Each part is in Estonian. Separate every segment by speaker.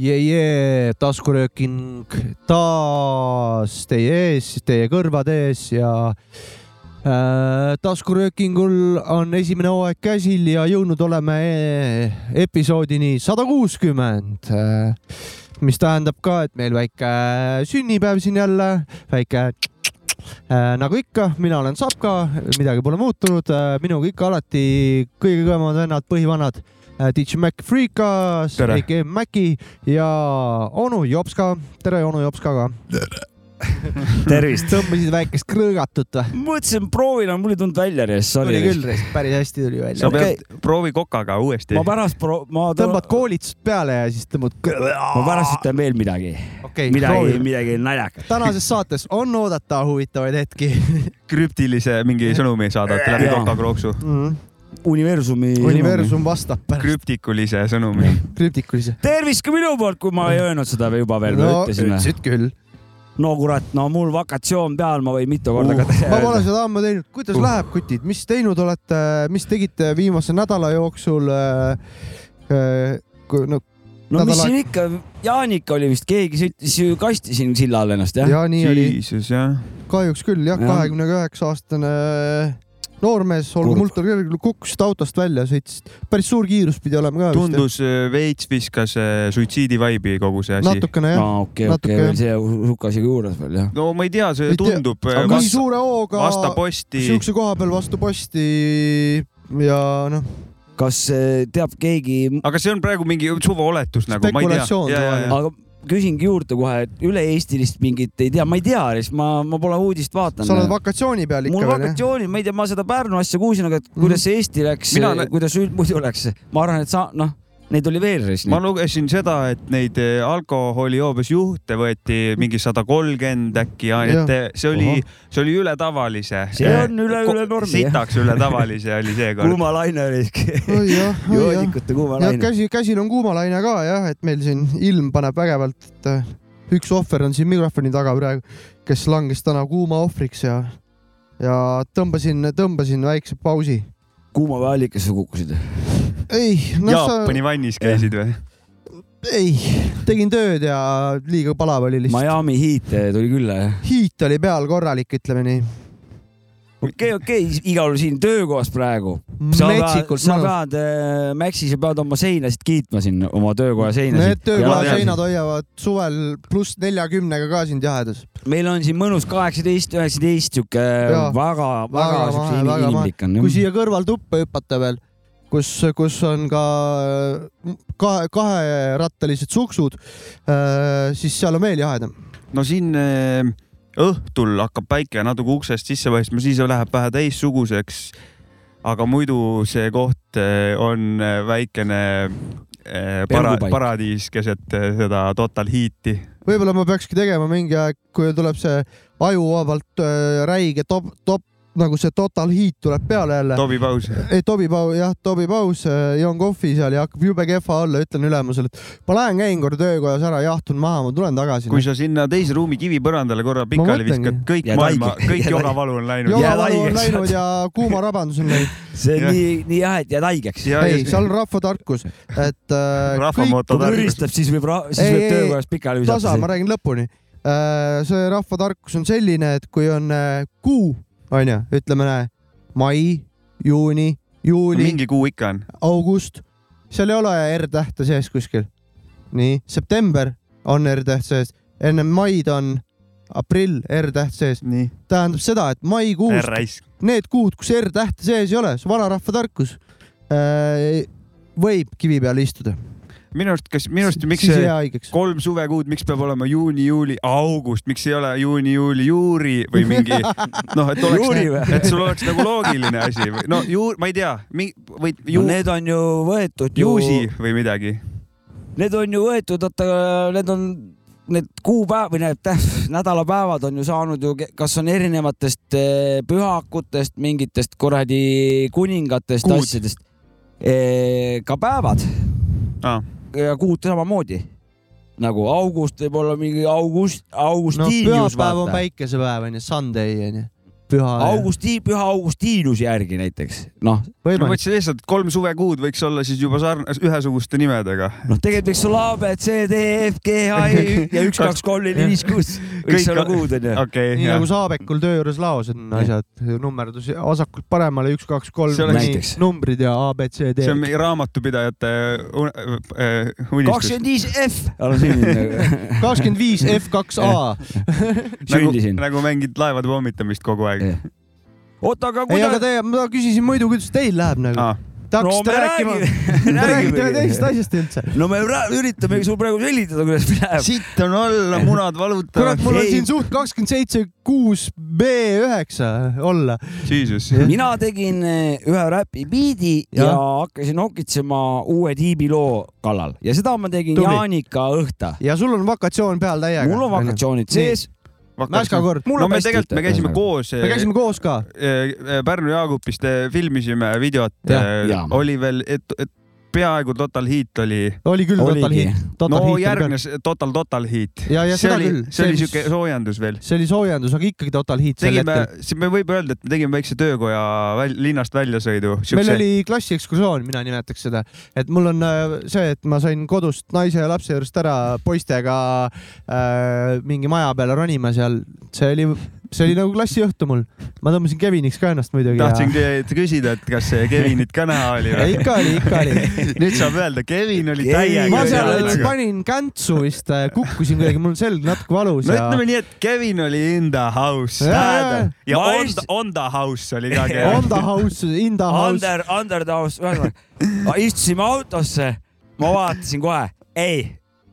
Speaker 1: jee yeah, yeah, taskurööking taas teie ees, teie kõrvade ees ja äh, taskuröökingul on esimene hooaeg käsil ja jõudnud oleme e- episoodini sada kuuskümmend mis tähendab ka , et meil väike äh, sünnipäev siin jälle , väike Äh, nagu ikka , mina olen Sapka , midagi pole muutunud , minuga ikka alati kõige kõvemad vennad , põhivanad . DJ Mac Freekas ,
Speaker 2: Tere.
Speaker 1: AKM Maci ja onu Jopska . tere , onu Jopska ka .
Speaker 3: tervist .
Speaker 1: tõmbasid väikest krõõgatut või ?
Speaker 3: mõtlesin , proovin , aga mul ei tulnud välja järjest ,
Speaker 1: tuli
Speaker 3: sorry .
Speaker 1: küll , päris hästi tuli
Speaker 2: sa
Speaker 1: välja .
Speaker 2: okay. pead , proovi kokaga uuesti
Speaker 3: ma . pärast pro- , ma
Speaker 1: tõmbad , koolitused peale ja siis tõmbad .
Speaker 3: ma pärast ütlen veel midagi ,
Speaker 1: okei ,
Speaker 3: midagi ,
Speaker 1: proovime .
Speaker 3: midagi naljakat .
Speaker 1: tänases saates on oodata huvitavaid hetki
Speaker 2: krüptilise mingi sõnumi saadad läbi
Speaker 3: Jaa.
Speaker 2: kokakrooksu .
Speaker 3: Mhm.
Speaker 1: mm. .
Speaker 3: universumi .
Speaker 1: universum vastab pärast ,
Speaker 2: krüptikulise sõnumi .
Speaker 1: krüptikulise .
Speaker 3: tervist ka minu poolt , kui ma ei öelnud seda juba veel , ma
Speaker 1: no
Speaker 3: ütlesin .
Speaker 1: ütlesid küll .
Speaker 3: no kurat , no mul vakatsioon peal , ma võin mitu korda ka
Speaker 1: ma
Speaker 3: teha .
Speaker 1: pole seda ammu teinud , kuidas
Speaker 3: Uh.
Speaker 1: uh. läheb , kutid , mis teinud olete , mis tegite viimase nädala jooksul äh, ? Äh, kui- no
Speaker 3: no mis
Speaker 1: nädal
Speaker 3: siin ikka , Jaanika oli vist , keegi sõitis ju kasti siin silla all ennast
Speaker 1: ja,
Speaker 3: jah ?
Speaker 1: ja nii oli ,
Speaker 2: Jeesus jah .
Speaker 1: kahjuks küll jah ,
Speaker 3: Jah.
Speaker 1: kahekümne üheksa aastane äh, noormees , olgu
Speaker 3: Kurb.
Speaker 1: multor kergel , kukkus ta autost välja , sõitis , päris suur kiirus pidi olema ka .
Speaker 2: tundus äh, veits viskas äh, suitsiidivaibi kogu see asi .
Speaker 1: natukene jah ,
Speaker 3: okei ,
Speaker 1: Natuke,
Speaker 3: okei ,
Speaker 1: jah.
Speaker 3: veel see hukas ju juures veel jah .
Speaker 2: no ma ei tea , see
Speaker 1: Ei tea.
Speaker 2: tundub .
Speaker 1: aga nii suure hooga
Speaker 2: vasta posti .
Speaker 1: siukse koha peal vastu posti ja noh ,
Speaker 3: kas eh, teab keegi
Speaker 2: aga see on praegu mingi suvaoletus nagu , ma ei tea
Speaker 1: Spekulatsioon .
Speaker 3: aga küsingi juurde kohe , et üle-eestilist mingit ei tea , ma ei tea , ma , ma pole uudist
Speaker 1: sa oled
Speaker 3: vaadanud .
Speaker 1: vakatsiooni peal ikka
Speaker 3: mul
Speaker 1: veel jah ? Mhm.
Speaker 3: vakatsioonid , ma ei tea , ma seda Pärnu asja kuulsin , aga et kuidas see Eesti läks eh,
Speaker 2: Mina nä- ,
Speaker 3: kuidas üld- muidu läks , ma arvan , et sa noh , neid oli veel reis .
Speaker 2: ma lugesin seda , et neid eh, alkoholijoobes juhte võeti mingi sada kolmkümmend äkki ,
Speaker 1: Jah.
Speaker 2: et eh, see oli
Speaker 3: Ahah. ,
Speaker 2: see oli üle tavalise .
Speaker 3: See on üle- üle normi, jah.
Speaker 2: sitaks üle tavalise oli seekord .
Speaker 3: kuuma laine oli .
Speaker 1: oi jah , oi jah .
Speaker 3: joodikute kuuma
Speaker 1: jah ,
Speaker 3: laine .
Speaker 1: käsi , käsil on kuumalaine ka jah , et meil siin ilm paneb vägevalt , et äh, üks ohver on siin mikrofoni taga praegu , kes langes täna kuuma ohvriks ja , ja tõmbasin , tõmbasin väikse pausi .
Speaker 3: kuuma vaeallikasse kukkusid .
Speaker 1: ei , no
Speaker 2: Jaapani vannis käisid või ?
Speaker 1: sa , ei , tegin tööd ja liiga palav oli lihtsalt .
Speaker 3: Miami Heat eh, tuli külla jah .
Speaker 1: hiit oli peal korralik , ütleme nii .
Speaker 3: okei , okei , igal juhul siin töökohas praegu . sa pead ,
Speaker 1: metsikult
Speaker 3: sa
Speaker 1: mõnus .
Speaker 3: pead , Maxi , sa pead oma seinasid kiitma siin , oma töökoja seinasid .
Speaker 1: Need töökoha
Speaker 2: tean.
Speaker 1: seinad hoiavad suvel pluss neljakümnega ka sind jahedas .
Speaker 3: meil on siin mõnus kaheksateist , üheksateist sihuke
Speaker 1: Jaa.
Speaker 3: väga-väga
Speaker 1: Väga
Speaker 3: siukse
Speaker 1: mahe, väga
Speaker 3: in-
Speaker 1: mahe.
Speaker 3: inimlik on
Speaker 1: kui
Speaker 3: jah .
Speaker 1: siia kõrvaltuppa hüpata veel , kus , kus on ka mm, kahe , kaherattalised suksud , siis seal on veel jahedam .
Speaker 2: no siin eh, õhtul hakkab päike natuke uksest sisse paistma , siis läheb vähe teistsuguseks . aga muidu see koht eh, on eh, väikene eh, para,
Speaker 3: Pelgupaik.
Speaker 2: paradiis keset eh, seda total heat'i .
Speaker 1: võib-olla ma peakski tegema mingi aeg , kui tuleb see ajuvabalt äh, räige top , top , nagu see total heat tuleb peale jälle .
Speaker 2: Tobi Paus .
Speaker 1: ei , Tobi Pau , jah , Tobi Paus , joon kohvi seal ja hakkab jube kehva olla , ütlen ülemusele , et ma lähen käin korra töökojas ära , jahtun maha , ma tulen tagasi .
Speaker 2: kui sa sinna teise ruumi kivipõrandale korra pikali
Speaker 1: mõtlengi.
Speaker 2: viskad , kõik
Speaker 3: Jääd
Speaker 2: maailma ,
Speaker 3: haigeks.
Speaker 2: kõik
Speaker 3: Jääd
Speaker 2: jogavalu on läinud .
Speaker 3: Jogavalu. jääd
Speaker 1: joogavalu on
Speaker 3: haigeks.
Speaker 1: läinud ja kuumarabandus on läinud .
Speaker 3: see on
Speaker 2: jah.
Speaker 3: nii , nii hea , et jääd haigeks .
Speaker 2: ja ,
Speaker 1: ei ,
Speaker 2: ja
Speaker 1: seal on rahvatarkus , et äh, kõik
Speaker 2: rahvamoto
Speaker 3: kui
Speaker 2: tarkus .
Speaker 3: müristab , siis võib , siis
Speaker 1: Ei,
Speaker 3: võib
Speaker 1: ei,
Speaker 3: töökojas pikali
Speaker 1: tasa , ma
Speaker 3: visata .
Speaker 1: räägin lõpuni . see rahvatarkus on selline , et kui on äh, kuu , onju , ütleme näe, mai , juuni , juuli ,
Speaker 2: mingi kuu ikka on .
Speaker 1: august , seal ei ole R-tähte sees kuskil . nii , september on R-täht sees , enne maid on aprill R-täht sees ,
Speaker 2: nii .
Speaker 1: tähendab seda , et maikuust
Speaker 2: raisk .
Speaker 1: need kuud , kus R-tähte sees ei ole , see on vanarahva tarkus äh, , võib kivi peal istuda .
Speaker 2: minu arust , kas , minu arust , miks
Speaker 1: siis ei
Speaker 2: see
Speaker 1: jää haigeks .
Speaker 2: kolm suvekuud , miks peab olema juuni , juuli , august , miks ei ole juuni , juuli , juuri või mingi noh , et
Speaker 3: Juuri
Speaker 2: oleks
Speaker 3: või? ,
Speaker 2: et sul oleks nagu loogiline asi või no juur , ma ei tea , või
Speaker 3: No,
Speaker 2: ju,
Speaker 3: need on ju võetud ju ,
Speaker 2: juusi või midagi .
Speaker 3: need on ju võetud , oota , need on , need kuupäev või need täht , nädalapäevad on ju saanud ju , kas on erinevatest eh, pühakutest , mingitest kuradi kuningatest ,
Speaker 2: Kuud.
Speaker 3: asjadest , ka päevad
Speaker 2: Aa.
Speaker 3: ja kuud samamoodi nagu august võib olla mingi august ,
Speaker 1: no
Speaker 3: Augustinius
Speaker 1: pühapäev on päikesepäev onju , Sunday onju . püha .
Speaker 3: Augusti , püha Augustiinuse järgi näiteks , noh ,
Speaker 2: ma
Speaker 1: võimalik ,
Speaker 2: mõtlesin lihtsalt , et kolm suvekuud võiks olla siis juba sarnas , ühesuguste nimedega .
Speaker 3: noh , tegelikult võiks olla A , B , C , D , F , G , H , I ja üks , kaks , kolm , neli , viis , kuus , võiks
Speaker 2: Kõik-
Speaker 3: olla kuud onju .
Speaker 2: okei
Speaker 1: nii
Speaker 2: okay,
Speaker 1: nagu , Saabekul töö juures laos on asjad , nummerdus vasakult paremale , üks , kaks , kolm
Speaker 2: See oleks- ,
Speaker 3: Näiteks.
Speaker 1: numbrid ja abcd
Speaker 2: see on meie raamatupidajate un- äh, unistus .
Speaker 3: kakskümmend viis F , olen
Speaker 1: nagu-
Speaker 3: sündinud ,
Speaker 1: kakskümmend viis F2A .
Speaker 2: nagu,
Speaker 3: sündisin .
Speaker 2: nagu mängid laevade pommitamist kogu aeg
Speaker 3: Jah. . oota , aga
Speaker 1: ei , aga
Speaker 3: kuidas ?
Speaker 1: te , ma küsisin muidu , kuidas teil läheb nagu .
Speaker 2: Ah,
Speaker 1: Te hakkasite rääkima , te räägite teisest asjast üldse .
Speaker 3: no me pra- üritame sul praegu selgitada , kuidas meil läheb .
Speaker 2: sitt on olla ,
Speaker 1: kurat ,
Speaker 2: munad valutavad .
Speaker 1: mul on
Speaker 3: Ei.
Speaker 1: siin suht kakskümmend seitse kuus B üheksa olla .
Speaker 2: Jesus .
Speaker 3: mina tegin eh, ühe räpi biidi ja. ja
Speaker 1: Jah.
Speaker 3: hakkasin nokitsema uue tiibi loo kallal ja seda ma tegin
Speaker 1: Tubli.
Speaker 3: Tuli. Jaanika õhta .
Speaker 1: ja sul on vakatsioon peal täiega .
Speaker 3: mul on vakatsioonid sees .
Speaker 1: Mäska kord .
Speaker 3: mul
Speaker 2: no
Speaker 3: on
Speaker 2: me
Speaker 3: hästi
Speaker 2: tegelikult , me käisime . koos . eh,
Speaker 1: me käisime koos ka .
Speaker 2: Äh, Pärnu Jaagupist eh, filmisime videot äh,
Speaker 1: Jah, ,
Speaker 3: jaa.
Speaker 2: oli veel , et , et peaaegu Total Hit oli .
Speaker 1: oli küll Total
Speaker 3: oligi
Speaker 1: Hit ., Total
Speaker 2: no
Speaker 1: Hit oli peal.
Speaker 2: järgnes Total Total Hit .
Speaker 1: Ja- ja
Speaker 2: see
Speaker 1: seda
Speaker 2: oli
Speaker 1: küll. ,
Speaker 2: see oli
Speaker 1: See-
Speaker 2: siuke soojendus veel .
Speaker 1: see oli soojendus , aga ikkagi Total Hit sel
Speaker 2: tegime
Speaker 1: hetkel .,
Speaker 2: me võib öelda , et me tegime väikse töökoja väl, linnast väljasõidu .
Speaker 1: meil oli klassiekskursioon , mina nimetaks seda , et mul on äh, see , et ma sain kodust naise ja lapse juurest ära poistega äh, mingi maja peale ronima seal , see oli , see oli nagu klassiõhtu mul . ma tõmbasin Keviniks ka ennast muidugi .
Speaker 2: tahtsin teilt küsida , et kas see Kevinit ka näha oli
Speaker 1: ja
Speaker 2: või ?
Speaker 1: ikka oli , ikka oli .
Speaker 2: nüüd saab öelda , Kevin oli
Speaker 3: Kevin-
Speaker 2: täiega .
Speaker 1: ma
Speaker 3: Ei, ei,
Speaker 1: seal
Speaker 3: ei.
Speaker 1: panin käntsu vist , kukkusin kuidagi , mul selg natuke valus
Speaker 2: no
Speaker 1: ja
Speaker 2: ütleme nii , et Kevin oli in the house
Speaker 1: Jaa, jaa, jaa.
Speaker 2: ja
Speaker 3: Ma
Speaker 2: on
Speaker 3: ei-
Speaker 2: the , on the house oli ka
Speaker 1: on the house , in the house .
Speaker 3: Under , under the house , ühesõnaga istusime autosse , ma vaatasin kohe , ei ,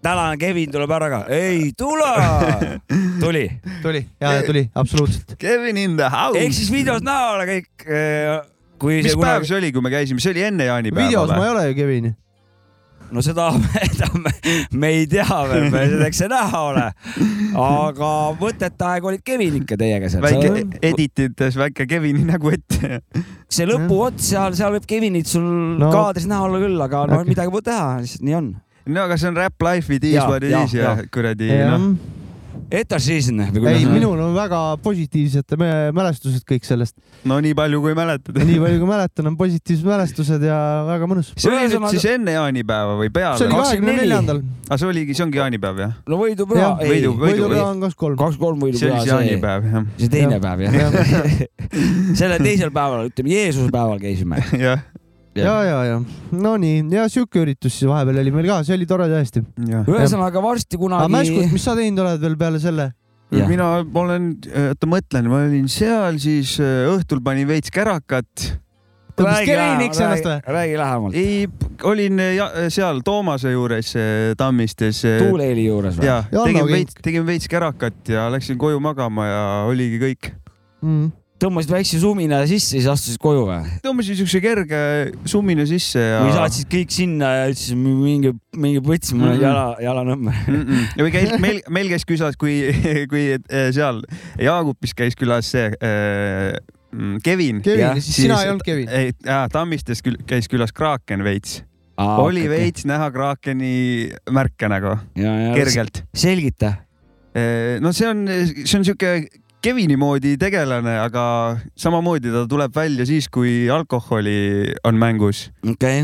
Speaker 3: tänane Kevin tuleb ära ka , ei tule , tuli .
Speaker 1: tuli , jaa , tuli , absoluutselt .
Speaker 2: Kevin in the
Speaker 3: ehk
Speaker 2: house .
Speaker 3: siis videos näha ole kõik , kui
Speaker 2: mis
Speaker 3: see
Speaker 2: päev
Speaker 3: kunagi ,
Speaker 2: see oli , kui me käisime , see oli enne jaanipäeva
Speaker 1: videos ma ei ole ju Kevin .
Speaker 3: no seda me, seda me, me ei tea veel , eks see näha ole . aga võtete aeg olid Kevin ikka teiega seal
Speaker 2: väike . edit ides väike Kevini nägu ette .
Speaker 3: see lõpuots seal , seal võib Kevinit sul
Speaker 1: No.
Speaker 3: no. kaadris näha olla küll , aga no
Speaker 1: Okei.
Speaker 3: midagi pole teha , lihtsalt nii on .
Speaker 2: no aga see on Rap Life it is
Speaker 3: Jaa,
Speaker 2: what it
Speaker 3: jaa,
Speaker 2: is ja
Speaker 3: jaa.
Speaker 2: kuradi noh .
Speaker 1: jah
Speaker 3: Etar Season või
Speaker 1: ei ,
Speaker 3: kuidas ?
Speaker 1: minul on väga positiivsed mä- mälestused kõik sellest .
Speaker 2: no nii palju , kui mäletad .
Speaker 1: nii palju kui mäletan , on positiivsed mälestused ja väga mõnus .
Speaker 2: see oli nüüd
Speaker 3: Ühesõnaga-
Speaker 2: siis enne jaanipäeva
Speaker 1: see
Speaker 2: või
Speaker 1: oli
Speaker 2: peale ?
Speaker 3: ka-
Speaker 1: kahekümne neljandal .
Speaker 2: aga see oligi , see ongi jaanipäev jah ?
Speaker 3: no võidupüha
Speaker 1: Jah, .
Speaker 2: võidu-
Speaker 1: võidupäev on kakskümmend kolm .
Speaker 2: see
Speaker 3: kaks-kolm võidupüha
Speaker 2: oli , siis
Speaker 3: see ,
Speaker 2: jaanipäev jah .
Speaker 3: see teine
Speaker 1: Jah.
Speaker 3: päev jah ja. . selle teisel päeval , ütleme Jeesuse päeval käisime .
Speaker 2: jah ,
Speaker 1: ja , ja , ja Nonii ja sihuke üritus siis vahepeal oli meil ka , see oli tore tõesti .
Speaker 2: jah .
Speaker 3: ühesõnaga varsti
Speaker 1: aga Mäskut ,
Speaker 3: kunagi .
Speaker 1: mis sa teinud oled veel peale selle ?
Speaker 3: Jah.
Speaker 2: mina olen , oota mõtlen , ma olin seal , siis äh, õhtul panin veits kärakat .
Speaker 1: tõmbasid Keviniks ennast või ??
Speaker 3: räägi lähemalt .
Speaker 2: ei , olin äh, ja, seal Toomase juures äh, Tammistes .
Speaker 3: tuuleeli juures või ?
Speaker 2: ja
Speaker 1: Janno
Speaker 2: tegin
Speaker 1: Kink.
Speaker 2: veits , tegin veits kärakat ja läksin koju magama ja oligi kõik .
Speaker 1: Mm.
Speaker 3: tõmbasid väikse sumina sisse , siis astusid koju või ?
Speaker 2: tõmbasin siukse kerge sumina sisse ja .
Speaker 3: või saatsid kõik sinna ja ütlesid minge , minge põts , mul on
Speaker 2: Mhm.
Speaker 3: jala , jalanõmme .
Speaker 2: ja või käis meil , meil käis külas , kui , kui eh, seal Jaagupis käis külas see äh, mm, Kevin .
Speaker 1: Kevin
Speaker 3: Jah, ,
Speaker 1: sina
Speaker 2: siis-
Speaker 1: ei olnud Kevin .
Speaker 2: ei , Tammistes küll käis külas Kraaken veits ah, , oli okay. . veits näha Kraakeni märke nagu , kergelt .
Speaker 3: selgita .
Speaker 2: no see on , see on sihuke Kevini moodi tegelane , aga samamoodi ta tuleb välja siis , kui alkoholi on mängus .
Speaker 3: okei okay. .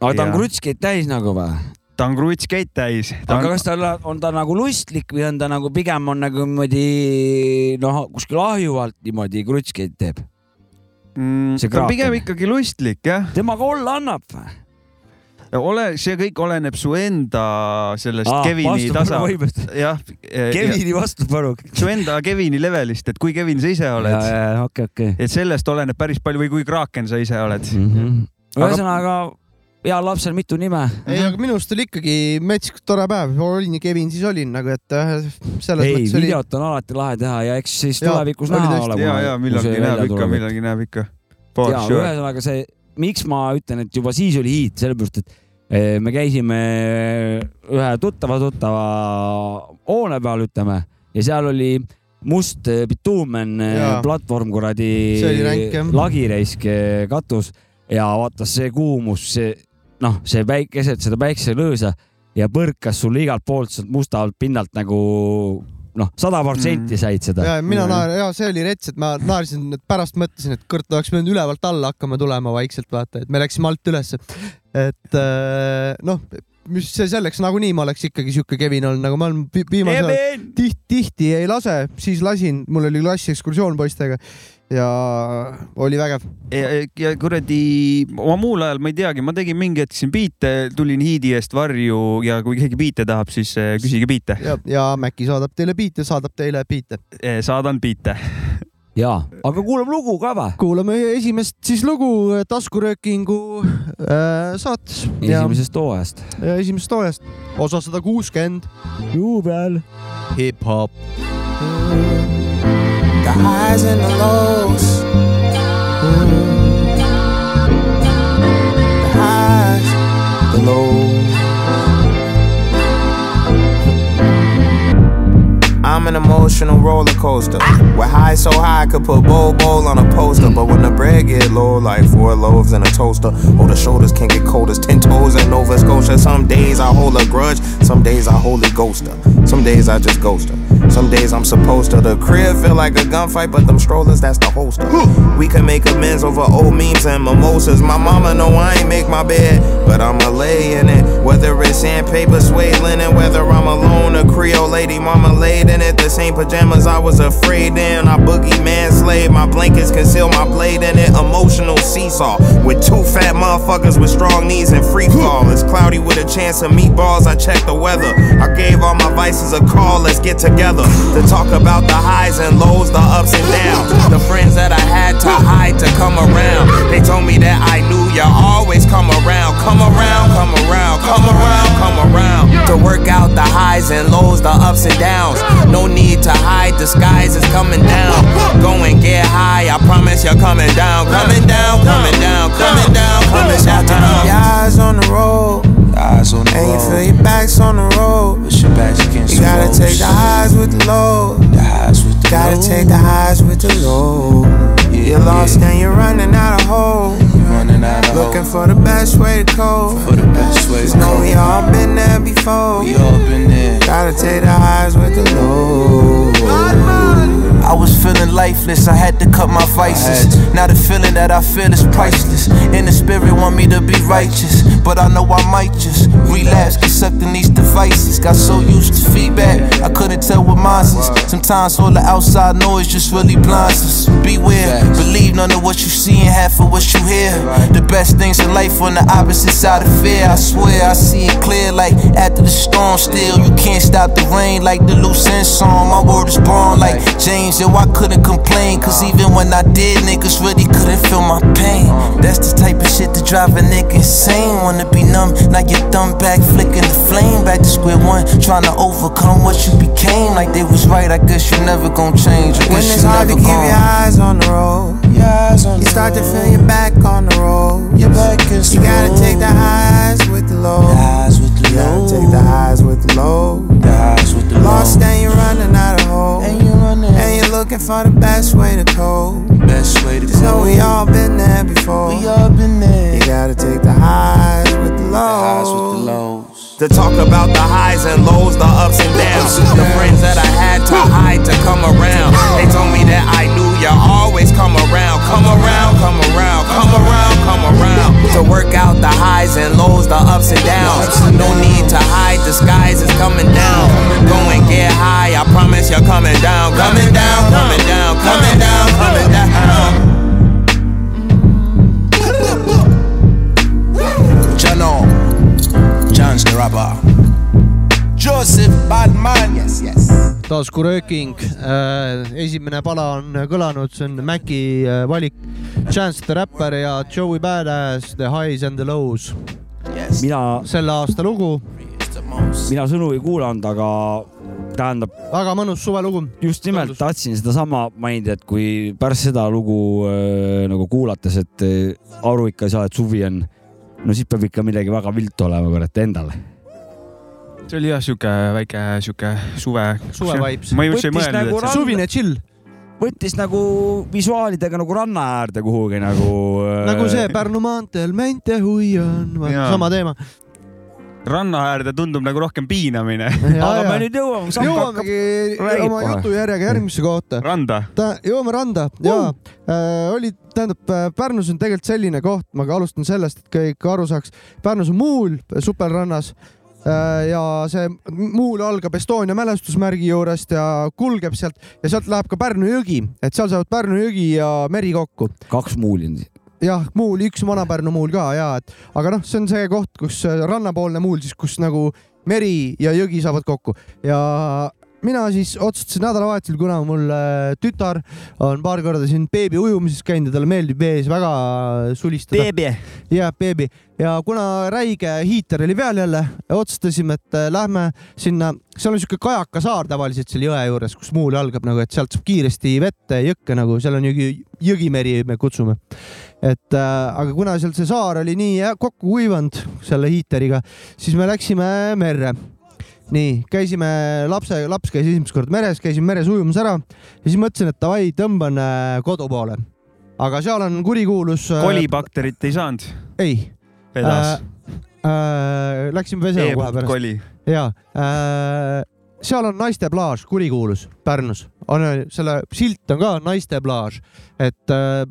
Speaker 3: aga ta on
Speaker 2: Jaa.
Speaker 3: krutskeid täis nagu või ?
Speaker 2: ta on krutskeid täis .
Speaker 3: aga kas tal on ta nagu lustlik või on ta nagu pigem on nagu niimoodi noh , kuskil ahjuvalt niimoodi krutskeid teeb ,
Speaker 2: mm,
Speaker 3: see
Speaker 2: ta on pigem
Speaker 3: Kraaken?
Speaker 2: ikkagi lustlik jah .
Speaker 3: temaga olla annab või ?
Speaker 2: ole , see kõik oleneb su enda sellest ah, Kevini tasa , jah .
Speaker 3: Kevini vastupanu .
Speaker 2: su enda Kevini levelist , et kui Kevin sa ise oled ,
Speaker 3: okei , okei .
Speaker 2: et sellest oleneb päris palju või kui Kraken sa ise oled .
Speaker 3: Mm.
Speaker 2: Aga-
Speaker 3: Mhm. ühesõnaga , heal lapsel mitu nime .
Speaker 1: ei , aga minu arust oli ikkagi metsikult tore päev , olin ja Kevin siis olin nagu , et äh, selles
Speaker 3: ei ,
Speaker 1: mõttes oli ,
Speaker 3: videot on alati lahe teha ja eks siis
Speaker 1: Jaa,
Speaker 3: tulevikus
Speaker 1: oli
Speaker 3: näha
Speaker 1: tõesti.
Speaker 3: ole .
Speaker 2: ja , ja millalgi näeb ikka , millalgi näeb ikka . For
Speaker 3: ja sure.
Speaker 2: sure .
Speaker 3: ühesõnaga see , miks ma ütlen , et juba siis oli hiit , sellepärast et eh, me käisime eh, ühe tuttava tuttava hoone peal , ütleme , ja seal oli must eh, bituumen eh,
Speaker 1: Jaa.
Speaker 3: platvorm kuradi
Speaker 1: See oli ränk, jah.
Speaker 3: lagireisk eh, katus ja vaata see kuumus , see noh , see päikeset , seda päikselõõsa ja põrkas sulle igalt poolt sealt mustalt pinnalt nagu noh , sada
Speaker 1: Mm.
Speaker 3: protsenti said seda .
Speaker 1: ja mina
Speaker 2: Mhm.
Speaker 1: naer- , ja see oli rets , et ma naersin , et pärast mõtlesin , et kurat , oleks pidanud ülevalt alla hakkama tulema vaikselt vaata , et me läksime alt ülesse . et äh, noh , mis see selleks , nagunii ma oleks ikkagi sihuke Kevin olnud , nagu ma olen vi- viimasel ajal
Speaker 2: Kevin ,
Speaker 1: tihti , tihti ei lase , siis lasin , mul oli klassiekskursioon poistega ja oli vägev .
Speaker 2: ja, ja kuradi , ma muul ajal ma ei teagi , ma tegin mingi hetk siin biite , tulin hiidi eest varju ja kui keegi biite tahab , siis eh, küsige biite ,
Speaker 1: ja , ja Maci saadab teile biite , saadab teile biite .
Speaker 2: Eh, saadan biite .
Speaker 3: jaa , aga kuulame lugu ka või ?
Speaker 1: kuulame esimest siis lugu äh, taskuröökingu äh, saates ja,
Speaker 3: esimesest hooajast .
Speaker 1: ja esimesest hooajast , osa sada kuuskümmend ,
Speaker 3: juubel .
Speaker 1: hip-hop .
Speaker 4: the highs and the lows. The highs, the lows. I'm an emotional roller coaster. With high so high I could put bowl bowl on a poster. But when the bread get low, like four loaves and a toaster, oh the shoulders can get cold as ten toes in Nova Scotia. Some days I hold a grudge, some days I holy ghoster. Some days I just ghoster. Some days I'm supposed to. The crib feel like a gunfight, but them strollers, that's the holster. We can make amends over old memes and mimosas. My mama know I ain't make my bed, but I'ma lay in it. Whether it's sandpaper, suede linen, whether I'm alone, a Creole lady, mama laid in it. The same pajamas I was afraid in. I boogie man slave. My blankets conceal my blade in it. Emotional seesaw with two fat motherfuckers with strong knees and free fall. It's cloudy with a chance of meatballs. I check the weather. I gave all my vices a call. Let's get together to talk about the highs and lows, the ups and downs, the friends that I had to hide to come around. They told me that I knew you always come around, come around, come around, come around, come around. To work out the highs and lows, the ups and downs. No need to hide, the skies is coming down. Go and get high, I promise you're coming down, coming down, coming down, coming down, coming down. Your eyes on the road. Eyes on the and you feel your back's on the road. It's your back's against you gotta take the highs with the lows. The highs with the gotta take the highs with the lows. you're lost and you're running out of hope. Looking for the best way to cope. For the best way to know we all been there before. We all been there. Gotta take the highs with the lows.
Speaker 5: I was feeling lifeless, I had to cut my vices. Now the feeling that I feel is priceless. And the spirit want me to be righteous, but I know I might just relapse, get sucked in these devices. Got so used to feedback, I couldn't tell what mine is. Sometimes all the outside noise just really blinds us. Beware, believe none of what you see and half of what you hear. The best things in life on the opposite side of fear. I swear I see it clear, like after the storm. Still, you can't stop the rain, like the loose end song. My word is born, like James. Yo, I couldn't complain, cause even when I did, niggas really couldn't feel my pain. That's the type of shit that drive a nigga insane. Wanna be numb, now your thumb back, flicking the flame. Back to square one, trying to overcome what you became. Like they was right, I guess you never gonna change. I
Speaker 4: When
Speaker 5: guess
Speaker 4: it's
Speaker 5: you
Speaker 4: hard
Speaker 5: never
Speaker 4: to keep your
Speaker 5: gonna.
Speaker 4: eyes on the road, you start to feel your back on the road.
Speaker 5: Your back is
Speaker 4: You gotta take the
Speaker 5: high.
Speaker 4: highs with the lows.
Speaker 5: Eyes with the
Speaker 4: You
Speaker 5: low.
Speaker 4: gotta take the highs with the lows.
Speaker 5: Eyes with the low.
Speaker 4: Lost and you're running out of hope.
Speaker 5: And you running.
Speaker 4: And you're looking for the best way to cope.
Speaker 5: best way to go.
Speaker 4: So we all been there before.
Speaker 5: We all been there.
Speaker 4: You gotta take the highs with the
Speaker 5: Eyes with
Speaker 4: lows.
Speaker 5: the lows.
Speaker 4: To talk about the highs and lows, the ups and downs. The friends that I had to hide to come around. They told me that I knew you always come around. Come around, come around, come around, come around. To work out the highs and lows, the ups and downs. No need to hide, the skies is coming down. Go and get high, I promise you're coming down. Coming down, coming down, coming down, coming down.
Speaker 5: Jano. John's the rapper. Joseph Badman. Yes, yes.
Speaker 1: taskurööking , esimene pala on kõlanud , see on Maci äh, valik , Chance the Rapper ja Joey Badass , The Highs and the Lows .
Speaker 5: Yes.
Speaker 3: mina ,
Speaker 1: selle aasta lugu ,
Speaker 5: It's the most.
Speaker 3: mina sõnu ei kuulanud , aga tähendab
Speaker 1: väga mõnus suvelugu .
Speaker 3: just nimelt
Speaker 1: Tundus.
Speaker 3: tahtsin sedasama mainida , et kui pärast seda lugu äh, nagu kuulates , et äh, aru ikka ei saa , et suvi on , no siis peab ikka midagi väga viltu olema kurat endal .
Speaker 2: see oli jah , sihuke väike sihuke suve .
Speaker 1: Suve vibes.
Speaker 2: ma just ei
Speaker 3: Võttis
Speaker 2: mõelnud
Speaker 3: nagu ,
Speaker 2: et see
Speaker 3: ra-
Speaker 1: suvine chill ,
Speaker 3: võttis nagu visuaalidega nagu ranna äärde kuhugi nagu .
Speaker 1: nagu see . Pärnu maanteel mente hui on ,
Speaker 2: Jaa.
Speaker 1: sama teema .
Speaker 2: ranna äärde tundub nagu rohkem piinamine .
Speaker 3: aga me nüüd jõuame , Sam hakkab .
Speaker 1: jõuamegi
Speaker 3: räägib
Speaker 1: oma
Speaker 3: kohe.
Speaker 1: jutujärjega järgmise kohta .
Speaker 2: randa .
Speaker 1: ta , jõuame randa ja äh, oli , tähendab äh, Pärnus on tegelikult selline koht , ma ka alustan sellest , et kõik aru saaks . Pärnus on Muul supelrannas äh, ja see Muul algab Estonia mälestusmärgi juurest ja kulgeb sealt ja sealt läheb ka Pärnu jõgi , et seal saavad Pärnu jõgi ja meri kokku .
Speaker 3: kaks muuli .
Speaker 1: jah , Muul , üks Vana-Pärnu Muul ka ja et aga noh , see on see koht , kus äh, rannapoolne Muul siis , kus nagu meri ja jõgi saavad kokku ja mina siis otsustasin nädalavahetusel , kuna mul äh, tütar on paar korda siin beebi ujumises käinud ja talle meeldib vees väga sulistada .
Speaker 2: beebi .
Speaker 1: jah , beebi ja kuna räige hiiter oli peal jälle , otsustasime , et äh, lähme sinna , seal on siuke kajakasaar tavaliselt seal jõe juures , kus muul algab nagu , et sealt saab kiiresti vette ja jõkke nagu , seal on jõgi , jõgimeri , me kutsume . et äh, aga kuna seal see saar oli nii hea- kokku kuivanud selle hiiteriga , siis me läksime merre nii , käisime lapse , laps käis esimest korda meres , käisime meres ujumas ära ja siis mõtlesin , et davai , tõmban äh, kodu poole . aga seal on kurikuulus .
Speaker 2: kolibakterit ei saanud .
Speaker 1: ei
Speaker 2: vedas .
Speaker 1: äh, . Läksime pesema kohe pärast .
Speaker 2: E-koli .
Speaker 1: ja äh, seal on naiste plaaž , kurikuulus Pärnus , on äh, selle silt on ka naiste plaaž , et äh,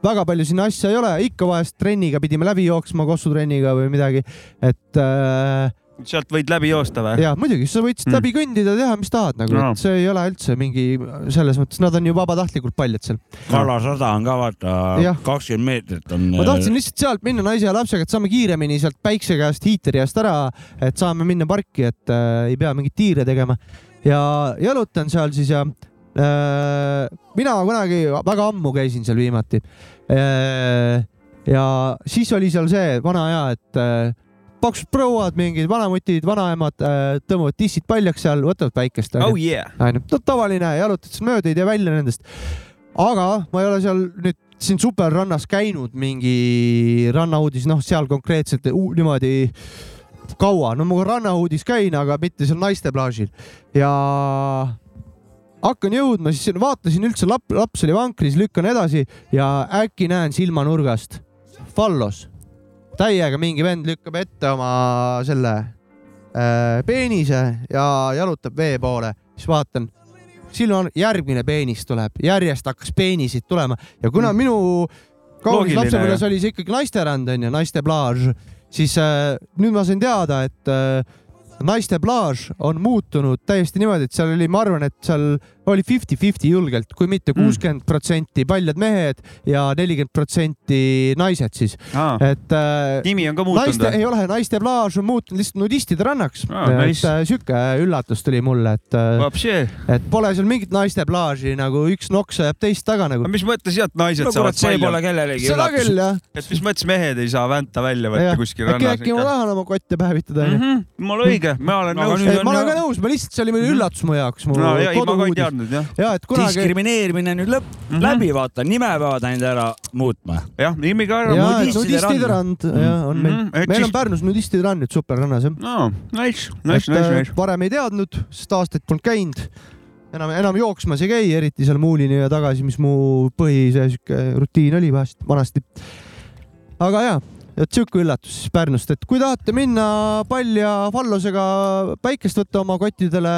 Speaker 1: väga palju sinna asja ei ole , ikka vahest trenniga pidime läbi jooksma , kossutrenniga või midagi , et äh,
Speaker 2: sealt võid läbi joosta või ?
Speaker 1: ja muidugi sa võid
Speaker 2: Mm.
Speaker 3: Hmm.
Speaker 1: mm. läbi kõndida , teha , mis tahad nagu
Speaker 2: Jaa.
Speaker 1: no. , et see ei ole üldse mingi selles mõttes , nad on ju vabatahtlikult paljad seal .
Speaker 3: kalasada on ka vaata
Speaker 1: Jah.
Speaker 3: kakskümmend meetrit on . äh,
Speaker 1: ma tahtsin lihtsalt sealt minna naise ja lapsega , et saame kiiremini sealt päikse käest , hiiteri käest ära , et saame minna parki , et äh, ei pea mingit tiire tegema ja jalutan seal siis ja äh, mina kunagi väga ammu käisin seal viimati äh, . ja siis oli seal see vana hea , et äh, paksud prouad , mingid vanamutid , vanaemad äh, tõmbavad tissid paljaks seal , võtavad päikest .
Speaker 2: oh yeah .
Speaker 1: onju , no tavaline , jalutad siis mööda , ei tee välja nendest . aga ma ei ole seal nüüd siin superrannas käinud mingi rannauudis , noh , seal konkreetselt u- niimoodi kaua , no ma rannauudis käin , aga mitte seal naiste plaažil ja hakkan jõudma , siis vaatasin üldse , lap- , laps oli vankris , lükkan edasi ja äkki näen silmanurgast fallos , täiega mingi vend lükkab ette oma selle äh, peenise ja jalutab vee poole , siis vaatan , silma on , järgmine peenis tuleb , järjest hakkas peenisid tulema ja kuna mm. minu kaunis
Speaker 2: Loogiline,
Speaker 1: lapsepõlves oli see ikkagi naisterand onju , naiste plaaž , siis äh, nüüd ma sain teada , et äh, naiste plaaž on muutunud täiesti niimoodi , et seal oli , ma arvan , et seal oli fifty-fifty julgelt , kui mitte
Speaker 2: Mm.
Speaker 1: kuuskümmend protsenti paljad mehed ja nelikümmend protsenti naised siis , et äh,
Speaker 2: nimi on ka Ah. muutunud
Speaker 1: naiste ,
Speaker 2: või ?
Speaker 1: ei ole , naiste plaaž on muutunud lihtsalt nudistide rannaks
Speaker 2: Aa, nice.
Speaker 1: et äh, sihuke üllatus tuli mulle , et ,
Speaker 2: Vapšee .
Speaker 1: et pole seal mingit naiste plaaži nagu üks noksa jääb teist taga nagu
Speaker 2: aga . mis mõttes jah , et naised
Speaker 3: no
Speaker 2: saavad
Speaker 3: kurat , see
Speaker 2: palju
Speaker 3: pole ? kellelegi
Speaker 1: seda
Speaker 3: üllatus
Speaker 1: küll . jah ,
Speaker 2: et mis mõttes mehed ei saa vänta välja võtta
Speaker 1: jah ,
Speaker 2: kuskil
Speaker 1: äkki ,
Speaker 2: rannas
Speaker 1: äkki ma
Speaker 2: ikka ? Mhm.
Speaker 1: tahan Mm. oma kotte päevitada onju .
Speaker 2: mul õige , ma olen
Speaker 3: Aga
Speaker 2: nõus
Speaker 3: nüüd .
Speaker 1: ma olen
Speaker 3: on-
Speaker 1: ka nõus , ma lihtsalt , see oli meil
Speaker 2: Mhm.
Speaker 1: üllatus mu jaoks , mu
Speaker 2: no ja ei , ma ka ei
Speaker 1: koduuudis .
Speaker 2: teadnud jah .
Speaker 1: ja et kunagi
Speaker 3: diskrimineerimine nüüd lõpp ,
Speaker 2: Mhm.
Speaker 3: läbi vaata , nime peavad ainult ära muutma .
Speaker 2: jah , nimi ka ära
Speaker 1: ja
Speaker 3: nudistide
Speaker 1: et nudistide rand ja on meil
Speaker 2: Mhm, , et
Speaker 1: meil
Speaker 2: siis-
Speaker 1: on Pärnus nudistide rand nüüd superrannas jah .
Speaker 2: no nice , nice ,
Speaker 1: äh,
Speaker 2: nice , nice .
Speaker 1: varem ei teadnud , sest aastaid polnud käinud . enam , enam jooksmas ei käi , eriti seal muulini ja tagasi , mis mu põhi see sihuke rutiin oli vahest , vanasti . aga ja , et sihuke üllatus siis Pärnust , et kui tahate minna palja fallosega päikest võtta oma kottidele ,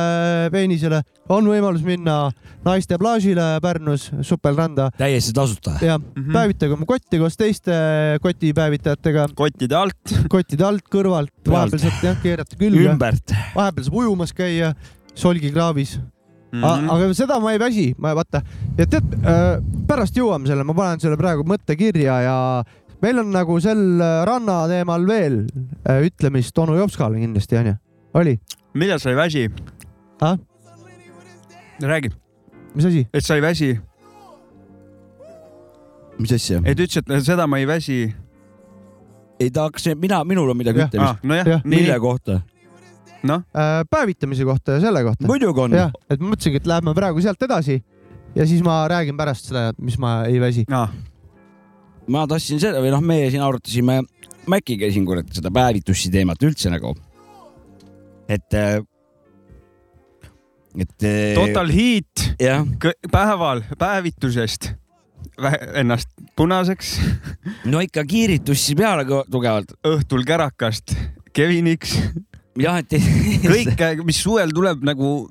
Speaker 1: peenisele , on võimalus minna naiste plaažile Pärnus supelranda
Speaker 3: täiesti tasuta .
Speaker 1: ja mm -hmm. päevitage oma kotti koos teiste eh, kotipäevitajatega ,
Speaker 2: kottide alt .
Speaker 1: kottide alt , kõrvalt ,
Speaker 3: Pealt.
Speaker 1: vahepeal saate jah keerata külge
Speaker 3: ümbert .
Speaker 1: vahepeal saab ujumas käia , solgikraavis mm .
Speaker 3: Mhm.
Speaker 2: Mhm.
Speaker 1: -hmm. aga seda ma ei väsi , ma vaata , et tead äh, pärast jõuame selle , ma panen selle praegu mõtte kirja ja meil on nagu sel äh, ranna teemal veel äh, ütlemist onu Jopskale kindlasti onju , oli ,
Speaker 2: millal sa ei väsi
Speaker 1: Ah? ?
Speaker 2: räägi ,
Speaker 1: mis asi ?
Speaker 2: et sa ei väsi ,
Speaker 3: mis asja ?
Speaker 2: et ütles , et seda ma ei väsi .
Speaker 3: ei tahaks , mina , minul on midagi
Speaker 1: Jah.
Speaker 3: ütlemist .
Speaker 2: nojah
Speaker 1: Jah. ,
Speaker 2: Ah, nii
Speaker 3: mille , kohta ?
Speaker 1: Eh, päevitamise kohta ja selle kohta .
Speaker 3: muidugi on .
Speaker 1: jah , et ma mõtlesingi , et läheme praegu sealt edasi ja siis ma räägin pärast seda , mis ma ei väsi .
Speaker 2: ah.
Speaker 3: ma tahtsin seda või noh , meie siin arutasime Maciga siin kurat seda päevitussi teemat üldse nagu . et , et .
Speaker 2: total heat
Speaker 3: jah ,
Speaker 2: kõ- päeval päevitusest vä- ennast punaseks ,
Speaker 3: no ikka kiiritussi peale kõ- tugevalt .
Speaker 2: õhtul kärakast Keviniks ,
Speaker 3: jah , et
Speaker 2: kõik , mis suvel tuleb nagu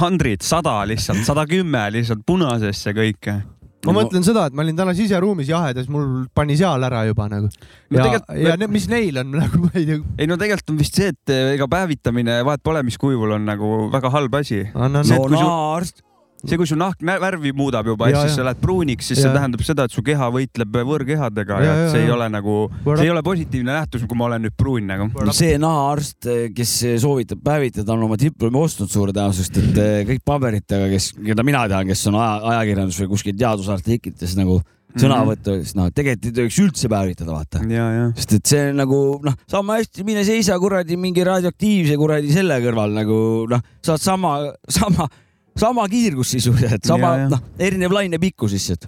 Speaker 2: hundred , sada lihtsalt , sada kümme lihtsalt punasesse kõike .
Speaker 1: ma mõtlen seda , et ma olin täna siseruumis jahedas , mul pani seal ära juba nagu .
Speaker 2: No
Speaker 1: ja ,
Speaker 2: tegelikult-
Speaker 1: ja ne, mis neil on nagu , ma ei tea .
Speaker 2: ei no tegelikult on vist see , et eh, ega päevitamine , vahet pole , mis kujul on nagu väga halb asi .
Speaker 1: annan
Speaker 2: See-
Speaker 1: no. ,
Speaker 3: no
Speaker 2: kui su-
Speaker 3: naaarst ,
Speaker 2: see , kui su nahk nä- värvi muudab juba ,
Speaker 1: Ja,
Speaker 2: ehk siis
Speaker 1: ja.
Speaker 2: sa lähed pruuniks , siis
Speaker 1: Ja.
Speaker 2: see tähendab seda , et su keha võitleb võõrkehadega ja,
Speaker 1: Ja,
Speaker 2: ja
Speaker 1: ja,
Speaker 2: see ei
Speaker 1: ja.
Speaker 2: ole nagu , see ei ole positiivne nähtus , kui ma olen nüüd pruun nagu .
Speaker 3: see naaarst , kes soovitab päevitada , on oma diplomi ostnud suure tõenäosusest , et eh, kõik paberitega , kes , keda mina tean , kes on aja , ajakirjandus või kuskil teadusartiklites nagu sõnavõttu , siis noh , tegelikult ei tohiks üldse päevitada , vaata .
Speaker 2: ja , ja .
Speaker 3: sest et see on nagu noh , sama hästi mine seisa kuradi mingi radioaktiivse kuradi selle kõrval nagu noh , saad sama , sama , sama kiirgus sisuliselt , sama
Speaker 2: Ja, ja.
Speaker 3: noh , erinev lainepikkus lihtsalt .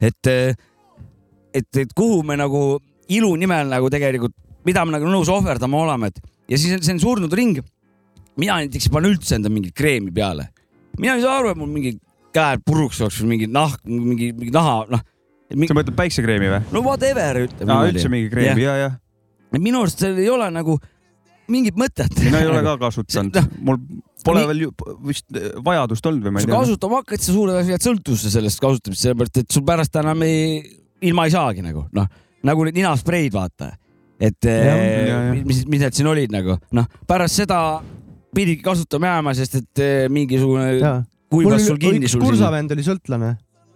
Speaker 3: et , et , et kuhu me nagu ilu nimel nagu tegelikult , mida me nagu nõus ohverdama oleme , et ja siis on see on surnud ring . mina näiteks ei pane üldse enda mingit kreemi peale . mina ei saa aru , et mul mingi käed puruks oleks või mingi nahk , mingi , mingi naha , noh .
Speaker 2: sa mõtled päiksekreemi või ?
Speaker 3: no whatever , ütleme
Speaker 2: aa , üldse mingi kreemi , ja , ja .
Speaker 3: et minu arust seal ei ole nagu mingit mõtet .
Speaker 2: mina ei ole ka kasutanud
Speaker 3: See- ,
Speaker 2: mul pole
Speaker 3: Noh. Nii-
Speaker 2: veel ju, vist eh, vajadust olnud või ma
Speaker 3: kui
Speaker 2: ei
Speaker 3: sa
Speaker 2: tea .
Speaker 3: kasutama hakkad , sa suure tõenäosusega jääd sõltuvusse sellest kasutamist , sellepärast et sul pärast enam ei , ilma ei saagi nagu noh , nagu need ninaspreid , vaata . et eh,
Speaker 2: ja, ja.
Speaker 3: mis , mis need siin olid nagu noh , pärast seda pididki kasutama jääma , sest et eh, mingisugune kuivas sul kinni sul siin .
Speaker 1: kursavend oli sõltlane ,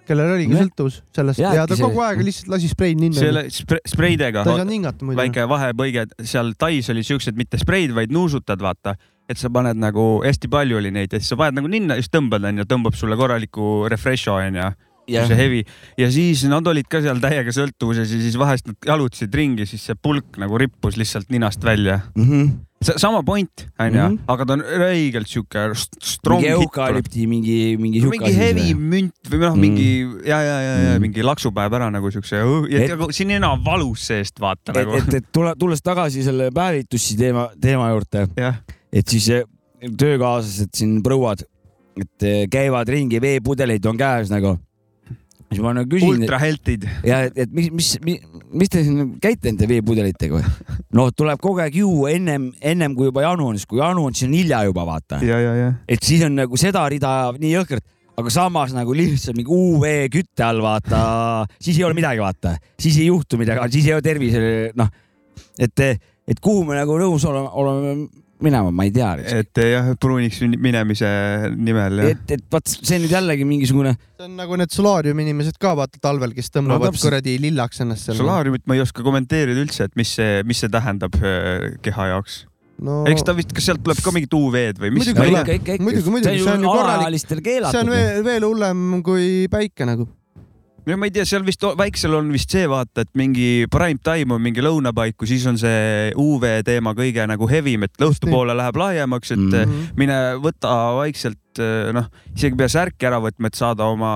Speaker 1: kellel oligi
Speaker 3: Jah.
Speaker 1: sõltuvus sellest
Speaker 3: Jääbki
Speaker 1: ja ta kogu
Speaker 3: see-
Speaker 1: aeg lihtsalt lasi spreid ninna .
Speaker 2: selle spre- spreidega
Speaker 1: ta ei saanud hingata muidu .
Speaker 2: väike vahepõige , seal Tais oli siuksed mitte spreid , vaid nuusutad , vaata , et sa paned nagu hästi palju oli neid ja siis sa paned nagu ninna ja siis tõmbad onju , tõmbab sulle korraliku refresh'o onju , see hevi ja siis nad olid ka seal täiega sõltuvuses ja siis vahest nad jalutasid ringi , siis see pulk nagu rippus lihtsalt ninast välja . sama point onju
Speaker 3: Mhm. ,
Speaker 2: aga ta on õigelt siuke st- strong
Speaker 3: mingi
Speaker 2: hitt tuleb
Speaker 3: eukalüpti , mingi , mingi sihuke
Speaker 2: mingi heavy münt või noh ,
Speaker 3: Mm.
Speaker 2: mingi ja , ja , ja , ja
Speaker 3: Mm.
Speaker 2: mingi laksu päev ära nagu siukse , ja
Speaker 3: Et-
Speaker 2: nagu siin enam valus seest vaata
Speaker 3: et ,
Speaker 2: nagu .
Speaker 3: et , et tule , tulles tagasi selle päevitusi teema , teema juurde
Speaker 2: jah ,
Speaker 3: et siis eh, töökaaslased siin prouad , et eh, käivad ringi , veepudeleid on käes nagu . siis ma nagu küsin ,
Speaker 2: ultra health'id .
Speaker 3: ja et, et mis , mis , mis te siin käite nende veepudelitega või ? noh , tuleb kogu aeg juua ennem , ennem kui juba janu on , siis kui janu on , siis on hilja juba vaata ,
Speaker 2: ja , ja , ja .
Speaker 3: et siis on nagu seda rida nii jõhkralt , aga samas nagu lihtsalt mingi UV kütte all vaata , siis ei ole midagi , vaata , siis ei juhtu midagi , siis ei ole tervisele noh , et , et kuhu me nagu nõus oleme , oleme minema , ma ei tea .
Speaker 2: et eh, jah , pruuniks minemise nimel jah .
Speaker 3: et , et vaat see nüüd jällegi mingisugune ,
Speaker 1: see on nagu need solaariumi inimesed ka vaata talvel , kes
Speaker 3: No
Speaker 1: tõmbavad
Speaker 3: täpselt.
Speaker 1: kuradi lillaks ennast seal .
Speaker 2: solaariumit ma ei oska kommenteerida üldse , et mis see , mis see tähendab öö, keha jaoks .
Speaker 1: no
Speaker 2: eks ta vist , kas sealt tuleb ka mingit UV-d või mis
Speaker 1: Muidugi tuleb. ?
Speaker 3: ikka , ikka ,
Speaker 1: Muidugi,
Speaker 3: ikka ,
Speaker 1: muidugi, see on ju korralik-
Speaker 3: alaealistel
Speaker 1: see on
Speaker 3: keelatud . noh.
Speaker 1: veel , veel hullem kui päike nagu .
Speaker 2: no ma ei tea , seal vist o- väiksel on vist see vaata , et mingi prime time on mingi lõunapaiku , siis on see UV teema kõige nagu hevim , et õhtupoole läheb laiemaks , et
Speaker 3: Mhm.
Speaker 2: mm. mine võta vaikselt , noh , isegi ei pea särki ära võtma , et saada oma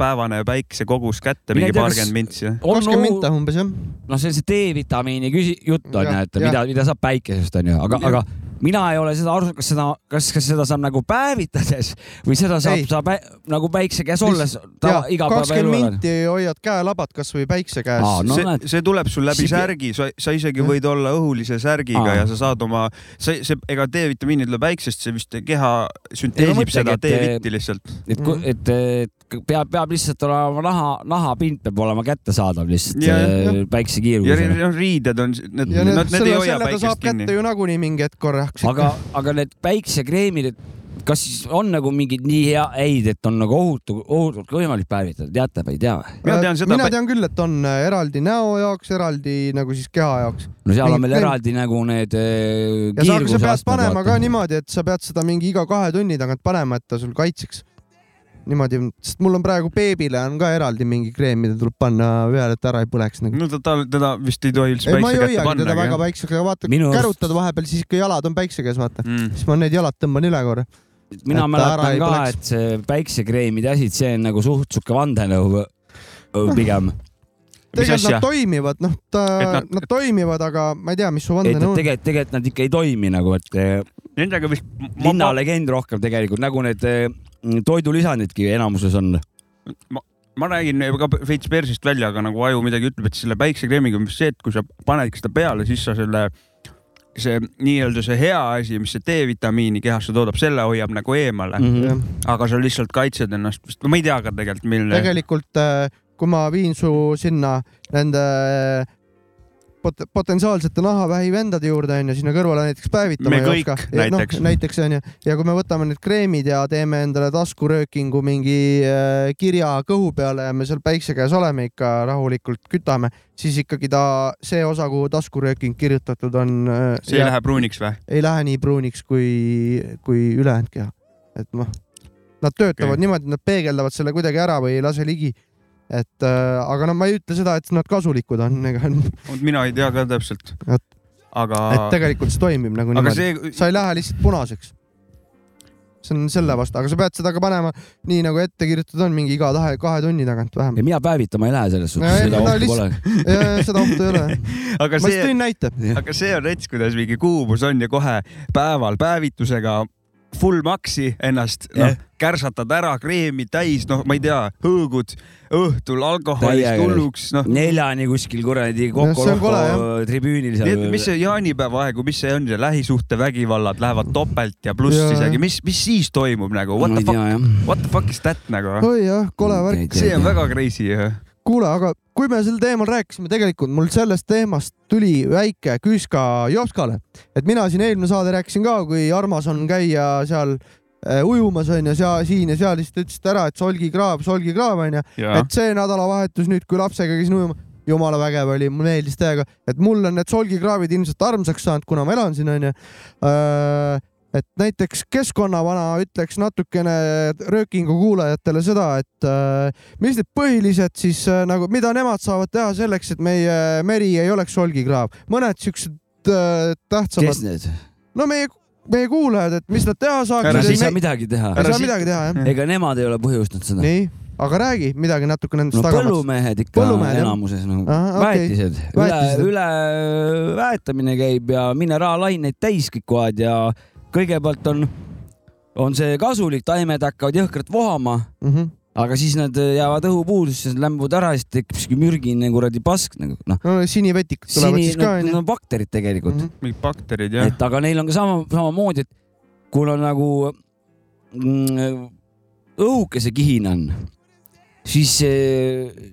Speaker 2: päevane päiksekogus kätte ,
Speaker 3: Mine
Speaker 2: mingi
Speaker 3: tea, kas-
Speaker 2: paarkümmend mintsi .
Speaker 1: kakskümmend minta umbes jah .
Speaker 3: noh , see on see D-vitamiini küsi- , jutt on ju
Speaker 1: Jah, ,
Speaker 3: et
Speaker 1: jah.
Speaker 3: mida , mida saab päikesest on ju , aga ,
Speaker 1: Jah.
Speaker 3: aga mina ei ole seda aru saanud , kas seda , kas , kas seda saab nagu päevitades või seda saab
Speaker 1: Ei. ,
Speaker 3: saab ä- nagu päikse käes olles ta
Speaker 1: kakskümmend
Speaker 3: igapäevaelu elada .
Speaker 1: minti hoiad käelabad kasvõi päikse
Speaker 3: Aa,
Speaker 1: käes .
Speaker 3: no
Speaker 2: see
Speaker 3: näed. ,
Speaker 2: see tuleb sul läbi
Speaker 3: Siis-
Speaker 2: särgi , sa , sa isegi võid olla õhulise särgiga
Speaker 3: Aa.
Speaker 2: ja sa saad oma , see , see , ega D-vitamiini tuleb väiksest , see vist keha sünteesib
Speaker 3: mõtlegi,
Speaker 2: seda
Speaker 3: et-
Speaker 2: D-vitti lihtsalt .
Speaker 3: et ,
Speaker 1: Mhm.
Speaker 3: et , et peab , peab lihtsalt olema naha , nahapind peab olema kättesaadav
Speaker 2: Jah,
Speaker 1: jah,
Speaker 3: lihtsalt
Speaker 2: ja
Speaker 3: päiksekiirgusega .
Speaker 2: noh , riided on , need ,
Speaker 1: ja need,
Speaker 2: nad ,
Speaker 1: need
Speaker 2: need ei
Speaker 1: selle ,
Speaker 2: hoia
Speaker 1: selle ta saab
Speaker 2: päikest
Speaker 1: kinni. kätte
Speaker 2: kinni .
Speaker 1: ju nagunii mingi hetk korraks .
Speaker 3: aga , aga need päiksekreemid , et kas siis on nagu mingid nii hea- häid , et on nagu ohutu , ohutult ka võimalik päevitada , teate või ei tea või ?
Speaker 2: mina tean seda
Speaker 1: Äh, mina , tean küll , et on äh, eraldi näo jaoks , eraldi nagu siis keha jaoks .
Speaker 3: no seal
Speaker 1: Mingid
Speaker 3: on meil
Speaker 1: kreem-
Speaker 3: eraldi nagu need eh,
Speaker 1: ja sa, sa pead
Speaker 3: kiirgusastmed,
Speaker 1: panema
Speaker 3: vaata.
Speaker 1: ka niimoodi , et sa pead seda mingi iga kahe tunni tagant panema , et ta sul kaitseks . niimoodi , sest mul on praegu beebile on ka eraldi mingi kreem , mida tuleb panna peale , et ära ei põleks nagu .
Speaker 2: no ta, ta , teda vist ei tohi üldse
Speaker 1: ei , ma ei
Speaker 2: päikse Mm, kätte
Speaker 1: hoiagi teda väga
Speaker 2: panna .
Speaker 1: päiksega , vaata
Speaker 3: Minu arust-
Speaker 1: kärutad vahepeal , siis ikka jalad on päikse käes , vaata .
Speaker 2: Mm.
Speaker 1: siis ma need jalad tõmban üle korra .
Speaker 3: mina
Speaker 1: et ta ära
Speaker 3: mäletan
Speaker 1: ei
Speaker 3: ka ,
Speaker 1: põleks.
Speaker 3: et see päiksekreemide asi , see on nagu suht sihuke vandenõu öö, pigem .
Speaker 1: Ah,
Speaker 2: mis
Speaker 1: tegelikult
Speaker 2: asja
Speaker 1: nad ? toimivad , noh , ta
Speaker 2: Et , nad-
Speaker 1: nad... nad toimivad , aga ma ei tea , mis su
Speaker 3: et et
Speaker 1: vandenõu on .
Speaker 3: tegelikult , tegelikult nad ikka ei toimi nagu , et eh,
Speaker 2: Nendega vist .
Speaker 3: linnalegend rohkem tegelikult nagu need eh, toidulisandidki enamuses on .
Speaker 2: ma räägin ka veits persist välja , aga nagu aju midagi ütleb , et selle päiksekreemiga on vist see , et kui sa panedki seda peale , siis sa selle see nii-öelda see hea asi , mis see D-vitamiini kehasse toodab , selle hoiab nagu eemale mm ,
Speaker 1: jah.
Speaker 2: -hmm. aga sa lihtsalt kaitsed ennast vist , ma ei tea ka tegelikult , mille .
Speaker 1: tegelikult äh, kui ma viin su sinna nende äh, pot potentsiaalsete nahavähi vendade juurde onju , sinna kõrvale näiteks päevitama
Speaker 2: Me
Speaker 1: ei
Speaker 2: kõik,
Speaker 1: oska . noh
Speaker 2: näiteks. ,
Speaker 1: näiteks onju , ja kui me võtame need kreemid ja teeme endale taskuröökingu mingi äh, kirja kõhu peale ja me seal päikse käes oleme ikka rahulikult kütame , siis ikkagi ta , see osa , kuhu taskurööking kirjutatud on äh,
Speaker 2: see ei lähe pruuniks või ?
Speaker 1: ei lähe nii pruuniks kui , kui ülejäänud keha . et noh , nad töötavad
Speaker 2: Okei.
Speaker 1: okay. niimoodi , et nad peegeldavad selle kuidagi ära või ei lase ligi . et äh, aga no ma ei ütle seda , et nad kasulikud on , ega
Speaker 2: mina ei tea ka täpselt
Speaker 1: Vot. .
Speaker 2: aga ,
Speaker 1: et tegelikult see toimib nagu
Speaker 2: aga
Speaker 1: niimoodi see... .
Speaker 2: see ,
Speaker 1: sa ei lähe lihtsalt punaseks . see on selle vastu , aga sa pead seda ka panema nii nagu ette kirjutatud on , mingi iga tahe kahe tunni tagant
Speaker 3: ja
Speaker 1: vähemalt .
Speaker 3: mina päevitama ei lähe selles
Speaker 1: No
Speaker 3: suhtes ,
Speaker 1: ei,
Speaker 3: seda
Speaker 1: no
Speaker 3: ohtu pole
Speaker 1: lihtsalt- . seda ohtu ei ole .
Speaker 2: aga
Speaker 1: ma just
Speaker 2: see ,
Speaker 1: tõin näite .
Speaker 2: aga see on rets , kuidas mingi kuumus on ja kohe päeval päevitusega full maksi ennast , noh , kärsatad ära , kreemi täis , noh , ma ei tea , hõõgud õhtul alkoholist
Speaker 3: Täiega.
Speaker 2: hulluks , noh .
Speaker 3: neljani kuskil kuradi
Speaker 1: on kole,
Speaker 3: kokku
Speaker 1: jah.
Speaker 3: tribüünil
Speaker 2: Nii et
Speaker 3: seal .
Speaker 2: mis see jaanipäeva aegu , mis see on , see lähisuhtevägivallad lähevad topelt ja pluss
Speaker 1: Jaa.
Speaker 2: isegi , mis , mis siis toimub nagu , what the fuck ,
Speaker 3: fuck ?
Speaker 2: what the fuck is that nagu ?
Speaker 1: oi jah , kole värk .
Speaker 2: see on . väga crazy .
Speaker 1: kuule , aga kui me sel teemal rääkisime , tegelikult mul sellest teemast tuli väike küüs ka Jopskale , et mina siin eelmine saade rääkisin ka , kui armas on käia seal äh, ujumas onju , sea- siin ja seal , siis te ütlesite ära , et solgikraav , solgikraav onju , et see nädalavahetus nüüd , kui lapsega käisin ujumas , jumala vägev oli , mulle meeldis täiega , et mul on need solgikraavid ilmselt armsaks saanud , kuna ma elan siin onju . et näiteks keskkonnavana ütleks natukene röökingu kuulajatele seda , et äh, mis need põhilised siis äh, nagu , mida nemad saavad teha selleks , et meie meri ei oleks solgikraav , mõned siuksed äh,
Speaker 3: kes
Speaker 1: tähtsamad ,
Speaker 3: need ?
Speaker 1: no meie , meie kuulajad , et mis nad teha
Speaker 2: Ära
Speaker 3: Nad ei
Speaker 1: saaksid ,
Speaker 3: saa
Speaker 1: me
Speaker 3: midagi teha .
Speaker 1: ei
Speaker 2: ära
Speaker 1: saa
Speaker 2: si-
Speaker 1: midagi teha jah ,
Speaker 3: ega nemad ei ole põhjustanud seda .
Speaker 1: nii , aga räägi midagi natuke nendest
Speaker 3: no
Speaker 1: tagamast .
Speaker 3: põllumehed ikka
Speaker 1: Põllumehed, jah.
Speaker 3: enamuses nagu
Speaker 1: Ahah, okei.
Speaker 3: väetised , üle
Speaker 1: Väetised. ,
Speaker 3: üle äh, väetamine käib ja mineraalaineid täis kõik aeg ja kõigepealt on , on see kasulik , taimed hakkavad jõhkralt vohama ,
Speaker 1: Mhm.
Speaker 3: aga siis nad jäävad õhupuudusesse , lämbuvad ära , siis tekib siuke mürgine kuradi pask nagu noh ,
Speaker 1: no sinivetikad tulevad
Speaker 3: sini Mm-hmm.
Speaker 1: siis , ka Mhm.
Speaker 3: nad
Speaker 1: onju
Speaker 3: nad . on bakterid tegelikult .
Speaker 2: mingid bakterid jah .
Speaker 3: et aga neil on ka sama , samamoodi , et kuna nagu mm, õhukesekihin on , siis ,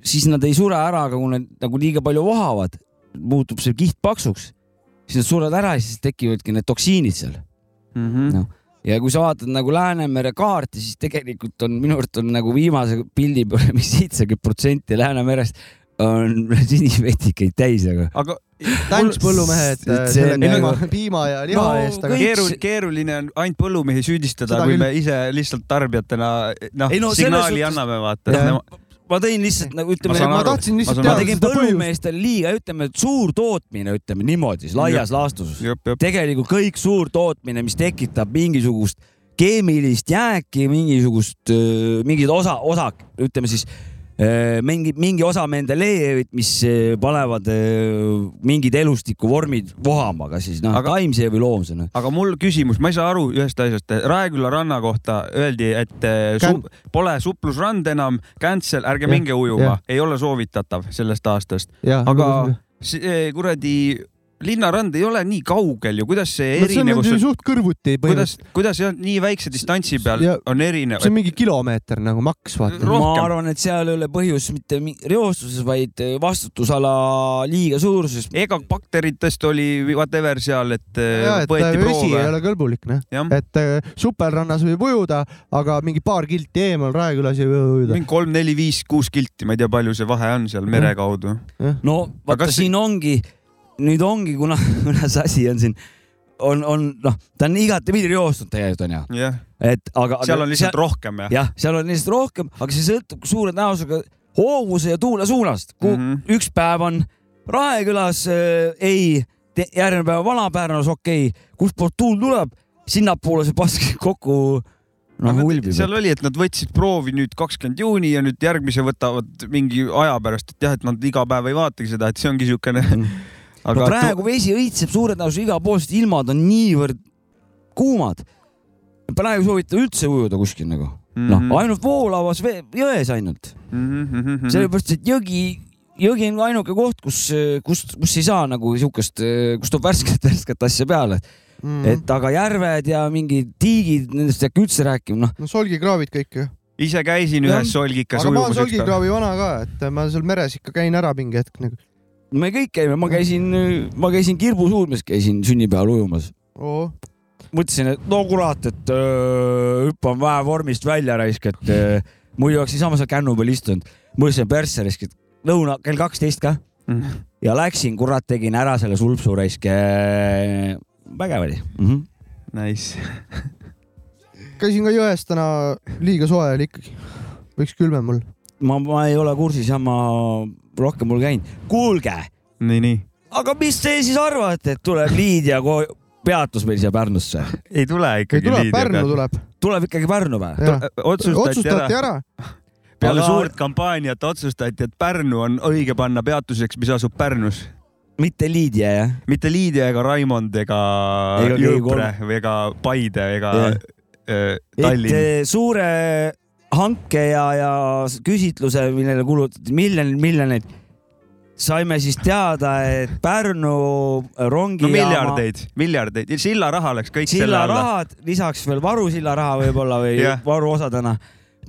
Speaker 3: siis nad ei sure ära , aga kui nad nagu liiga palju vohavad , muutub see kiht paksuks , siis nad surevad ära ja siis tekivadki need toksiinid seal .
Speaker 2: Mhm.
Speaker 3: ja kui sa vaatad nagu Läänemere kaarti , siis tegelikult on minu arust on nagu viimase pildi peale , mis seitsekümmend protsenti Läänemerest on sinivetikaid täis , aga
Speaker 2: aga
Speaker 1: tänks põllumehed äh,
Speaker 3: See on
Speaker 1: selle piima,
Speaker 3: nagu-
Speaker 1: piima ja liha
Speaker 3: No,
Speaker 1: eest , aga
Speaker 3: kõik-
Speaker 2: keeru- , keeruline on ainult põllumehi süüdistada
Speaker 1: Seda ,
Speaker 2: kui
Speaker 1: küll.
Speaker 2: me ise lihtsalt tarbijatena noh
Speaker 3: Ei no
Speaker 2: no, ,
Speaker 3: selles
Speaker 2: signaali
Speaker 3: suhtes-
Speaker 2: anname vaata
Speaker 3: Jah. . ma tõin lihtsalt nagu
Speaker 2: Ma
Speaker 3: ütleme
Speaker 2: saan
Speaker 1: ma
Speaker 2: aru.
Speaker 1: tahtsin
Speaker 2: Ma
Speaker 1: lihtsalt
Speaker 2: saan
Speaker 3: ma
Speaker 2: aru.
Speaker 1: teada
Speaker 3: tegin
Speaker 1: seda põhjust .
Speaker 3: põllumeestel liiga , ütleme , et suurtootmine , ütleme niimoodi , laias laastus .
Speaker 2: jep , jep ,
Speaker 3: tegelikult kõik suurtootmine , mis tekitab mingisugust keemilist jääki , mingisugust , mingid osa , osa , ütleme siis öö, mingi , mingi osa Mendelejevit , mis öö, panevad öö, mingid elustikuvormid vohama , kas siis noh ,
Speaker 2: Aga-
Speaker 3: taimse või noh. loomsena .
Speaker 2: aga mul küsimus , ma ei saa aru ühest asjast . Raeküla ranna kohta öeldi , et eh, su, pole suplusrand enam , cancel , ärge
Speaker 1: Jah,
Speaker 2: minge ujuma
Speaker 1: jah. ,
Speaker 2: ei ole soovitatav sellest aastast . aga
Speaker 1: aga
Speaker 2: see kuradi linnarand ei ole nii kaugel ju , kuidas see
Speaker 1: no see on
Speaker 2: erinevus
Speaker 1: nüüd
Speaker 2: on ,
Speaker 1: suht kõrvuti
Speaker 2: kuidas
Speaker 1: põhimõtteliselt ,,
Speaker 2: kuidas jah, nii väikse distantsi peal
Speaker 1: Ja-
Speaker 2: on erinev
Speaker 1: see on ? mingi kilomeeter nagu maks vaata .
Speaker 2: Ro-
Speaker 3: ma
Speaker 2: rohkem.
Speaker 3: arvan , et seal ei ole põhjus mitte mi- reostuses , vaid öö, vastutusala liiga suuruses .
Speaker 2: ega bakteritest oli whatever seal , et eh,
Speaker 1: ja , et äh,
Speaker 2: võeti
Speaker 1: vesi ei
Speaker 2: proove .
Speaker 1: ole kõlbulik noh ,
Speaker 2: jah ,
Speaker 3: Mhm.
Speaker 1: et äh, supelrannas võib ujuda , aga mingi paar kilti eemal Raekülas ei või ujuda .
Speaker 2: mingi kolm , neli , viis , kuus kilti , ma ei tea , palju see vahe on seal mere kaudu .
Speaker 3: no vaata ,
Speaker 2: kas-
Speaker 3: siin ongi , nüüd ongi , kuna , kuna see asi on siin , on , on noh , ta on igatepidi reostunud tegelikult onju ,
Speaker 2: jah ,
Speaker 3: et aga .
Speaker 2: seal on lihtsalt . rohkem jah ?
Speaker 3: jah , seal on lihtsalt rohkem , aga see sõltub kui suure tõenäosusega hoovuse ja tuule suunast , kuhu mm
Speaker 2: Mhm.
Speaker 3: -hmm. üks päev on Raekülas äh, ei , järgmine päev Vana-Pärnus okei okay. , kustpoolt tuul tuleb , sinnapoole see pask kokku noh ulbib .
Speaker 2: seal oli , et nad võtsid proovi nüüd kakskümmend juuni ja nüüd järgmise võtavad mingi aja pärast , et jah , et nad iga päev ei vaatagi seda , et see ongi siukene .
Speaker 3: aga Mhm. no praegu vesi õitseb suure tõenäosusega igal pool , sest ilmad on niivõrd kuumad . praegu ei soovita üldse ujuda kuskil Noh,
Speaker 2: Mhm.
Speaker 3: nagu , noh , ainult voolavas vee- jões ainult ,
Speaker 2: ainult .
Speaker 3: sellepärast et jõgi jõgi on ainuke koht , kus , kus , kus ei saa nagu sihukest , kus tuleb värsket , värsket asja peale .
Speaker 1: mm.
Speaker 3: et aga järved ja mingid tiigid , nendest ei hakka üldse rääkima , noh .
Speaker 1: no solgikraavid kõik ju .
Speaker 2: ise käisin
Speaker 3: Jah.
Speaker 2: ühes solgikas
Speaker 1: aga ma olen
Speaker 2: ujumas ükspäev .
Speaker 1: solgikraavi vana ka , et äh, ma seal meres ikka käin ära mingi hetk nagu .
Speaker 3: Noh, me kõik käime , ma käisin , ma käisin kirbusuudmes , käisin sünnipäeval ujumas .
Speaker 1: oo ,
Speaker 3: mõtlesin , et no kurat , et öö, hüppan vähe vormist välja raisk , et öö, muidu oleks niisama seal kännu peal istunud . mõtlesin persse raisk , et lõuna kell kaksteist ka
Speaker 2: Mhm.
Speaker 3: ja läksin , kurat , tegin ära selle sulpsu raisk . vägev oli mm . -hmm.
Speaker 2: Nice .
Speaker 1: käisin ka jões täna , liiga soe oli ikkagi . võiks külmem olla .
Speaker 3: ma , ma ei ole kursis ja ma rohkem pole käinud . kuulge ,
Speaker 2: nii , nii .
Speaker 3: aga mis te siis arvate , et tuleb Liidia ko- peatus meil siia Pärnusse ?
Speaker 2: ei tule
Speaker 1: ei
Speaker 2: ikkagi .
Speaker 1: tule , Pärnu . tuleb .
Speaker 3: tuleb ikkagi Pärnu või ?
Speaker 2: otsustati
Speaker 1: otsustati
Speaker 2: ära ,
Speaker 1: ära .
Speaker 2: peale
Speaker 3: Aga-
Speaker 2: suurt kampaaniat otsustati , et Pärnu on õige panna peatuseks , mis asub Pärnus .
Speaker 3: mitte Liidia jah ?
Speaker 2: mitte Liidia ega Raimond ega
Speaker 3: Ega keegi
Speaker 2: Jõupre või ega Paide ega
Speaker 3: Jah.
Speaker 2: yeah.
Speaker 3: et
Speaker 2: Tallinn .
Speaker 3: eh, suure hanke ja , ja s- küsitluse , millele kulutati miljoneid , miljoneid , saime siis teada , et Pärnu
Speaker 2: no
Speaker 3: rongijaama
Speaker 2: miljardeid , miljardeid , sillaraha läks kõik selle alla .
Speaker 3: sillarahad , lisaks veel varusillaraha võib-olla või
Speaker 2: Jah.
Speaker 3: varuosadena ,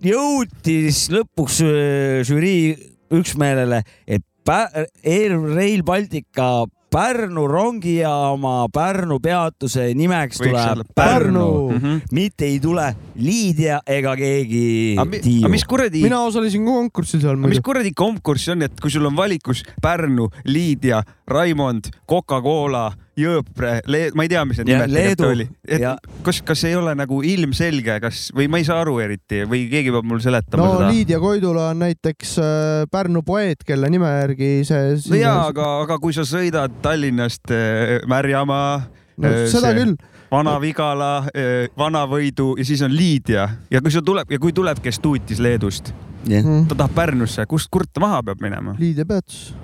Speaker 3: jõudis lõpuks öö, žürii üksmeelele , et Pä- Air Rail Baltica Pärnu rongijaama Pärnu peatuse nimeks
Speaker 2: Võiks
Speaker 3: tuleb
Speaker 2: olla Mhm.
Speaker 3: Pärnu,
Speaker 1: Pärnu.
Speaker 3: Pärnu. , mitte ei tule Liidia ega keegi
Speaker 2: aga mi- aga
Speaker 3: Tiiu
Speaker 2: mis . kuradi ,
Speaker 1: mina osalesin ka konkursil seal
Speaker 2: mis
Speaker 1: muidu .
Speaker 2: kuradi konkurss see on , et kui sul on valikus Pärnu , Liidia , Raimond , Coca-Cola , Jõõpre , ma ei tea , mis need
Speaker 3: Jah,
Speaker 2: nimed tegelikult
Speaker 3: Leedu.
Speaker 2: oli . et
Speaker 3: Jah.
Speaker 2: kas , kas ei ole nagu ilmselge , kas või ma ei saa aru eriti või keegi peab mulle seletama
Speaker 1: no
Speaker 2: seda ?
Speaker 1: Liidia Koidula on näiteks äh, Pärnu poeet , kelle nime järgi see .
Speaker 2: no jaa , aga , aga kui sa sõidad Tallinnast äh, Märjamaa
Speaker 1: no,
Speaker 2: äh,
Speaker 1: seda
Speaker 2: see-
Speaker 1: see... küll .
Speaker 2: Vana-Vigala , Vana-Võidu ja siis on Liidia ja kui sul tuleb ja kui tuleb , kes tuutis Leedust ,
Speaker 1: Mm.
Speaker 2: ta tahab Pärnusse , kust kurat ta maha peab minema ?
Speaker 1: Liidia peatus ,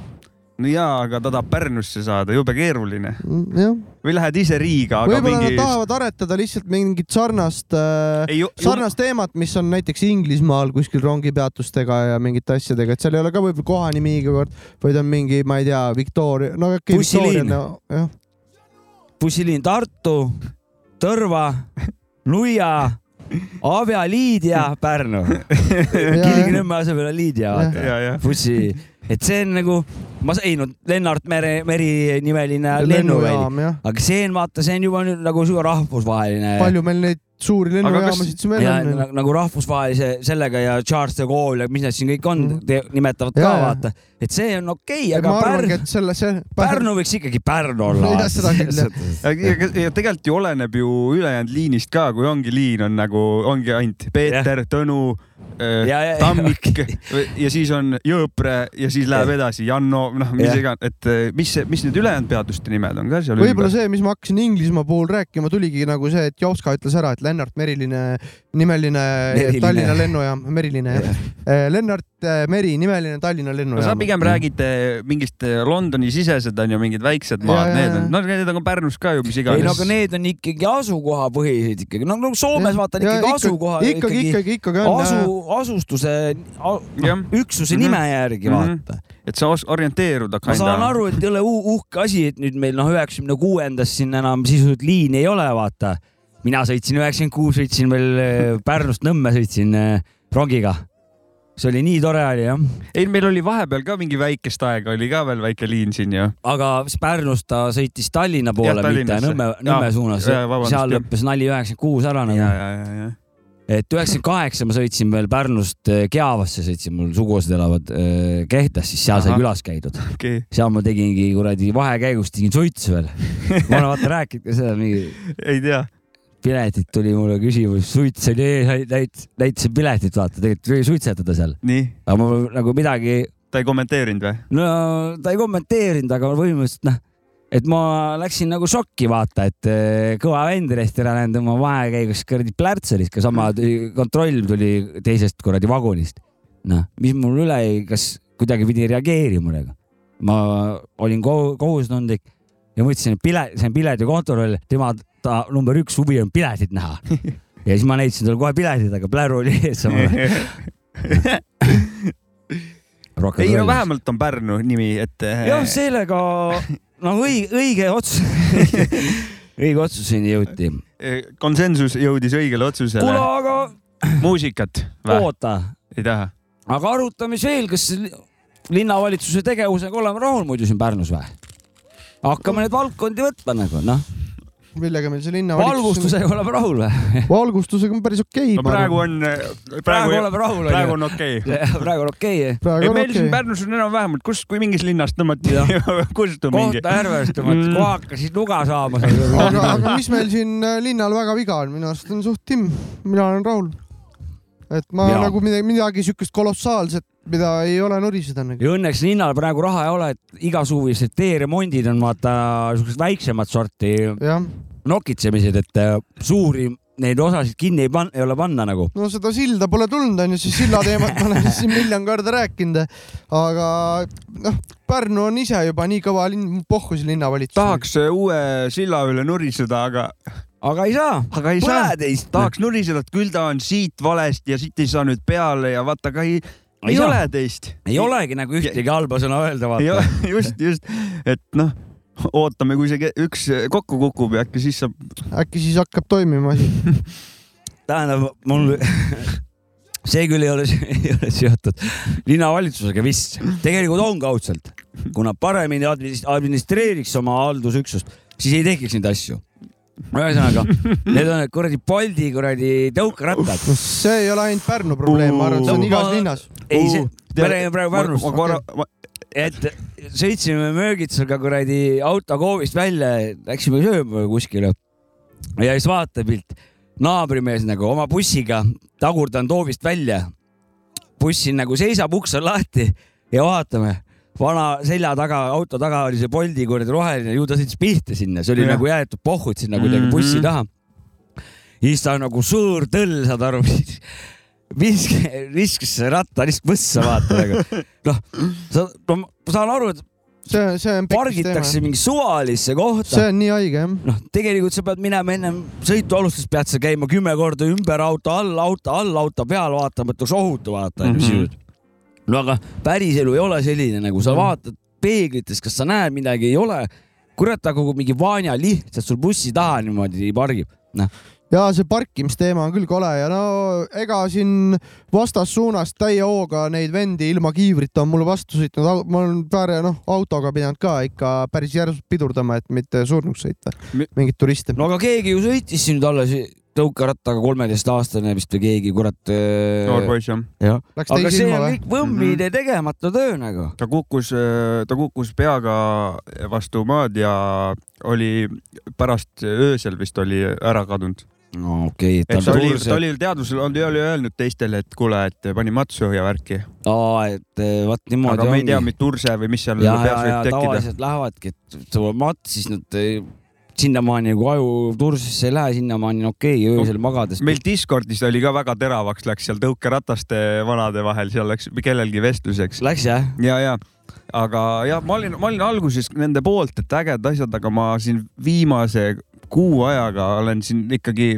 Speaker 2: no jaa , aga ta tahab Pärnusse saada , jube keeruline .
Speaker 1: Mm, jah .
Speaker 2: või lähed ise Riiga , aga
Speaker 1: võib-olla
Speaker 2: mingi
Speaker 1: nad . tahavad aretada lihtsalt mingit sarnast äh, , sarnast teemat , mis on näiteks Inglismaal kuskil rongipeatustega ja mingite asjadega , et seal ei ole ka võib-olla kohanimi iga kord , vaid on mingi , ma ei tea , Victoria , no äkki
Speaker 3: Bussiliin.
Speaker 1: Victoria , no jah ,
Speaker 3: bussiliin Tartu , Tõrva , Nuia , Abja , Liidia , Pärnu . Kilingi-Nõmme asemel on Liidia ,
Speaker 1: Jah.
Speaker 3: vaata .
Speaker 2: ja , ja ,
Speaker 3: bussi , et see on nagu , ma sa- ei no Lennart Mere , Meri nimeline lennuväli ,
Speaker 1: lennujaam jah ,
Speaker 3: aga see on vaata , see on juba nüüd nagu sihuke rahvusvaheline .
Speaker 1: palju meil neid suuri
Speaker 2: kas-
Speaker 1: lennujaamasid siis veel
Speaker 3: ja
Speaker 1: on ,
Speaker 3: na- nagu rahvusvahelise sellega ja Charles de Gaulle ja mis need siin kõik on
Speaker 1: Mhm.
Speaker 3: te, nimetavad ka
Speaker 1: Jaa, jaa.
Speaker 3: vaata , et see on okei okay, ,
Speaker 1: ma
Speaker 3: aga
Speaker 1: arvangi ,
Speaker 3: Pärnu ,
Speaker 1: et selle , see .
Speaker 3: Pärnu võiks ikkagi Pärnu olla
Speaker 1: Jah, . seda küll, jah.
Speaker 2: ja, ja, ja tegelikult ju oleneb ju ülejäänud liinist ka , kui ongi liin on nagu , ongi ainult Peeter , Tõnu ,
Speaker 3: Ja, ja, ja,
Speaker 2: Tammik
Speaker 3: okei.
Speaker 2: ja siis on Jõõpre ja siis läheb edasi Janno , noh , mis
Speaker 3: Jah.
Speaker 2: iganes , et eh, mis , mis need ülejäänud peatuste nimed on ka seal
Speaker 1: võib-olla see , mis ma hakkasin Inglismaa puhul rääkima , tuligi nagu see , et Jovska ütles ära , et Lennart Meriline nimeline
Speaker 3: Meriline.
Speaker 1: Meriline. Tallinna lennujaam , Meriline jah . Lennart eh, Meri nimeline Tallinna
Speaker 2: no sa
Speaker 1: lennujaam .
Speaker 2: pigem räägid eh, mingist eh, Londoni sisesed on ju mingid väiksed maad ,
Speaker 1: Ja, ja,
Speaker 2: need
Speaker 1: ja.
Speaker 2: on , no need on ka Pärnus ka ju , mis
Speaker 3: ei no aga
Speaker 2: iganes .
Speaker 3: need on ikkagi asukohapõhised ikkagi , no nagu Soomes vaata on
Speaker 1: Ja
Speaker 3: ikkagi asukoha
Speaker 1: ikkagi ,
Speaker 3: ikkagi
Speaker 1: ikkagi , ikkagi on . äh,
Speaker 3: asu , asustuse ,
Speaker 2: Jah.
Speaker 3: üksuse
Speaker 2: Mhm.
Speaker 3: nime järgi
Speaker 2: Mhm.
Speaker 3: vaata .
Speaker 2: et sa os- orienteerud
Speaker 3: ma saan
Speaker 2: hakanud .
Speaker 3: aru , et ei ole u- uhke asi , et nüüd meil noh , üheksakümne kuuendas siin enam sisuliselt liini ei ole , vaata . mina sõitsin üheksakümmend kuus , sõitsin veel eh, Pärnust Nõmme , sõitsin eh, rongiga . see oli nii tore oli jah ,
Speaker 2: ei , meil oli vahepeal ka mingi väikest aega oli ka veel väike liin siin ju .
Speaker 3: aga siis Pärnust ta sõitis Tallinna poole , mitte
Speaker 2: Tallinnasse.
Speaker 3: Nõmme ,
Speaker 2: Jaa.
Speaker 3: Nõmme suunas
Speaker 2: Jaa, . vabandust,
Speaker 3: seal
Speaker 2: jah.
Speaker 3: lõppes nali üheksakümmend kuus
Speaker 2: ja ,
Speaker 3: ära nagu .
Speaker 2: ja , ja , ja .
Speaker 3: et üheksakümmend kaheksa ma sõitsin veel Pärnust eh, Keavasse , sõitsin , mul sugulased elavad eh, Kehtas , siis seal sai
Speaker 2: Ahah.
Speaker 3: külas käidud .
Speaker 2: okei okay. ,
Speaker 3: seal ma tegingi kuradi vahekäigus tegin suitsu veel . ma olen vaata rääkinud ka seda mingi
Speaker 2: ei tea .
Speaker 3: piletit tuli mulle küsimus , suits oli ees , näit- , näitasin piletit , vaata , tegelikult tuli suitsetada seal ,
Speaker 2: nii ,
Speaker 3: aga ma nagu midagi ,
Speaker 2: ta ei kommenteerinud või ?
Speaker 3: no ta ei kommenteerinud , aga põhimõtteliselt noh , et ma läksin nagu šokki , vaata , et eh, kõva vend rehti ära läinud oma vahekäigus kuradi plärtselis , ka sama tuli- kontroll tuli teisest kuradi vagunist . noh , mis mul üle jäi , kas kuidagipidi reageerima nagu , ma olin ko- kohustundlik ja mõtlesin , et pilet , see on piletikontroll , tema , ta number üks huvi on piletit näha . ja siis ma näitasin talle kohe piletid , aga pläru oli ees samal ajal .
Speaker 6: Rock
Speaker 2: ei
Speaker 6: n
Speaker 2: no
Speaker 6: Roll .
Speaker 2: vähemalt on Pärnu nimi , et . eh,
Speaker 3: jah , sellega no õige , õige otsus , õige otsuseni jõuti .
Speaker 2: eh, konsensus jõudis õigele otsusele
Speaker 3: kuule , aga
Speaker 2: muusikat või ?
Speaker 3: oota ,
Speaker 2: ei taha ?
Speaker 3: aga arutame siis veel , kas li- linnavalitsuse tegevusega oleme rahul muidu siin Pärnus või ? hakkame neid valdkondi võtma nagu noh ,
Speaker 1: millega meil see linnavalitsus
Speaker 3: valgustusega oleme rahul või ?
Speaker 1: valgustusega on päris okei
Speaker 2: no praegu on ,
Speaker 3: praegu
Speaker 2: praegu ,
Speaker 3: oleme rahul
Speaker 2: praegu on
Speaker 3: onju .
Speaker 2: okei okay. .
Speaker 3: praegu on okei okay. .
Speaker 1: praegu
Speaker 2: ei
Speaker 1: on
Speaker 2: meil siin
Speaker 1: okei .
Speaker 2: Pärnus on enam-vähemalt , kus , kui mingist linnast tõmmati
Speaker 3: Jah.
Speaker 2: kustu mingi .
Speaker 3: kohta ärvest tõmmati
Speaker 2: Mm.
Speaker 3: mm. , kohe hakkasid nuga saama .
Speaker 1: aga , aga mis meil siin äh, linnal väga viga on , minu arust on suht timm , mina olen rahul . et ma ja.
Speaker 3: Jaa.
Speaker 1: nagu midagi , midagi siukest kolossaalset , mida ei ole nuriseda nagu .
Speaker 3: ja õnneks linnal praegu raha ei ole , et igasuguseid teeremondid on vaata siuksed väiksemat sorti
Speaker 1: jah ,
Speaker 3: nokitsemised , et äh, suuri neid osasid kinni ei pan- , ei ole panna nagu .
Speaker 1: no seda silda pole tulnud , onju , siis silla teemat ma olen siin miljon korda rääkinud . aga noh , Pärnu on ise juba nii kõva linn , pohhus linnavalitsus .
Speaker 2: tahaks eh, uue silla üle nuriseda , aga ,
Speaker 3: aga ei saa .
Speaker 2: aga ei saa
Speaker 3: Pole . teist .
Speaker 2: tahaks nuriseda , et küll ta on siit valesti ja siit ei saa nüüd peale ja vaata ka ei ,
Speaker 3: Ei
Speaker 2: ei
Speaker 3: saa.
Speaker 2: ole teist .
Speaker 3: ei olegi nagu ühtegi halba sõna öelda , vaata .
Speaker 2: just , just , et noh , ootame , kui see ke- üks äh, kokku kukub ja äkki siis saab .
Speaker 1: äkki siis hakkab toimima asi .
Speaker 3: tähendab , mul see küll ei ole , ei ole seotud linnavalitsusega vist . tegelikult on kaudselt , kuna paremini adminis- administreeriks oma haldusüksust , siis ei tekiks neid asju . ühesõnaga , need on need kuradi Bolti kuradi tõukerattad .
Speaker 1: see ei ole ainult Pärnu probleem , ma arvan , et see on
Speaker 3: No
Speaker 1: igas
Speaker 3: ma-
Speaker 1: linnas .
Speaker 3: ei , see , me räägime praegu Pärnust .
Speaker 2: ma korra ,
Speaker 3: et sõitsime möögitsuga kuradi autokoovist välja , läksime sööma kuskile . ja siis vaatepilt , naabrimees nagu oma bussiga , tagurdan hoovist välja . buss siin nagu seisab , uks on lahti ja vaatame , vana selja taga , auto taga oli see Bolti kuradi roheline , ju ta sõitis pihta sinna , see oli
Speaker 2: Jah.
Speaker 3: ja. nagu jäetud pohhud sinna kuidagi mm -hmm. bussi
Speaker 2: Mhm.
Speaker 3: taha . siis ta nagu suur tõll , saad aru , visk , viskas see ratta lihtsalt võssa , vaata nagu sa , no ma saan aru , et
Speaker 1: see , see on pekkis teema .
Speaker 3: pargitakse mingi suvalisse kohta
Speaker 1: see . on nii haige jah .
Speaker 3: noh , tegelikult sa pead minema ennem sõitu alustades pead sa käima kümme korda ümber auto all , auto all , auto peal vaatama , et oleks ohutu vaata mm
Speaker 2: Mhm. Mhm.
Speaker 3: -hmm. sisuliselt . no aga päriselu ei ole selline , nagu sa vaatad peeglites , kas sa näed midagi , ei ole . kurat , ta kogu mingi vanja lihtsalt sul bussi taha niimoodi pargib . noh ,
Speaker 1: ja see parkimisteema on küll kole ja no ega siin vastassuunast täie hooga neid vendi ilma kiivrita on mulle vastu sõitnud , ma olen paar noh autoga pidanud ka ikka päris järsult pidurdama , et mitte surnuks sõita
Speaker 2: Mi-
Speaker 1: mingeid turiste .
Speaker 3: no aga keegi ju sõitis siin nüüd alles tõukerattaga kolmeteistaastane vist või keegi , kurat .
Speaker 2: noor poiss Mhm. jah ,
Speaker 1: Läks
Speaker 3: aga
Speaker 1: teise
Speaker 3: see
Speaker 1: ilma
Speaker 3: on
Speaker 1: või ?
Speaker 3: kõik võmmide tegemata töö nagu .
Speaker 2: ta kukkus , ta kukkus peaga vastu maad ja oli pärast äh, öösel vist oli ära kadunud .
Speaker 3: no okei okay, ,
Speaker 2: et ta
Speaker 3: ta on
Speaker 2: oli , ta
Speaker 3: turse .
Speaker 2: oli teadvusel olnud ja oli öelnud teistele , et kuule , et pani matsu ja värki ,
Speaker 3: aa , et eh, vot niimoodi
Speaker 2: aga me ei tea ,
Speaker 3: ongi .
Speaker 2: mis turse või mis seal
Speaker 3: ja , ja
Speaker 2: peaks ,
Speaker 3: ja
Speaker 2: võib tekkida .
Speaker 3: tavaliselt lähevadki , et tuleb matt , siis nad eh, sinnamaani , kui aju tursesse ei lähe , sinnamaani on okei okay, , öösel magades .
Speaker 2: meil Discordis oli ka väga teravaks läks seal tõukerataste vanade vahel , seal läks kellelgi vestluseks .
Speaker 3: Läks jah ?
Speaker 2: ja , ja , aga jah , ma olin , ma olin alguses nende poolt , et ägedad asjad , aga ma siin viimase kuu ajaga olen siin ikkagi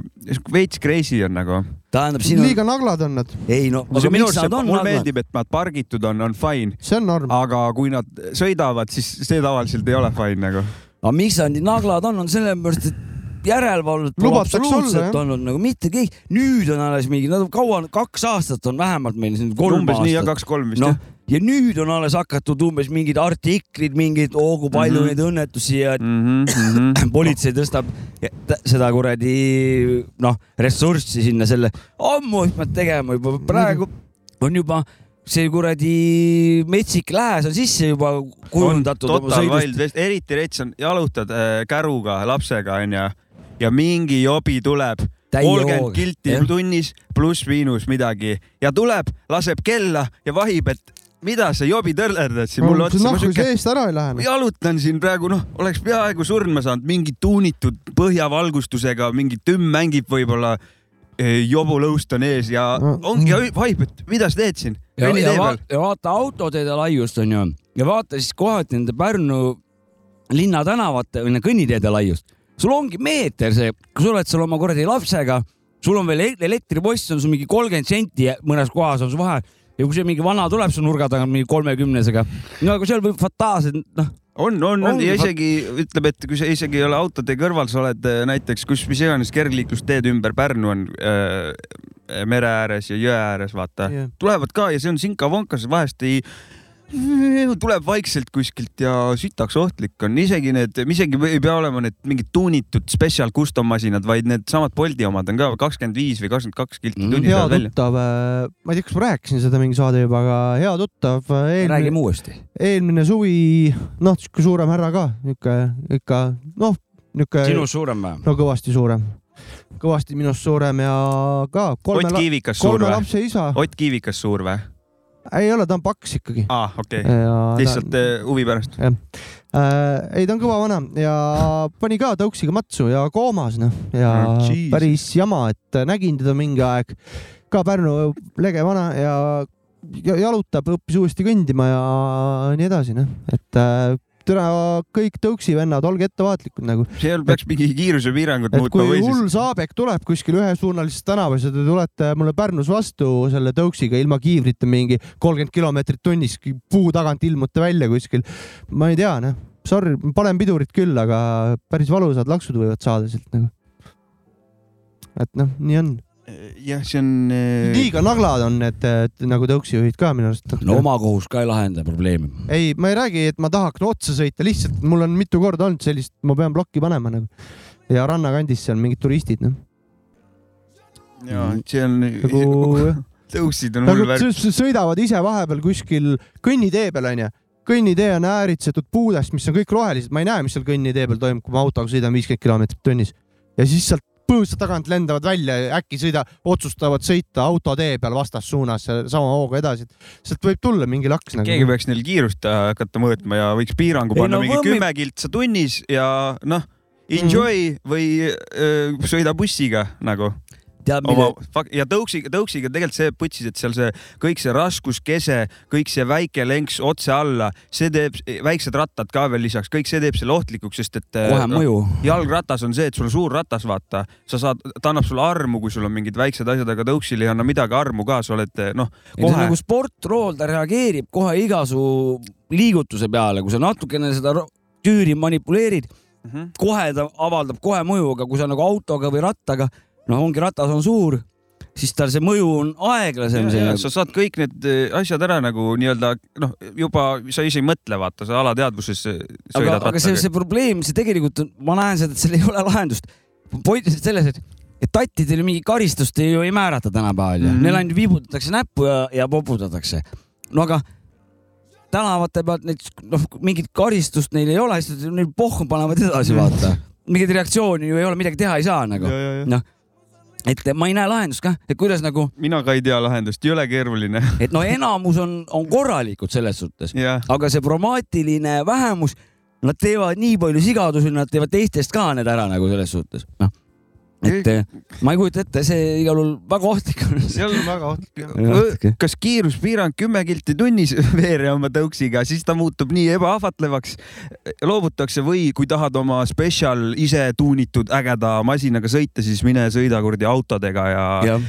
Speaker 2: veits crazy on nagu .
Speaker 3: tähendab , siin on ,
Speaker 1: liiga naglad on nad ,
Speaker 3: ei no , aga
Speaker 2: minu
Speaker 3: miks
Speaker 2: arust see-
Speaker 3: nad on
Speaker 2: mulle
Speaker 3: naglad ?
Speaker 2: meeldib , et nad pargitud on , on fine ,
Speaker 1: see on norm .
Speaker 2: aga kui nad sõidavad , siis see tavaliselt ei ole fine nagu .
Speaker 3: aga miks nad nii naglad on , on sellepärast , et järelevalvet pole
Speaker 1: Lubatakse olla,
Speaker 3: absoluutselt
Speaker 1: jah.
Speaker 3: olnud nagu mitte keegi , nüüd on alles mingi , no kaua , kaks aastat on vähemalt meil siin , kolm
Speaker 2: umbes nii ja
Speaker 3: aastat .
Speaker 2: kaks-kolm vist
Speaker 3: noh
Speaker 2: jah .,
Speaker 3: ja nüüd on alles hakatud umbes mingid artiklid , mingid oo kui palju mm
Speaker 2: Mhm.
Speaker 3: -hmm. neid õnnetusi ja
Speaker 2: Mm -hmm.
Speaker 3: politsei tõstab t- seda kuradi noh , ressurssi sinna selle , ammu oleks pidanud tegema juba , praegu
Speaker 2: Mhm.
Speaker 3: on juba see kuradi metsik lääs on sisse juba kujundatud oma
Speaker 2: total
Speaker 3: sõidust .
Speaker 2: wild vest , eriti rets on , jalutad äh, käruga lapsega onju ja mingi jobi tuleb ,
Speaker 3: Täie hooga,
Speaker 2: kolmkümmend kilti
Speaker 3: jah.
Speaker 2: tunnis pluss-miinus midagi ja tuleb , laseb kella ja vahib , et mida sa jobi tõllerdad siin mulle otsa , ma
Speaker 1: nahku
Speaker 2: siuke
Speaker 1: see eest ära ei lähe .
Speaker 2: jalutan siin praegu , noh , oleks peaaegu surma saanud , mingi tuunitud põhjavalgustusega , mingi tümm mängib võib-olla , jobulõust on ees ja
Speaker 1: Mm.
Speaker 2: on ja vahib , et mida sa teed siin
Speaker 3: ja,
Speaker 2: kõnni
Speaker 3: ja,
Speaker 2: tee
Speaker 3: va
Speaker 2: peal .
Speaker 3: ja vaata autoteede laiust on ju ja vaata siis kohati nende Pärnu linna tänavate või nende kõnniteede laiust . sul ongi meeter see , kui sa oled seal oma kuradi lapsega , sul on veel e- elektripost on sul mingi kolmkümmend senti ja mõnes kohas on sul vahe ja ja kui see mingi vana tuleb su nurga taga mingi kolmekümnesega , no aga seal võib fataalselt , noh ,
Speaker 2: on , on , on
Speaker 3: Ongi,
Speaker 2: ja
Speaker 3: vaat-
Speaker 2: isegi ütleme , et kui sa isegi ei ole autotee kõrval , sa oled äh, näiteks kus , mis iganes kergliiklusteed ümber Pärnu on äh, mere ääres ja jõe ääres , vaata
Speaker 1: Jah.
Speaker 2: tulevad ka ja see on sinka-vonkas , vahest ei tuleb vaikselt kuskilt ja sitaks ohtlik on , isegi need , isegi ei pea olema need mingid tuunitud special custom masinad , vaid needsamad Bolti omad on ka kakskümmend viis või kakskümmend kaks kilti
Speaker 3: Mm.
Speaker 2: tunnis
Speaker 1: hea
Speaker 2: mm, välja .
Speaker 1: tuttav , ma ei tea , kas ma rääkisin seda mingi saade juba , aga hea tuttav , eelmine ,
Speaker 3: räägime uuesti .
Speaker 1: eelmine suvi , noh , sihuke suurem härra ka , nihuke ikka noh , nihuke
Speaker 3: sinust suurem või ?
Speaker 1: no kõvasti suurem , kõvasti minust suurem ja ka kolme
Speaker 2: Ott , Kiivikas suur
Speaker 1: kolme
Speaker 2: või ?
Speaker 1: lapse isa ,
Speaker 2: Ott Kiivikas suur või ?
Speaker 1: ei ole , ta on paks ikkagi .
Speaker 2: aa , okei okay. , lihtsalt äh, huvi pärast .
Speaker 1: äh, . ei , ta on kõva vana ja pani ka tõuksiga matsu ja koomas noh ja
Speaker 2: Oh, Jesus.
Speaker 1: päris jama , et nägin teda mingi aeg ka Pärnu lege vana ja ja- jalutab , õppis uuesti kõndima ja nii edasi noh , et äh, tere kõik tõuksivennad , olge ettevaatlikud nagu ,
Speaker 2: seal peaks mingi kiirusepiirangut
Speaker 1: et
Speaker 2: muutma
Speaker 1: kui
Speaker 2: või siis
Speaker 1: hull saabek tuleb kuskil ühesuunalises tänavas ja te tulete mulle Pärnus vastu selle tõuksiga ilma kiivrita mingi kolmkümmend kilomeetrit tunnis , puu tagant ilmute välja kuskil . ma ei tea , noh , sorry , panen pidurit küll , aga päris valusad laksud võivad saada sealt nagu . et noh , nii on .
Speaker 2: jah , see on . eh,
Speaker 1: liiga naglad on need eh, t- nagu tõuksijuhid ka minu arust .
Speaker 3: no oma kohus ka ei lahenda probleemi .
Speaker 1: ei , ma ei räägi , et ma tahaks otsa sõita , lihtsalt mul on mitu korda olnud sellist , ma pean plokki panema nagu . ja rannakandis seal mingid turistid , noh .
Speaker 2: ja see on
Speaker 1: nagu jah .
Speaker 2: tõusid on hull
Speaker 1: nagu
Speaker 2: värk .
Speaker 1: sõ- sõ- sõidavad ise vahepeal kuskil kõnnitee peal onju , kõnnitee on ääritsetud puudest , mis on kõik rohelised , ma ei näe , mis seal kõnnitee peal toimub , kui ma autoga sõidan viiskümmend kilomeetrit tunnis ja siis sealt põõsa tagant lendavad välja ja äkki sõida , otsustavad sõita autotee peal vastassuunas ja sama hooga edasi , et sealt võib tulla mingi laks
Speaker 2: keegi
Speaker 1: nagu .
Speaker 2: peaks neil kiirust äh, hakata mõõtma ja võiks piirangu
Speaker 3: Ei,
Speaker 2: panna
Speaker 3: no
Speaker 2: mingi
Speaker 3: võmmib-
Speaker 2: kümme kiltsa tunnis ja noh , enjoy või öö, sõida bussiga nagu
Speaker 3: tead ,
Speaker 2: oma
Speaker 3: mida
Speaker 2: fak- ja tõuksiga , tõuksiga tegelikult see putsis , et seal see kõik see raskuskese , kõik see väike lenks otse alla , see teeb , väiksed rattad ka veel lisaks , kõik see teeb selle ohtlikuks , sest et . äh,
Speaker 3: kohe mõju .
Speaker 2: jalgratas on see , et sul on suur ratas , vaata , sa saad , ta annab sulle armu , kui sul on mingid väiksed asjad , aga tõuksil ei anna midagi armu ka , sa oled noh ,
Speaker 3: kohe .
Speaker 2: kohe
Speaker 3: nagu sportrool , ta reageerib kohe iga su liigutuse peale , kui sa natukene seda ro- tüüri manipuleerid ,
Speaker 2: Mhm.
Speaker 3: kohe ta avaldab kohe mõju , aga kui sa nagu autoga või rattaga , noh , ongi ratas on suur , siis tal see mõju on nagu- aeglasem .
Speaker 2: Ja, ja, sa saad kõik need eh, asjad ära nagu nii-öelda noh , juba sa ise ei mõtle , vaata , sa alateadvuses eh,
Speaker 3: aga ,
Speaker 2: sõidad
Speaker 3: aga see ,
Speaker 2: rattaga .
Speaker 3: see probleem , see tegelikult on , ma näen seda , et seal ei ole lahendust . point on selles , et , et tattidele mingi karistust ei, ju ei määrata tänapäeval ju mm
Speaker 2: Mhm.
Speaker 3: -hmm. , neil ainult viibutatakse näppu ja , ja poputatakse . no aga tänavate pealt neid , noh , mingit karistust neil ei ole , lihtsalt neil pohhu panevad edasi , vaata . mingit reaktsiooni ju ei ole , midagi teha ei saa nagu . noh , et ma ei näe lahendust ka , et kuidas nagu ,
Speaker 2: mina ka ei tea lahendust , ei ole keeruline .
Speaker 3: et no enamus on , on korralikud selles suhtes .
Speaker 2: jah ,
Speaker 3: aga see problemaatiline vähemus , nad teevad nii palju sigadusi , nad teevad teistest ka need ära nagu selles suhtes , noh . et eh, ma ei kujuta ette , see igal juhul väga ohtlik on .
Speaker 2: seal
Speaker 1: väga ohtlik jah .
Speaker 3: Natuke.
Speaker 2: kas kiiruspiirang kümme kilti tunnis veere oma tõuksiga , siis ta muutub nii ebaahvatlevaks , loobutakse või kui tahad oma spetsial ise tuunitud ägeda masinaga sõita , siis mine sõida kuradi autodega ja, ja.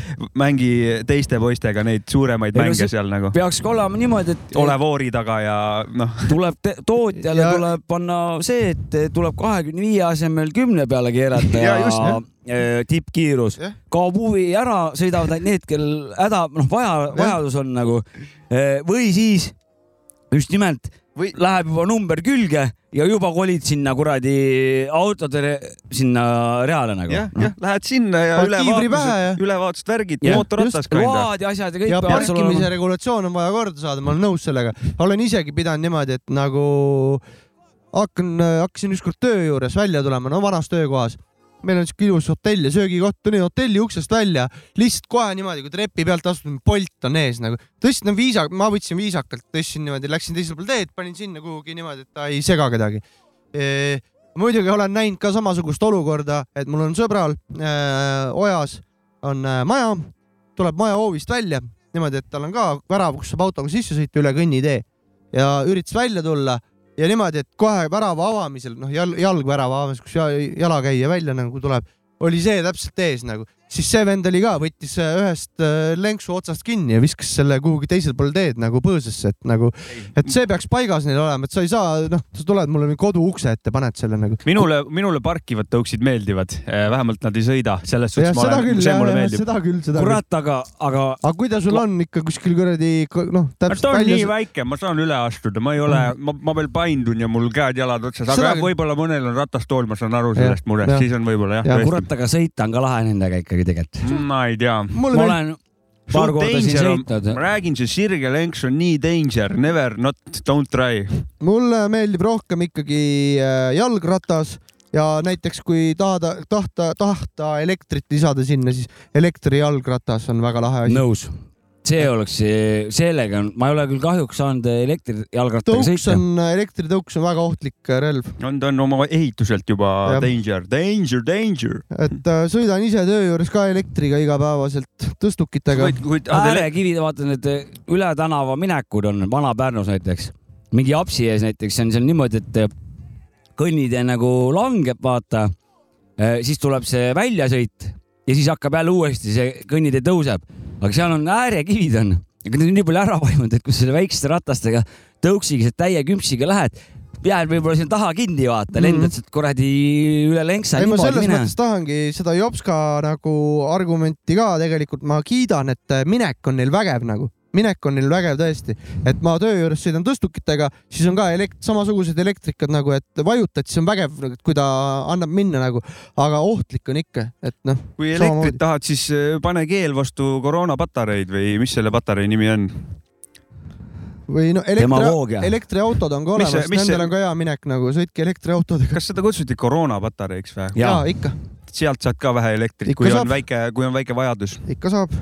Speaker 2: mängi teiste poistega neid suuremaid
Speaker 3: Ei, no
Speaker 2: mänge
Speaker 3: see-
Speaker 2: seal nagu .
Speaker 3: peaks ka olema niimoodi , et
Speaker 2: ole voori taga ja noh ,
Speaker 3: tuleb te- tootjale
Speaker 1: Ja-
Speaker 3: ja... tuleb panna see , et tuleb kahekümne viie asemel kümne peale keerata ja,
Speaker 2: Ja just,
Speaker 3: ja eh, tippkiirus
Speaker 1: Jah.
Speaker 3: kaob huvi ära , sõidavad ainult need , kel häda , noh , vaja , vajadus on nagu Eh, või siis just nimelt
Speaker 2: Või-
Speaker 3: või... läheb juba number külge ja juba kolid sinna kuradi autode re... sinna reale nagu .
Speaker 2: jah , jah , lähed sinna ja
Speaker 1: Paned kiivri pähe ja-
Speaker 2: ülevaatused , ülevaatused värgid ,
Speaker 3: Jah.
Speaker 2: mootorratas ka enda .
Speaker 3: load ja asjad ja kõik
Speaker 1: ja
Speaker 3: peavad sul
Speaker 1: parkimise
Speaker 3: olema .
Speaker 1: regulatsioon on vaja korda saada , ma olen nõus sellega . olen isegi pidanud niimoodi , et nagu hakkan , hakkasin ükskord töö juures välja tulema , no vanas töökohas . meil on siuke ilus hotell ja söögikoht , tulin hotelli uksest välja , lihtsalt kohe niimoodi , kui trepi pealt astud , Bolt on ees nagu . tõstsin no, viisak- , ma võtsin viisakalt , tõstsin niimoodi , läksin teisele poole teed , panin sinna kuhugi niimoodi , et ta ei sega kedagi e, . muidugi olen näinud ka samasugust olukorda , et mul on sõbral e, ojas on e, maja tuleb maja hoovist välja niimoodi , et tal on ka värav , kus saab autoga sisse sõita üle kõnnitee ja üritas välja tulla ja niimoodi , et kohe värava avamisel , noh , jalg , jalgvärava avamisel , kus ja- jalakäija välja nagu tuleb , oli see täpselt ees nagu , siis see vend oli ka , võttis äh, ühest äh, lenksu otsast kinni ja viskas selle kuhugi teisele poole teed nagu põõsasse , et nagu , et see peaks paigas neil olema , et sa ei saa , noh , sa tuled mulle mingi kodu ukse ette , paned selle nagu .
Speaker 2: minule , minule parkivad tõuksid meeldivad , vähemalt nad ei sõida , selles
Speaker 1: jah ,
Speaker 2: suhtes ma
Speaker 1: seda
Speaker 2: olen ,
Speaker 1: küll ,
Speaker 2: see mulle
Speaker 1: jah ,
Speaker 2: meeldib .
Speaker 1: seda küll , seda küll .
Speaker 3: kurat , aga , aga
Speaker 1: aga kui ta sul on ikka kuskil kuradi , noh ,
Speaker 2: ta
Speaker 1: täpselt
Speaker 2: on nii
Speaker 1: välja ,
Speaker 2: väike , ma saan üle astuda , ma ei ole , ma , ma veel paindun ja mul käed-jalad otsas ,
Speaker 1: Seda
Speaker 2: aga jah,
Speaker 1: küll.
Speaker 2: võib-olla mõnel on ratastool , ma saan aru
Speaker 1: Jah,
Speaker 2: sellest murest
Speaker 1: jah. ,
Speaker 2: siis on võib-olla jah
Speaker 1: Jah,
Speaker 2: ja, ,
Speaker 3: kurat , aga sõita on ka lahe nendega ikkagi tegelikult .
Speaker 2: tõesti . ma ei tea .
Speaker 1: mulle
Speaker 3: ma
Speaker 1: meeldib ,
Speaker 3: olen paar korda siin sõitnud .
Speaker 2: ma räägin , see sirge lenks on nii danger , never not don't try .
Speaker 1: mulle meeldib rohkem ikkagi äh, jalgratas ja näiteks kui tahada , tahta , tahta elektrit lisada sinna , siis elektrijalgratas on väga lahe asi .
Speaker 3: nõus . see oleks , sellega on , ma ei ole küll kahjuks saanud elektrijalgrattaga
Speaker 1: tõuks
Speaker 3: sõita .
Speaker 1: on , elektritõuks on väga ohtlik äh, relv ,
Speaker 2: on , ta on oma ehituselt juba
Speaker 1: Jah.
Speaker 2: danger , danger , danger .
Speaker 1: et äh, sõidan ise töö juures ka elektriga igapäevaselt tõstukitega .
Speaker 2: kuid , kuid ,
Speaker 3: äärekivid , vaata need üle tänava minekud on Vana-Pärnus näiteks , mingi apsi ees näiteks on seal niimoodi , et eh, kõnnitee nagu langeb , vaata , siis tuleb see väljasõit ja siis hakkab jälle uuesti see kõnnitee tõuseb , aga seal on äärekivid on , aga need on nii palju ära vajunud , et kui sa selle väikeste ratastega tõuksiga sealt täie küpsiga lähed , jääd võib-olla sinna taha kinni , vaata , lendad sealt kuradi üle lenksa .
Speaker 1: Mhm. ei , ma selles mine. mõttes tahangi seda Jopska nagu argumenti ka tegelikult ma kiidan , et äh, minek on neil vägev nagu , minek on neil vägev tõesti , et ma töö juures sõidan tõstukitega , siis on ka elekt- , samasugused elektrikad nagu , et vajutad , siis on vägev , kui ta annab minna nagu , aga ohtlik on ikka , et noh ,
Speaker 2: kui
Speaker 1: Samamoodi.
Speaker 2: elektrit tahad , siis äh, pane keel vastu koroonapatareid või mis selle patarei nimi on ?
Speaker 1: või no elektri
Speaker 3: Demagoogia. ,
Speaker 1: elektriautod on ka
Speaker 2: Mis see-
Speaker 1: olemas ,
Speaker 2: mis see-
Speaker 1: nendel on ka hea minek nagu , sõitke elektriautodega .
Speaker 2: kas seda kutsuti koroonapatareiks või ?
Speaker 1: jaa
Speaker 3: jaa ,
Speaker 1: ikka ,
Speaker 2: sealt saad ka vähe elektrit ,
Speaker 1: Ikka
Speaker 2: kui
Speaker 1: saab.
Speaker 2: on väike , kui on väike vajadus .
Speaker 1: ikka saab .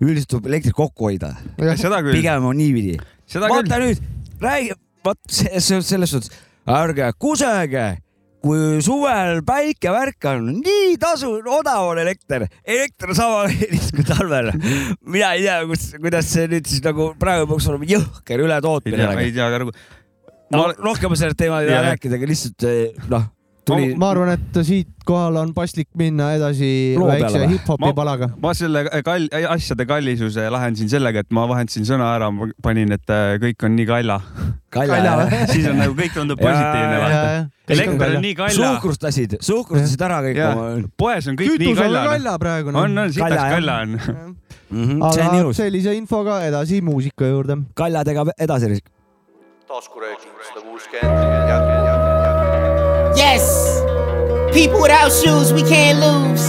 Speaker 3: üldiselt tuleb elektrit kokku hoida ,
Speaker 2: seda küll ,
Speaker 3: pigem on niipidi
Speaker 2: seda
Speaker 3: vaata
Speaker 2: küll .
Speaker 3: nüüd , räägi , vot see , see on selles suhtes , ärge kusege , kui suvel päike värk on , nii tasu , odav on elekter , elekter on sama kallis kui talvel . mina ei tea , kus , kuidas see nüüd siis nagu praegu peaks olema jõhker
Speaker 2: ei tea ,
Speaker 3: ületootmine
Speaker 2: ei . tea ka nagu .
Speaker 3: no
Speaker 2: ma-
Speaker 3: rohkem ma sellest teemal ei taha
Speaker 2: Jah.
Speaker 3: rääkida , aga lihtsalt eh, noh , tuli
Speaker 1: ma arvan , et siitkohal on paslik minna edasi
Speaker 3: Loo peale
Speaker 1: väikse
Speaker 3: või?
Speaker 1: hip-hopi
Speaker 2: Ma-
Speaker 1: palaga .
Speaker 2: ma selle kall- , asjade kallisuse lahendasin sellega , et ma vahendasin sõna ära , ma panin , et äh, kõik on nii kalla .
Speaker 1: Kalja
Speaker 3: kalja .
Speaker 2: siis on nagu kõik tundub
Speaker 3: Jaa,
Speaker 2: positiivne ,
Speaker 1: Ja,
Speaker 2: vaata .
Speaker 1: ja.
Speaker 2: elekter on nii kalla ,
Speaker 3: suhkrustasid , suhkrustasid ära kõik
Speaker 2: Jah.
Speaker 3: oma .
Speaker 2: poes on kõik nii
Speaker 1: kütus on
Speaker 2: kalla .
Speaker 1: kalja praegu noh.
Speaker 2: on , on , sitaks
Speaker 3: Kalja, jah.
Speaker 2: kalla on . Mhm.
Speaker 3: see on
Speaker 1: aga
Speaker 3: ilus ,
Speaker 1: sellise infoga edasi muusika juurde .
Speaker 3: kaljadega edasi .
Speaker 6: Yes! People without shoes, we can't lose.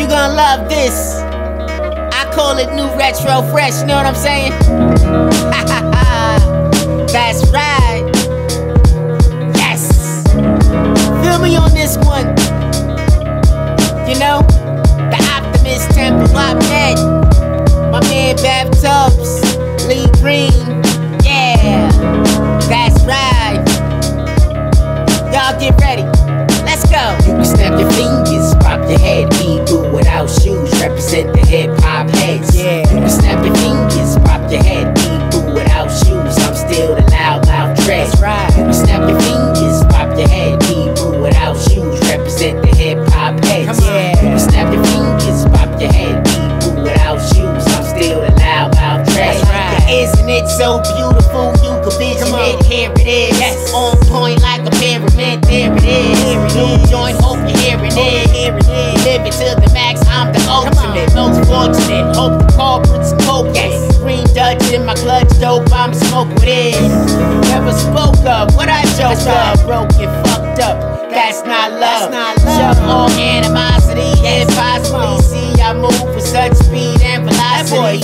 Speaker 6: You gonna love this. I call it new retro fresh, you know what I'm saying? That's right. Yes! Feel me on this one. You know, the optimist temple I met. My man Bab Tubbs, Lee Green. Yeah, that's right. Y'all get ready. Let's go. You can snap your fingers, pop your head. We do without shoes, represent the hip hop heads. Yeah. You can snap your fingers, pop your head. We do without shoes. I'm still the loud mouth trash. right. You can snap your fingers, pop your head. We do without shoes, represent the hip hop heads. Yeah. You can snap your fingers, pop your head. We do without shoes. I'm still the loud mouth trash. Isn't it so beautiful? You can vision it. Here it is. On point like a pyramid. There it is. New joint, hope you hear it is. Live it to the max. I'm the ultimate. Most fortunate. Hope the corporate's coke. Green Dutch in my clutch. Dope. I'm smoking with it. Never spoke of what I joked of. Broke and fucked up. That's not love. Shove all animosity and possibly see I move with such speed and velocity.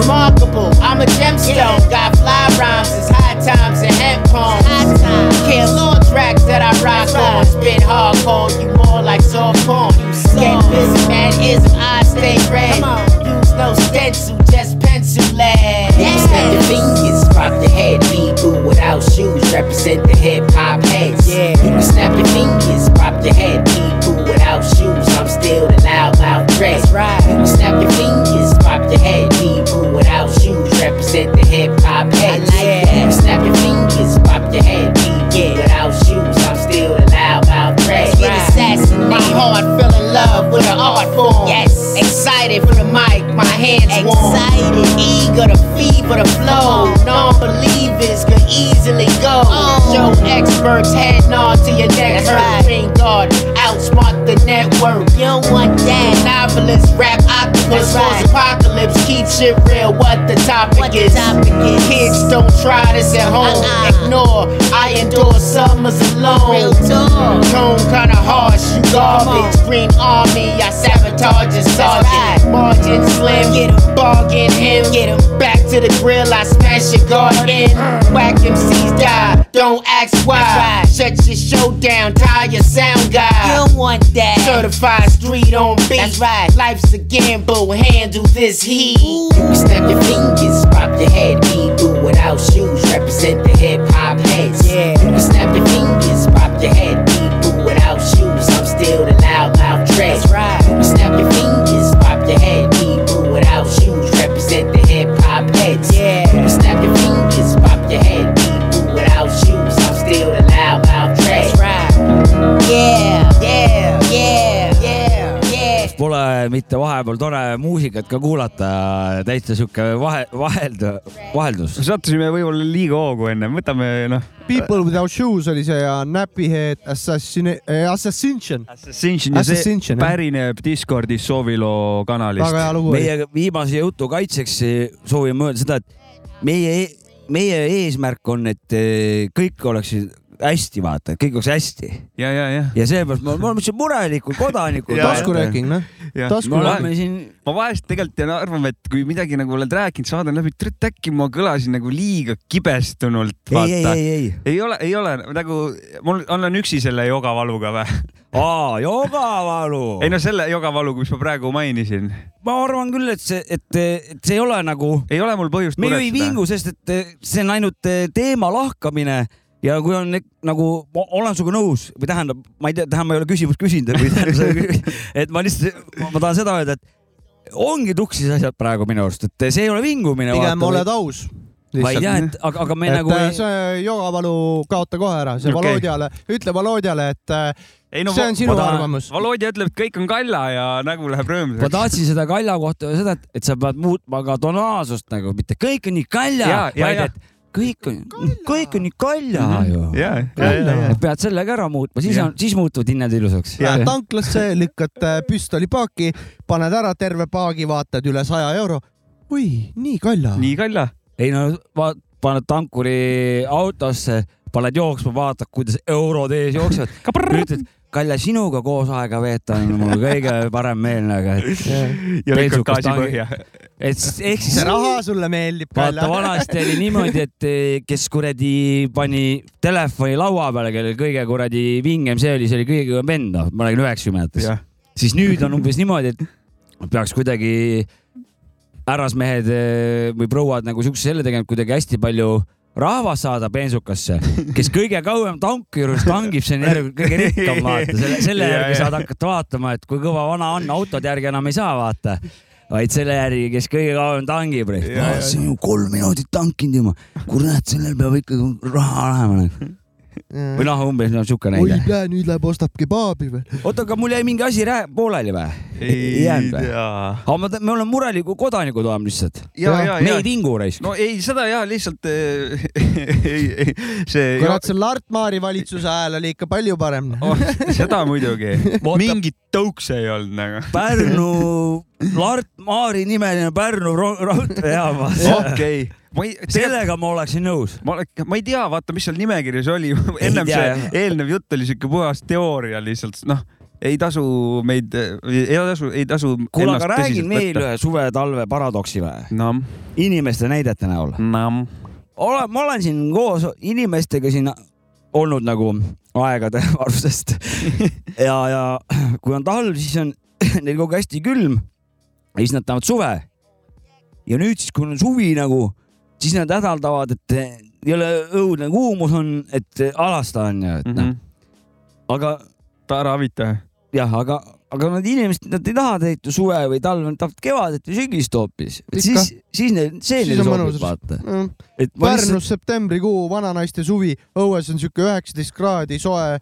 Speaker 6: Remarkable, I'm a gemstone. Got fly rhymes, it's high times and hemp poems. Kill all tracks that I rock on. Spit hardcore, you more like soft porn. Get busy, man, is I stay red. Use no stencil, just pencil lead. Snap your fingers, pop your head, be boo without shoes. Represent the hip hop heads. Yeah. You can snap your fingers, pop your head, be boo without shoes. I'm still the loud mouth dress. Right. You can snap your fingers, pop your head, be boo without shoes. Represent the hip hop heads. yeah. You can snap your fingers, pop your head, be boo without shoes. I'm still the loud mouth dress. Get assassinated. My heart fell in love with an art easily go. Show experts head nod to your neck. Hurt ring guard, outsmart the network. You don't want that. Novelist, rap, octopus, right. apocalypse. Keep shit real. What the topic is? Uh-uh. Kids don't try this at home. Ignore. I endure summers alone. Tone kinda harsh. You garbage. Green army. I sabotage your sergeant. Margin slim. Bargain him. Back to the grill. I smash your guard in. Whack MCs die. Don't ask why. Shut your show down. Tie your sound guy.
Speaker 7: You don't want that.
Speaker 6: Certified street on beat.
Speaker 7: That's right.
Speaker 6: Life's a gamble. Handle this heat. You can snap your fingers, pop your head. We do without shoes. Represent the hip hop heads. Yeah. You can snap your fingers, pop your head. We do without shoes. I'm still the loud mouth trash. That's right. You can snap your fingers, pop your head. We do without shoes. Represent the hip hop heads. Yeah. You can snap your fingers, pop your head. We do without shoes. I'm still the loud mouth trash. That's right.
Speaker 7: Yeah,
Speaker 6: Yeah.
Speaker 7: yeah.
Speaker 6: Yeah. Yeah.
Speaker 3: Pole mitte vahepeal tore muusikat ka kuulata , täitsa sihuke vahe , vaheld , vaheldus .
Speaker 2: sattusime võib-olla liiga hoogu enne , võtame noh .
Speaker 1: People without shoes oli see ja Nappy Head Assassin , Assassination .
Speaker 2: Ascension ja see
Speaker 1: Ascension, jah.
Speaker 2: pärineb Discordi
Speaker 1: väga
Speaker 2: Soviloo
Speaker 1: hea
Speaker 2: kanalist .
Speaker 1: lugu oli .
Speaker 3: meie viimase jutu kaitseks soovime öelda seda , et meie , meie eesmärk on , et eh, kõik oleksid hästi , vaata , kõik oleks hästi
Speaker 2: ja , ja , ja ,
Speaker 3: ja seepärast me me oleme siin murelikud kodanikud .
Speaker 2: Jaa,
Speaker 1: taskurööking , noh .
Speaker 2: jah.
Speaker 3: me oleme
Speaker 1: taskurööking .
Speaker 3: siin ,
Speaker 2: ma vahest tegelikult jään arvama , et kui midagi nagu oled rääkinud , saadan läbi , et äkki ma kõlasin nagu liiga kibestunult .
Speaker 3: ei , ei , ei , ei ,
Speaker 2: ei ole , ei ole nagu , mul , olen üksi selle jogavaluga või ?
Speaker 3: aa , jogavalu .
Speaker 2: ei no selle jogavaluga , mis ma praegu mainisin ,
Speaker 3: ma arvan küll , et see , et , et see ei ole nagu ,
Speaker 2: ei ole mul põhjust
Speaker 3: me ju ei vingu , sest et eh, see on ainult eh, teema lahkamine ja kui on ek- nagu , ma olen sinuga nõus või tähendab , ma ei tea , tähendab , ma ei ole küsimust küsinud või tähendab , et ma lihtsalt , ma tahan seda öelda , et ongi tuksis asjad praegu minu arust , et see ei ole vingumine .
Speaker 1: pigem oled aus .
Speaker 3: ma ei tea , et aga , aga me
Speaker 1: et
Speaker 3: et, nagu
Speaker 1: äh,
Speaker 3: ei... ,
Speaker 1: see jogavalu kaota kohe ära , see
Speaker 2: Okei.
Speaker 1: Valodiale , ütle Valodiale , et äh, see on sinu arvamus .
Speaker 2: Volodja ütleb , et kõik on kalla ja nägu läheb
Speaker 3: ma
Speaker 2: rõõmsaks .
Speaker 3: tahtsin seda Kalja kohta öelda seda , et , et sa pead muutma ka tonaalsust nagu , mitte kõik on nii Kalja
Speaker 2: Jaa, , jaa,
Speaker 3: vaid
Speaker 2: jaa.
Speaker 3: et kõik on , kõik on nii Kalja
Speaker 1: Mhm.
Speaker 3: ju .
Speaker 2: ja , ja , ja ,
Speaker 3: Kalja , pead selle ka ära muutma , siis
Speaker 2: Jah.
Speaker 3: on , siis muutuvad hinnad ilusaks .
Speaker 2: Jah.
Speaker 1: Lähed tanklasse , lükkad äh, püstoli paaki , paned ära terve paagi , vaatad üle saja euro . oi , nii kalja .
Speaker 2: nii kalla .
Speaker 3: ei no vaat- , paned tankuri autosse , paned jooksma , vaatad , kuidas eurod ees jooksevad . ütled , Kalle , sinuga koos aega veeta on mul kõige parem meel , aga et ,
Speaker 2: ja
Speaker 3: Teisukust
Speaker 2: lükkab gaasi
Speaker 3: tangi-
Speaker 2: põhja .
Speaker 3: et siis- ehk siis
Speaker 1: see raha sulle meeldib ,
Speaker 3: vaata ,
Speaker 1: kalja .
Speaker 3: vanasti oli niimoodi , et eh, kes kuradi pani telefoni laua peale , kellel kõige kuradi vingem see oli , see oli kõige kõvem vend , noh , ma räägin üheksakümnendates . siis nüüd on umbes niimoodi , et peaks kuidagi härrasmehed eh, või prouad nagu siukse selle tegema , et kuidagi hästi palju rahvast saada bensukasse , kes kõige kauem tanki juures tangib , see on järg- kõige rikkam vaata , selle ,
Speaker 2: Ja,
Speaker 3: selle järgi
Speaker 2: ja.
Speaker 3: saad hakata vaatama , et kui kõva vana on , autode järgi enam ei saa vaata , vaid selle järgi , kes kõige kauem tangib . ma siin ju kolm minutit tankinud juba , kurat , sellel peab ikkagi raha olema nagu. või noh , umbes no siuke
Speaker 1: oi
Speaker 3: näide .
Speaker 1: pea , nüüd läheb ostab kebaabi või ?
Speaker 3: oota , aga mul jäi mingi asi rää- pooleli või ?
Speaker 2: ei
Speaker 3: jäänud või ?
Speaker 2: tea .
Speaker 3: aga ma , me oleme murelikud kodanikud oleme lihtsalt .
Speaker 2: ja , ja ,
Speaker 3: me
Speaker 2: ja
Speaker 3: ei . vingu raisk no. .
Speaker 2: no ei , seda ja lihtsalt eh, ei , ei , Oh. see .
Speaker 1: kurat , see Lart Maari valitsuse ajal oli ikka palju parem . noh.
Speaker 2: seda muidugi
Speaker 3: Vaata- .
Speaker 2: mingit tõukse ei olnud nagu .
Speaker 3: Pärnu , Lart Maari nimeline Pärnu ro- raudteejaam .
Speaker 2: okei , ma ei ,
Speaker 3: sellega ma oleksin nõus .
Speaker 2: ma olen , ma ei tea , vaata , mis seal nimekirjas oli , ennem
Speaker 3: tea,
Speaker 2: see
Speaker 3: jah.
Speaker 2: eelnev jutt oli siuke puhas teooria lihtsalt , noh , ei tasu meid , ei tasu , ei tasu .
Speaker 3: kuule , aga räägin veel . ühe suve-talve paradoksi või ?
Speaker 2: Nam ,
Speaker 3: inimeste näidete näol .
Speaker 2: nam .
Speaker 3: ole , ma olen siin koos inimestega siin olnud nagu aegade arvustest ja , ja kui on talv , siis on neil kogu aeg hästi külm ja siis nad tahavad suve . ja nüüd siis , kui on suvi nagu , siis nad hädaldavad , et ei ole õudne kuumus on , et alasta on ju , et noh ,
Speaker 1: Mhm.
Speaker 3: aga
Speaker 2: mhm. Tara Avita .
Speaker 3: jah , aga , aga nad inimesed , nad ei taha tegelikult ju suve või talve , nad tahavad kevadet või sügist hoopis .
Speaker 1: Ikka.
Speaker 3: siis , siis neil , see
Speaker 1: Siis
Speaker 3: neile
Speaker 1: on
Speaker 3: sobib ,
Speaker 1: mõnus.
Speaker 3: vaata .
Speaker 1: Pärnus septembrikuu , vananaiste suvi , õues on siuke üheksateist kraadi soe ,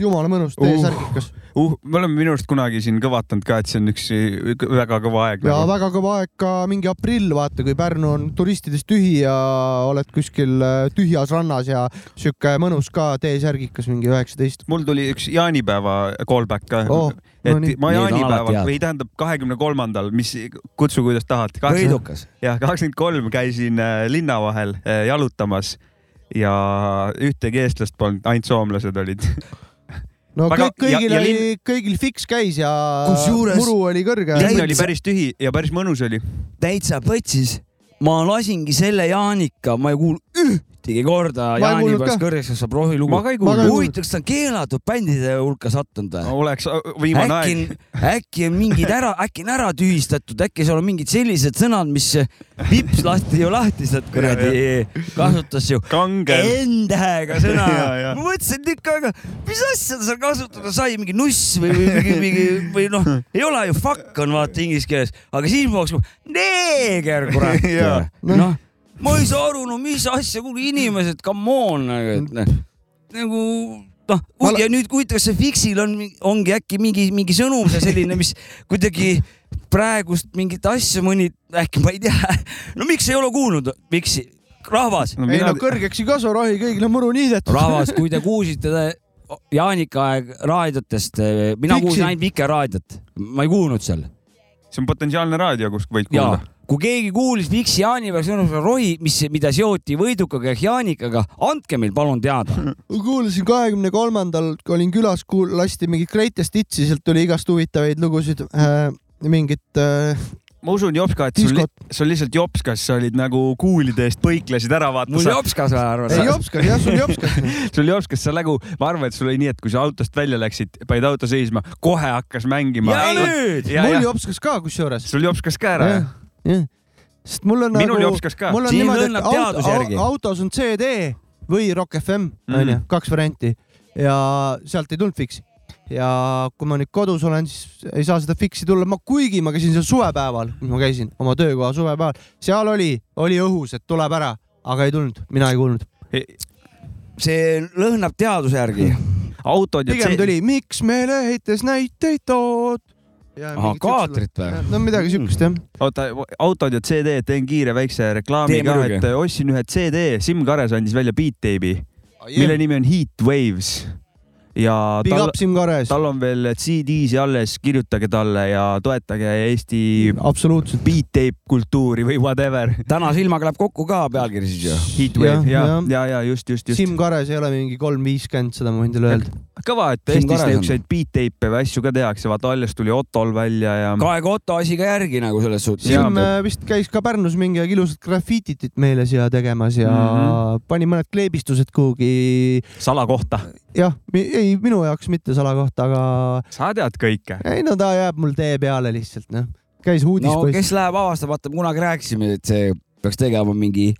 Speaker 1: jumala mõnus ,
Speaker 2: Uh.
Speaker 1: T-särgikas
Speaker 2: uh , me oleme minu arust kunagi siin kõvatanud ka , et see on üks ük- väga kõva aeg
Speaker 1: ja
Speaker 2: nagu .
Speaker 1: väga kõva aeg ka mingi aprill , vaata , kui Pärnu on turistidest tühi ja oled kuskil äh, tühjas rannas ja sihuke mõnus ka T-särgikas mingi üheksateist .
Speaker 2: mul tuli üks jaanipäeva callback ka
Speaker 1: Oh,
Speaker 2: oh,
Speaker 1: no .
Speaker 2: et no
Speaker 1: nii.
Speaker 2: ma
Speaker 3: Neid on alati
Speaker 2: jaanipäeval
Speaker 3: head.
Speaker 2: või tähendab kahekümne kolmandal , mis , kutsu kuidas tahad .
Speaker 3: võidukas .
Speaker 2: jah , kakskümmend kolm käisin äh, linna vahel äh, jalutamas ja ühtegi eestlast polnud , ainult soomlased olid .
Speaker 1: no
Speaker 2: Väga-
Speaker 1: kõik , kõigil
Speaker 2: ja- ja
Speaker 1: oli , kõigil fiks käis ja
Speaker 3: Kusjuures-
Speaker 1: muru oli kõrge .
Speaker 2: linn oli päris tühi ja päris mõnus oli .
Speaker 3: täitsa põtsis . ma lasingi selle Jaanika , ma ei kuulnud ühtegi
Speaker 1: Ma
Speaker 3: korda
Speaker 1: ei
Speaker 3: Jaani
Speaker 1: kuulnud
Speaker 3: pärast
Speaker 1: ka.
Speaker 3: kõrgeks kasvab rohi lugu
Speaker 2: Ma ka ei
Speaker 1: Ma
Speaker 2: kuulnud.
Speaker 1: ka ei
Speaker 3: huvitav , kas ta on keelatud bändide hulka sattunud või ?
Speaker 2: oleks äh, viimane
Speaker 3: äkki
Speaker 2: aeg .
Speaker 3: on , äkki on mingid ära , äkki on ära tühistatud , äkki seal on mingid sellised sõnad , mis vips lasti ju lahti sealt kuradi , kasutas ju
Speaker 2: kangel .
Speaker 3: N-tähega sõna
Speaker 2: Ja, ja. .
Speaker 3: ma mõtlesin tükk aega , mis asja ta seal kasutada sai , mingi nuss või , või mingi , mingi või noh , ei ole ju fuck on vaata inglise keeles , aga siis ma oleks , neeger kurat
Speaker 2: Jaa. .
Speaker 3: noh , ma ei saa aru , no mis asja , kuule inimesed , come on , et noh, nagu noh ,
Speaker 1: Ma-
Speaker 3: ja nüüd huvitav , kas see Fixil on , ongi äkki mingi , mingi sõnum seal selline , mis kuidagi praegust mingit asja mõni , äkki ma ei tea , no miks ei ole kuulnud Fixi , rahvas
Speaker 1: ei no kõrgeks ei kasu rohi , kõigil on muru niidetud .
Speaker 3: rahvas , kui te kuulsite te- Jaanika aeg raadiotest , mina
Speaker 1: Fiksi.
Speaker 3: kuulsin ainult Vikerraadiot , ma ei kuulnud seal .
Speaker 2: see on potentsiaalne raadio , kus võid
Speaker 3: ja
Speaker 2: kuulda .
Speaker 3: kui keegi kuulis Viksi jaanipäeva sõnumuse rohi , mis , mida seoti võidukaga ehk jaanikaga , andke meil palun teada .
Speaker 1: kuulasin kahekümne kolmandal , kui olin külas , lasti mingit Greatest Hitsi , sealt tuli igast huvitavaid lugusid äh, , mingit äh,
Speaker 2: ma usun , Jopska , et sul
Speaker 1: Diskot. ,
Speaker 2: sul lihtsalt Jopskas , sa olid nagu kuulide eest põiklesid ära , vaata .
Speaker 3: mul
Speaker 2: Sa,
Speaker 3: jopskas vaja
Speaker 1: ei
Speaker 3: arvata .
Speaker 1: jopska , jah sul jopska .
Speaker 2: sul Jopskas , sa nagu , ma arvan , et sul oli nii , et kui sa autost välja läksid , panid auto seisma , kohe hakkas mängima .
Speaker 3: ja nüüd ,
Speaker 1: mul . jopskas ka kusjuures .
Speaker 2: sul Jopskas ka ära , jah ?
Speaker 1: sest mul on
Speaker 2: minul
Speaker 1: nagu
Speaker 2: Jopskas ka .
Speaker 1: mul on
Speaker 3: Siin
Speaker 1: niimoodi , et
Speaker 3: õnneb
Speaker 1: auto,
Speaker 3: teaduse järgi.
Speaker 1: au- autos on CD või Rock FM ,
Speaker 2: Mhm.
Speaker 1: onju , kaks varianti ja sealt ei tulnud fiksi . ja kui ma nüüd kodus olen , siis ei saa seda fiksi tulla , ma kuigi ma käisin seal suvepäeval , ma käisin oma töökoha suvepäeval , seal oli , oli õhus , et tuleb ära , aga ei tulnud , mina ei kuulnud .
Speaker 3: see lõhnab teaduse järgi .
Speaker 2: autod ja
Speaker 1: pigem tuli , miks meile heites näiteid tood .
Speaker 3: ahah , kaatrit või ?
Speaker 1: no midagi
Speaker 2: Hmm.
Speaker 1: siukest jah .
Speaker 2: oota , autod ja CD , teen kiire väikse reklaami
Speaker 3: Tee
Speaker 2: ka ,
Speaker 3: muidugi.
Speaker 2: et äh, ostsin ühe CD , Siim Kares andis välja Beat Tape'i , mille nimi on Heat Waves ja
Speaker 1: Ah, Big
Speaker 2: tal
Speaker 1: up , Siim Kares ,
Speaker 2: tal on veel CD-si alles , kirjutage talle ja toetage Eesti
Speaker 1: absoluutselt .
Speaker 2: Beat Tape kultuuri või whatever .
Speaker 3: täna silmaga läheb kokku ka pealkiri siis ju .
Speaker 2: Heat Wave ja
Speaker 1: Jah, ,
Speaker 2: ja , ja just , just , just .
Speaker 1: Siim Kares ei ole mingi kolm viiskümmend , seda ma võin teile öelda .
Speaker 2: kõva , et
Speaker 3: Siim
Speaker 2: Eestis
Speaker 3: Kares on.
Speaker 2: niisuguseid Beat Tape'e või asju ka tehakse , vaata alles tuli Otol välja ja
Speaker 3: kaega Otto asi ka järgi nagu selles suhtes .
Speaker 2: Jaa.
Speaker 1: Siim äh, vist käis ka Pärnus mingi aeg ilusat graffitit meile siia tegemas ja mm
Speaker 2: Mhm.
Speaker 1: -hmm. pani mõned kleebistused kuhugi ,
Speaker 2: salakohta .
Speaker 1: jah mi , ei minu jaoks mitte salakohta , aga
Speaker 2: sa tead kõike .
Speaker 1: ei no ta jääb mul tee peale lihtsalt noh , käis
Speaker 3: no
Speaker 1: uudispoiss
Speaker 3: kes läheb avastab , vaata me kunagi rääkisime , et see peaks tegema mingi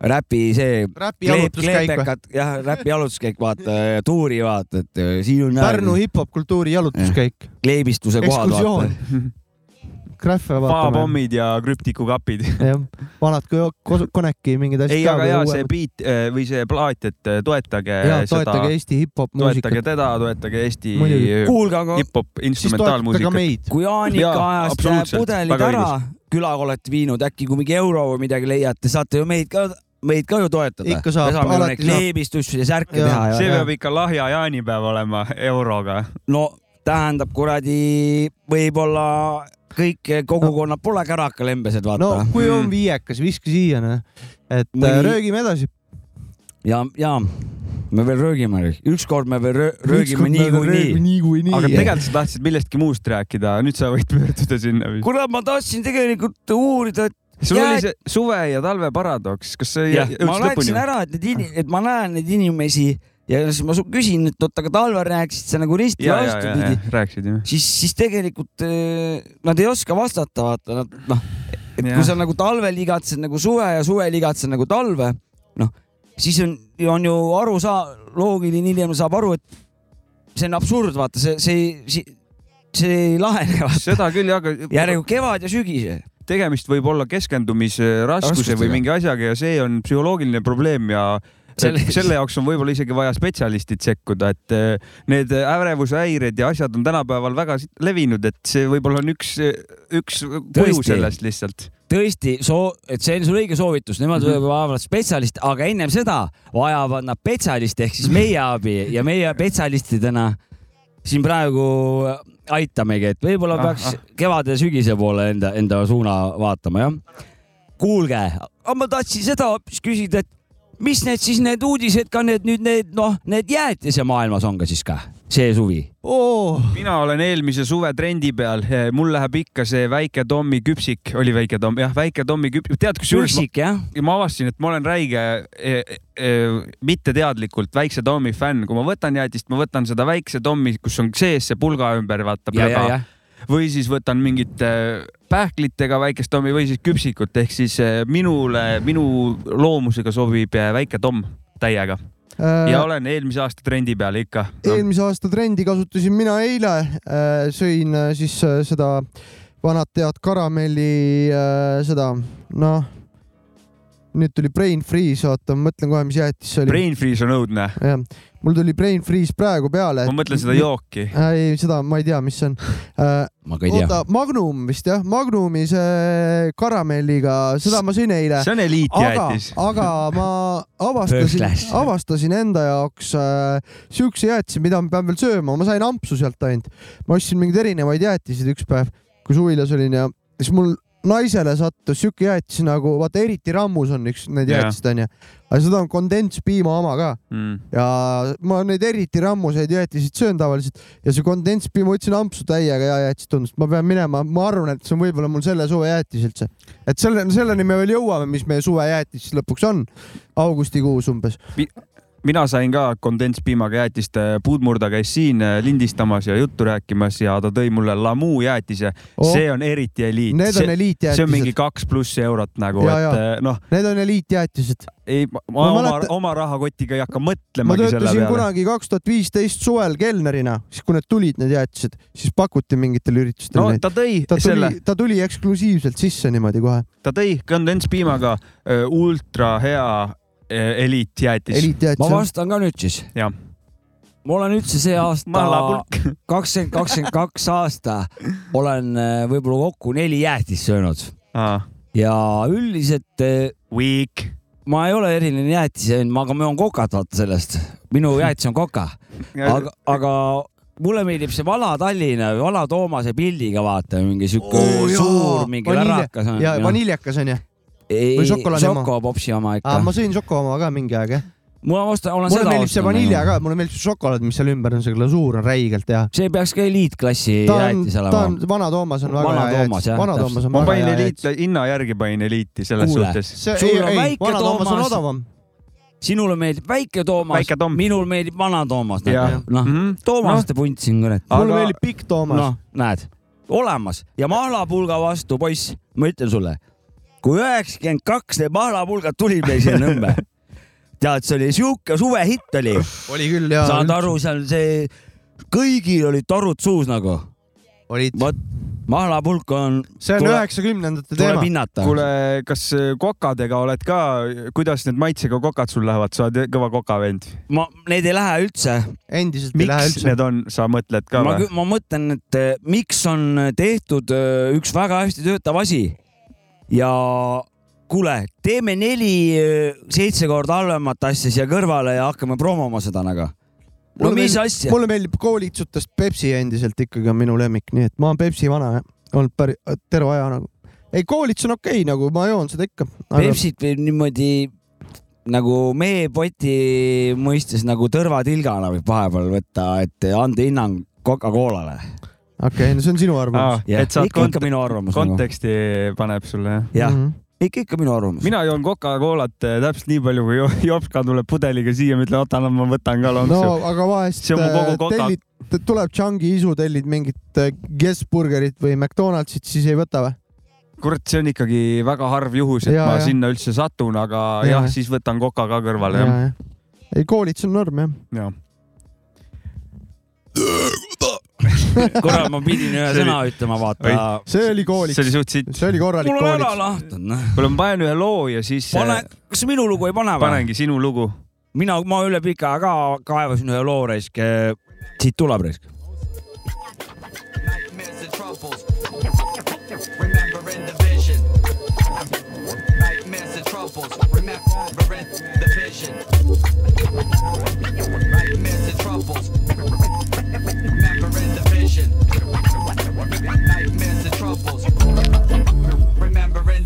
Speaker 3: räpi see
Speaker 1: no, . räpi
Speaker 3: kleep ,
Speaker 1: jalutuskäik või ?
Speaker 3: kleepekad , jah , räpi jalutuskäik , vaata , tuuri vaata , et äh, siin on
Speaker 1: Pärnu hip-hop kultuuri jalutuskäik ,
Speaker 3: kleebistuse kohad , vaata
Speaker 1: ekskursioon . Graffe vaatame ,
Speaker 2: paapommid ja krüptikukapid .
Speaker 1: jah , vanad ko- ko- Koneki mingid asjad
Speaker 2: ei ,
Speaker 1: ka
Speaker 2: aga jaa , see
Speaker 1: uuemad.
Speaker 2: beat eh, või see plaat , et eh, toetage
Speaker 1: ja
Speaker 2: seda ,
Speaker 1: toetage Eesti hip-hop
Speaker 2: toetage
Speaker 1: muusikat ,
Speaker 2: teda , toetage Eesti
Speaker 1: Muidugi.
Speaker 2: eh,
Speaker 3: kuulge , aga
Speaker 2: hip-hop
Speaker 1: siis toetage ka
Speaker 2: instrumentaalmuusikat .
Speaker 1: meid .
Speaker 3: kui Jaanika
Speaker 2: Jaa,
Speaker 3: ajast jääb
Speaker 2: absoluutselt,
Speaker 3: pudelid
Speaker 2: väga
Speaker 3: ära , külaga olete viinud , äkki kui mingi euro või midagi leiate , saate ju meid ka , meid ka ju toetada .
Speaker 1: Ikka saab,
Speaker 3: me saame ju
Speaker 1: alati
Speaker 3: neid kleebistusi ja särke
Speaker 1: Jaa.
Speaker 3: teha ja,
Speaker 2: see
Speaker 3: ja.
Speaker 2: peab ikka lahja jaanipäev olema euroga .
Speaker 3: no tähendab kuradi , võib-olla kõik kogukonnad pole karakalembesed ,
Speaker 1: no
Speaker 3: vaata .
Speaker 1: kui on
Speaker 2: Mm.
Speaker 1: viiekas , viska siia , noh . et äh,
Speaker 3: Mõni-
Speaker 1: röögime edasi .
Speaker 3: ja , ja me veel röögime , ükskord me veel röö- röögime niikuinii .
Speaker 1: niikuinii .
Speaker 2: aga tegelikult sa tahtsid millestki muust rääkida , nüüd sa võid pöörduda sinna .
Speaker 3: kurat , ma tahtsin tegelikult uurida , et
Speaker 2: sul
Speaker 3: jää-
Speaker 2: oli see suve ja talve paradoks , kas sa
Speaker 3: jah,
Speaker 2: jõudsid
Speaker 3: ma rääkisin
Speaker 2: lõpuni ?
Speaker 3: ära , et need in- , et ma näen neid inimesi ja siis ma su- küsin , et oot , aga talvel rääkisid sa nagu risti
Speaker 2: ja , ja , ja , ja
Speaker 3: vastupidi ,
Speaker 2: rääkisid ju .
Speaker 3: siis , siis tegelikult eh, nad ei oska vastata , vaata nad noh , et
Speaker 2: Jah.
Speaker 3: kui sa nagu talvel igatsed nagu suve ja suvel igatsed nagu talve , noh siis on , on ju aru saa- , loogiline inimene saab aru , et see on absurd , vaata see , see ei , see ei lahene , vaata .
Speaker 2: seda küll jah , aga
Speaker 3: järelikult kevad ja sügis .
Speaker 2: tegemist võib olla keskendumisraskuse või
Speaker 3: Raskustega.
Speaker 2: mingi asjaga ja see on psühholoogiline probleem ja
Speaker 3: Selle-
Speaker 2: selle jaoks on võib-olla isegi vaja spetsialistid sekkuda , et eh, need ärevushäired ja asjad on tänapäeval väga si- levinud , et see võib-olla on üks , üks kuju
Speaker 3: Tõesti.
Speaker 2: sellest lihtsalt .
Speaker 3: tõesti soo- , et see on sul õige soovitus , nemad mm -hmm. vajavad spetsialisti , aga ennem seda vajavad nad spetsialisti ehk siis meie abi ja meie spetsialistidena siin praegu aitamegi , et võib-olla
Speaker 2: Ah,
Speaker 3: peaks
Speaker 2: ah.
Speaker 3: kevade-sügise poole enda , enda suuna vaatama , jah . kuulge , aga ma tahtsin seda hoopis küsida , et mis need siis need uudised ka need nüüd need noh , need jäätise maailmas on ka siis ka see suvi ?
Speaker 1: oo ,
Speaker 2: mina olen eelmise suve trendi peal , mul läheb ikka see väike Tommy küpsik , oli väike Tom , jah , väike Tommy küpsik , tead kusjuures ma,
Speaker 3: üksik jah ?
Speaker 2: ja ma avastasin , et ma olen räige e, e, mitteteadlikult väikse Tommy fänn , kui ma võtan jäätist , ma võtan seda väikse Tommy , kus on sees see pulga ümber , vaata
Speaker 3: ja , ja ,
Speaker 2: plöga
Speaker 3: jah .
Speaker 2: või siis võtan mingit eh, pähklitega väikest Tommy või siis küpsikut ehk siis eh, minule , minu loomusega sobib eh, väike Tom täiega
Speaker 3: Äh.
Speaker 2: ja olen eelmise aasta trendi peal ikka no, .
Speaker 1: Äh, eelmise aasta trendi kasutasin mina eile , sõin äh, siis äh, seda vanad tead karamelli , seda , noh , nüüd tuli brain freeze , oota , ma mõtlen kohe , mis jäätis see oli .
Speaker 2: Brain freeze on õudne ,
Speaker 1: jah , mul tuli brain freeze praegu peale .
Speaker 2: ma mõtlen seda . jooki .
Speaker 1: ei , seda ma ei tea , mis see on .
Speaker 3: ma ka ei tea .
Speaker 1: oota , Magnum vist jah , Magnumi see karamelliga , seda ma sõin
Speaker 3: Äh.
Speaker 1: eile .
Speaker 2: see on
Speaker 1: aga
Speaker 2: eliitjäätis ,.
Speaker 1: aga ma avastasin
Speaker 3: Pöhklas. ,
Speaker 1: avastasin enda jaoks äh, siukse jäätise , mida ma pean veel sööma , ma sain ampsu sealt ainult . ma ostsin mingeid erinevaid jäätiseid üks päev , kui suvilas olin ja siis mul naisele sattus siuke jäätis nagu , vaata eriti rammus on üks need
Speaker 2: Jaa.
Speaker 1: jäätised onju , aga seda on kondentspiima oma ka
Speaker 2: Mm.
Speaker 1: ja ma neid eriti rammuseid jäätiseid söön tavaliselt ja see kondentspiim , ma võtsin ampsu täiega ja jäätis tundus , ma pean minema , ma arvan , et see on võib-olla mul selle suve jäätis üldse . et selle , selleni me veel jõuame , mis meie suve jäätis siis lõpuks on , augustikuus umbes .
Speaker 2: mina sain ka kondentspiimaga jäätist , puudmurda käis siin äh, lindistamas ja juttu rääkimas ja ta tõi mulle Lamu jäätise
Speaker 1: Oh.
Speaker 2: oh. . see on eriti eliit .
Speaker 1: Need on
Speaker 2: see, see on mingi
Speaker 1: eliitjäätised ,
Speaker 2: kaks pluss eurot nagu ,
Speaker 1: Ja,
Speaker 2: et
Speaker 1: ja.
Speaker 2: äh, noh ,
Speaker 1: need on eliitjäätised .
Speaker 2: ei , ma, ma
Speaker 1: Ma
Speaker 2: oma
Speaker 1: mäletan-
Speaker 2: mäleta... , oma rahakotiga ei hakka
Speaker 1: ma
Speaker 2: mõtlemagi selle
Speaker 1: töötasin
Speaker 2: peale .
Speaker 1: kunagi kaks tuhat viisteist suvel kelnerina , siis kui need tulid , need jäätised , siis pakuti mingitel üritustel
Speaker 2: no
Speaker 1: neid .
Speaker 2: ta tõi
Speaker 1: ta
Speaker 2: ta selle ,
Speaker 1: tuli , ta tuli eksklusiivselt sisse niimoodi kohe ,
Speaker 2: ta tõi kondentspiimaga äh, ultra hea äh, eliitjäätis Eli... .
Speaker 3: ma
Speaker 1: eliitjäätis .
Speaker 3: vastan ka nüüd siis .
Speaker 2: Jah.
Speaker 3: ma olen üldse see aasta
Speaker 2: malapulk .
Speaker 3: kakskümmend , kakskümmend kaks aasta olen äh, võib-olla kokku neli jäätist söönud ja üldiselt äh,
Speaker 2: Weak .
Speaker 3: ma ei ole eriline jäätisöönud , ma , aga ma joon kokat , vaata sellest . minu jäätis on koka , aga , aga mulle meeldib see vana Tallinna , vana Toomase pildiga vaata , mingi siuke
Speaker 1: Oo,
Speaker 3: oh,
Speaker 1: jaa.
Speaker 3: suur , mingi
Speaker 1: Vanilje-
Speaker 3: värakas on
Speaker 1: ja . vaniljakas onju , või šokolaadi oma?
Speaker 3: šokopopsi oma ikka .
Speaker 1: ma sõin Šoko oma ka mingi aeg jah .
Speaker 3: ma ostan , olen
Speaker 1: mulle
Speaker 3: seda nagu-
Speaker 1: meeldib see vanilja . ka , mulle meeldib see šokolaad , mis seal ümber on , see glasuur on räigelt hea .
Speaker 3: see peaks ka eliitklassi
Speaker 1: ta on ,
Speaker 3: jäätis
Speaker 1: ta
Speaker 3: olema
Speaker 1: on , vana Toomas on väga
Speaker 3: Vana
Speaker 1: hea
Speaker 3: Toomas,
Speaker 1: jäätis ,
Speaker 3: jah,
Speaker 1: vana Toomas on
Speaker 2: ma
Speaker 1: väga
Speaker 2: panin
Speaker 1: hea jäätis .
Speaker 2: eliit , hinna järgi panin eliiti selles
Speaker 3: Kuule.
Speaker 2: Kuule. suhtes .
Speaker 1: see ,
Speaker 3: Sul
Speaker 1: ei ,
Speaker 3: on
Speaker 1: ei
Speaker 3: väike ,
Speaker 1: vana Toomas on
Speaker 3: Toomas.
Speaker 1: odavam .
Speaker 3: sinule meeldib väike Toomas
Speaker 2: Väike Tom. ,
Speaker 3: minul meeldib vana Toomas .
Speaker 2: Jah.
Speaker 3: noh ,
Speaker 2: -hmm.
Speaker 3: Toomaste punt siin kurat .
Speaker 2: Aga-
Speaker 1: mulle meeldib pikk Toomas .
Speaker 3: noh , näed , olemas ja mahlapulga vastu , poiss , ma ütlen sulle , kui üheksakümmend kaks need mahlapulgad tulid meil siia Nõmme , tead , see oli siuke suvehitt oli ,
Speaker 1: oli küll ja
Speaker 3: saad aru , seal see , kõigil olid torud suus nagu ,
Speaker 1: olid .
Speaker 3: vot mahlapulk on ,
Speaker 1: see on
Speaker 3: Tule-
Speaker 1: üheksakümnendate
Speaker 3: tuleb
Speaker 1: teema .
Speaker 3: hinnata .
Speaker 2: kuule , kas äh, kokadega oled ka , kuidas need maitsega kokad sul lähevad , sa oled kõva kokavend .
Speaker 3: ma , need ei lähe üldse
Speaker 1: endiselt ei lähe
Speaker 2: miks
Speaker 1: üldse .
Speaker 2: need on , sa mõtled ka
Speaker 3: ma ,
Speaker 2: või ?
Speaker 3: ma mõtlen , et eh, miks on tehtud eh, üks väga hästi töötav asi ja kuule , teeme neli eh, seitse korda halvemat asja siia kõrvale ja hakkame promoma seda nagu . no
Speaker 1: Mulle
Speaker 3: mis
Speaker 1: meeldib-
Speaker 3: asja ,
Speaker 1: mulle meeldib koolitsutest Pepsi endiselt ikkagi on minu lemmik , nii et ma olen Pepsi vana jah. olnud päris terve aja nagu . ei , koolits on okei nagu , ma joon seda ikka .
Speaker 3: Pepsit võib niimoodi nagu meepoti mõistes nagu tõrvatilgana võib vahepeal võtta , et anda hinnang Coca-Colale .
Speaker 1: okei , no see on sinu arvamus .
Speaker 2: et
Speaker 3: ikka ,
Speaker 2: saad
Speaker 3: ikka
Speaker 2: kont- ,
Speaker 3: minu arvamus nagu .
Speaker 2: konteksti paneb sulle jah ?
Speaker 3: jah ,
Speaker 1: Mhm.
Speaker 3: ikka , ikka minu arvamus .
Speaker 2: mina joon Coca-Colat eh, täpselt nii palju , kui jo- Jopska tuleb pudeliga siia , ma ütlen , oota , no ma võtan
Speaker 1: no
Speaker 2: ka lonksu .
Speaker 1: aga vahest
Speaker 2: see on mu kogu
Speaker 1: äh,
Speaker 2: koka-
Speaker 1: tellid , tuleb Changi isu , tellid mingit äh, Guess Burgerit või McDonaldsit , siis ei võta või ?
Speaker 2: kurat , see on ikkagi väga harv juhus , et
Speaker 1: Jaa,
Speaker 2: ma
Speaker 1: jah.
Speaker 2: sinna üldse satun ,
Speaker 1: Jaa.
Speaker 2: aga jah , siis võtan Coca ka kõrvale jah .
Speaker 1: ei , koolits on norm jah .
Speaker 2: jah ,
Speaker 3: korra ma pidin ühe
Speaker 2: See oli-
Speaker 3: sõna ütlema , vaata .
Speaker 1: see oli koolits
Speaker 2: see , oli suht sitt .
Speaker 1: see oli korralik
Speaker 3: mul on ära
Speaker 1: koolits .
Speaker 3: lahtunud , noh .
Speaker 2: kuule , ma panen ühe loo ja siis eh,
Speaker 3: pane , kas minu lugu ei pane või ?
Speaker 2: panengi sinu lugu .
Speaker 3: mina , ma üle pika aja ka kaevasin ühe loo raisk , siit tuleb raisk .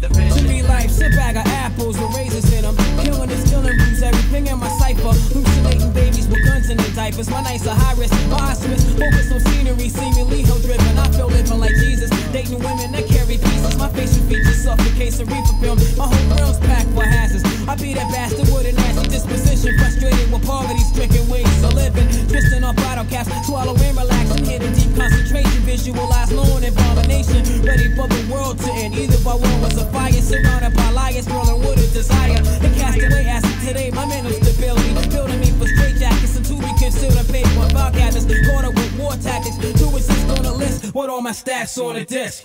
Speaker 8: To be life, sit bag of apples with raisins in them. Killing is killing roots, everything in my cipher. Hallucinating babies with guns and in diapers. My nights are high risk, my eyes Focus on scenery, seemingly hoe driven. I feel living like Jesus. Dating women that carry pieces. My facial features suffocate some reefer film. My whole world's packed for hazards. I be that bastard with a nasty disposition. Frustrated with poverty stricken ways of living. Twisting off bottle caps, swallow and relax. I'm here in deep concentration. Visualize known abomination. Ready for the world to end. Either by war was a fire. Surrounded by liars, rolling with a desire. The castaway acid today, my mental stability. Building me for straight jackets and to be considered paid for file cabinets. Corner with war tactics. To exist on a list with all my stats on a disc.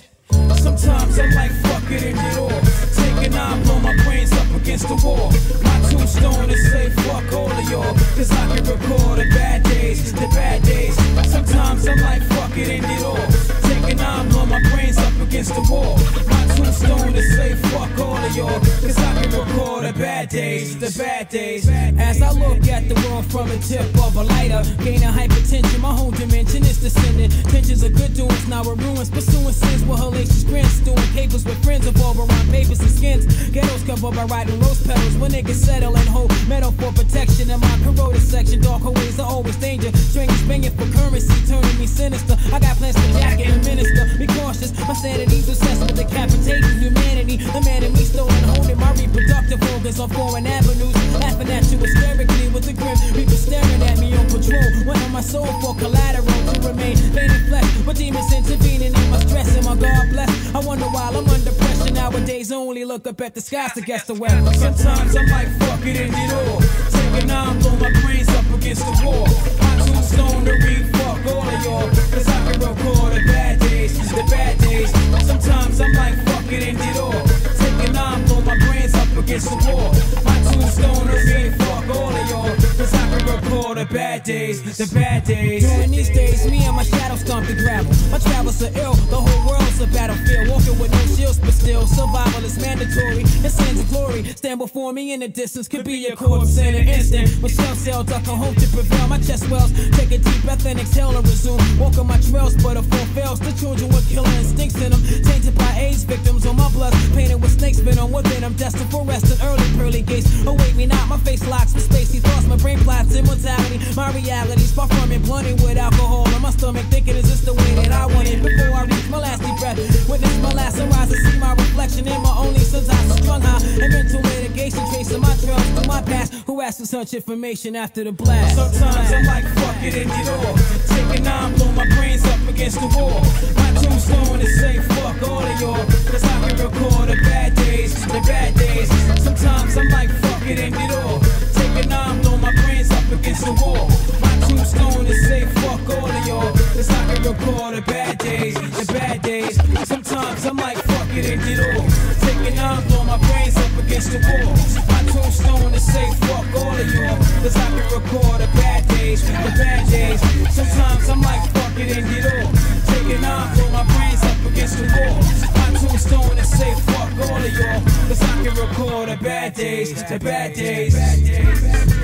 Speaker 8: Sometimes I'm like, fuck it and get off. Take a nine, blow my brains up against the wall. My tombstone is say, fuck all of y'all. Cause I can recall the bad days, the bad days. Sometimes I'm like, fuck it and get off. Take a nine, blow my brains up against the wall. My tombstone is say, fuck all of y'all. Cause I can recall the bad days, the bad days. As I look at the world from a tip of a lighter, gaining hypertension, my whole dimension is descending. Tensions of good doings, now we're ruins, pursuing sins with hellacious grins, doing papers with friends of all around papers and skins. Ghettos covered by riding rose petals, when niggas settle and hold metal for protection. In my corroded section, dark hallways are always danger. Strings banging for currency, turning me sinister. I got plans to jack and minister, be cautious. My sanity's obsessed with decapitating humanity. The man in me stolen, holding my reproductive organs on foreign avenues. Laughing at you hysterically with the grim reaper staring at me on patrol. Went on my soul for collateral to remain vain and flesh. But demons intervening in my stress and my God bless. I wonder why I'm under pressure nowadays. Only look up at the skies to guess the weather. Sometimes I'm like, fuck it, end it all. Take a nine, blow my brains up against the wall. My tombstone to read, fuck all of y'all. Cause I can record the bad days, the bad days. Sometimes I'm like, fuck it, end it all. Take a nine, blow my brains up against the wall. My tombstone to read, fuck all of y'all. Cause I can record the bad days, the bad days. During these days, me and my shadow stomp the gravel. My travels are ill, the whole world's a battlefield. Walking with no shields, but still, survival is mandatory. And sins of glory stand before me in the distance. Could be a corpse in an instant. With shell cell ducking home to prevail. My chest wells, take a deep breath and exhale and resume. Walking my trails, but a four fails. The children with killer instincts in them. Tainted by AIDS victims on my blood. Painted with snakes, venom within them. Destined for rest in early pearly gates. Await me not, my face locks with spacey thoughts. My brain plots immortality. My reality's far from it. Blunted with alcohol in my stomach. Thinking, is this the way that I want it? Before I reach my last deep breath. Witness my last sunrise and see my reflection in my only since I strung high. And mental litigation tracing my trails through my past. Who asked for such information after the blast? Sometimes I'm like, fuck it and get off. Take a nine, blow my brains up against the wall. My tombstone is say, fuck all of y'all. Cause I can record the bad days, the bad days. Sometimes I'm like, fuck it and get off. Take a nine, blow my brains up against the wall. My tombstone is say, fuck all of y'all. Cause I can record the bad days, the bad days. Sometimes I'm like, fuck it and get off. Take a nine, blow my brains up against the wall. My tombstone is say, fuck all of y'all. Cause I can record the bad days, the bad days. Sometimes I'm like, fuck it and get off. Take a nine, blow my brains up against the wall. My tombstone is say, fuck all of y'all. Cause I can record the bad days, the bad days.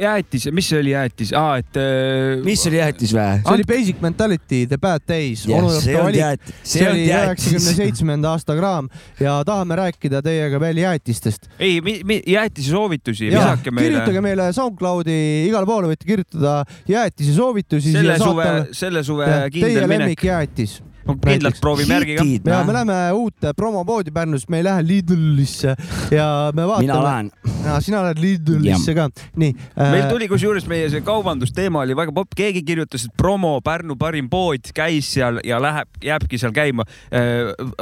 Speaker 2: jäätis , mis see oli jäätis ah, , et .
Speaker 3: mis oli jäätis või ?
Speaker 1: see oli Basic Mentality , The Bad Days ,
Speaker 3: Jah,
Speaker 1: onu Jopto
Speaker 3: see on
Speaker 1: valik .
Speaker 3: jäätis ,
Speaker 1: see oli üheksakümne
Speaker 3: jäätis .
Speaker 1: seitsmenda aasta kraam ja tahame rääkida teiega veel jäätistest .
Speaker 2: ei , jäätise soovitusi , visake
Speaker 1: kirjutage
Speaker 2: meile .
Speaker 1: meile SoundCloudi , igale poole võite kirjutada jäätise soovitusi .
Speaker 2: selle suve , selle suve
Speaker 1: teie
Speaker 2: kindel minek .
Speaker 1: lemmikjäätis .
Speaker 2: kindlalt proovime järgi ka .
Speaker 1: ja me läheme uute promopoodi Pärnus , me ei lähe Lidlisse ja me vaatame .
Speaker 3: mina lähen .
Speaker 1: sina oled Lidlisse ka , nii äh,
Speaker 2: meil . tuli kusjuures meie see kaubandusteema oli väga popp , keegi kirjutas , et promo Pärnu parim pood käis seal ja läheb , jääbki seal käima .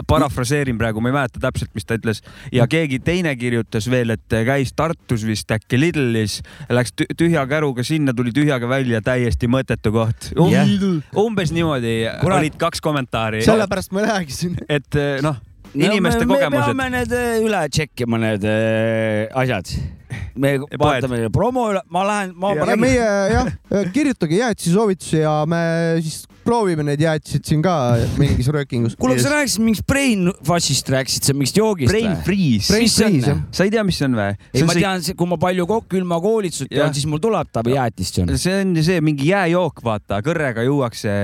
Speaker 2: parafraseerin praegu , ma ei mäleta täpselt , mis ta ütles ja keegi teine kirjutas veel , et käis Tartus vist äkki Lidlis , läks tü- tühja käruga sinna , tuli tühjaga välja , täiesti mõttetu koht um, .
Speaker 1: Jah.
Speaker 2: umbes niimoodi
Speaker 3: Kurat.
Speaker 2: olid kaks kommentaari ,
Speaker 1: sellepärast ma ei lähegi sinna .
Speaker 2: et eh, noh , inimeste
Speaker 3: me, me
Speaker 2: kogemused
Speaker 3: peame . need eh, üle tšekkima , need eh, asjad . me vaatame promo üle , ma lähen , ma
Speaker 1: ja
Speaker 3: räägin
Speaker 1: meie jah , kirjutage jäätisesoovitusi ja me siis proovime neid jäätiseid siin ka mingis röökingus .
Speaker 3: kuule , kas sa rääkisid mingist brain fuss'ist rääkisid sa , mingist joogist
Speaker 2: Brain freeze ,
Speaker 1: Brain
Speaker 3: mis see on?
Speaker 1: freeze jah .
Speaker 2: sa ei tea , mis see on või ?
Speaker 3: ei , ma see... tean , kui ma palju kokku ilma koolitsut
Speaker 2: Jah.
Speaker 3: joon , siis mul tuleb ta jäätist joon .
Speaker 2: see on ju see mingi jääjook , vaata , kõrrega juuakse ,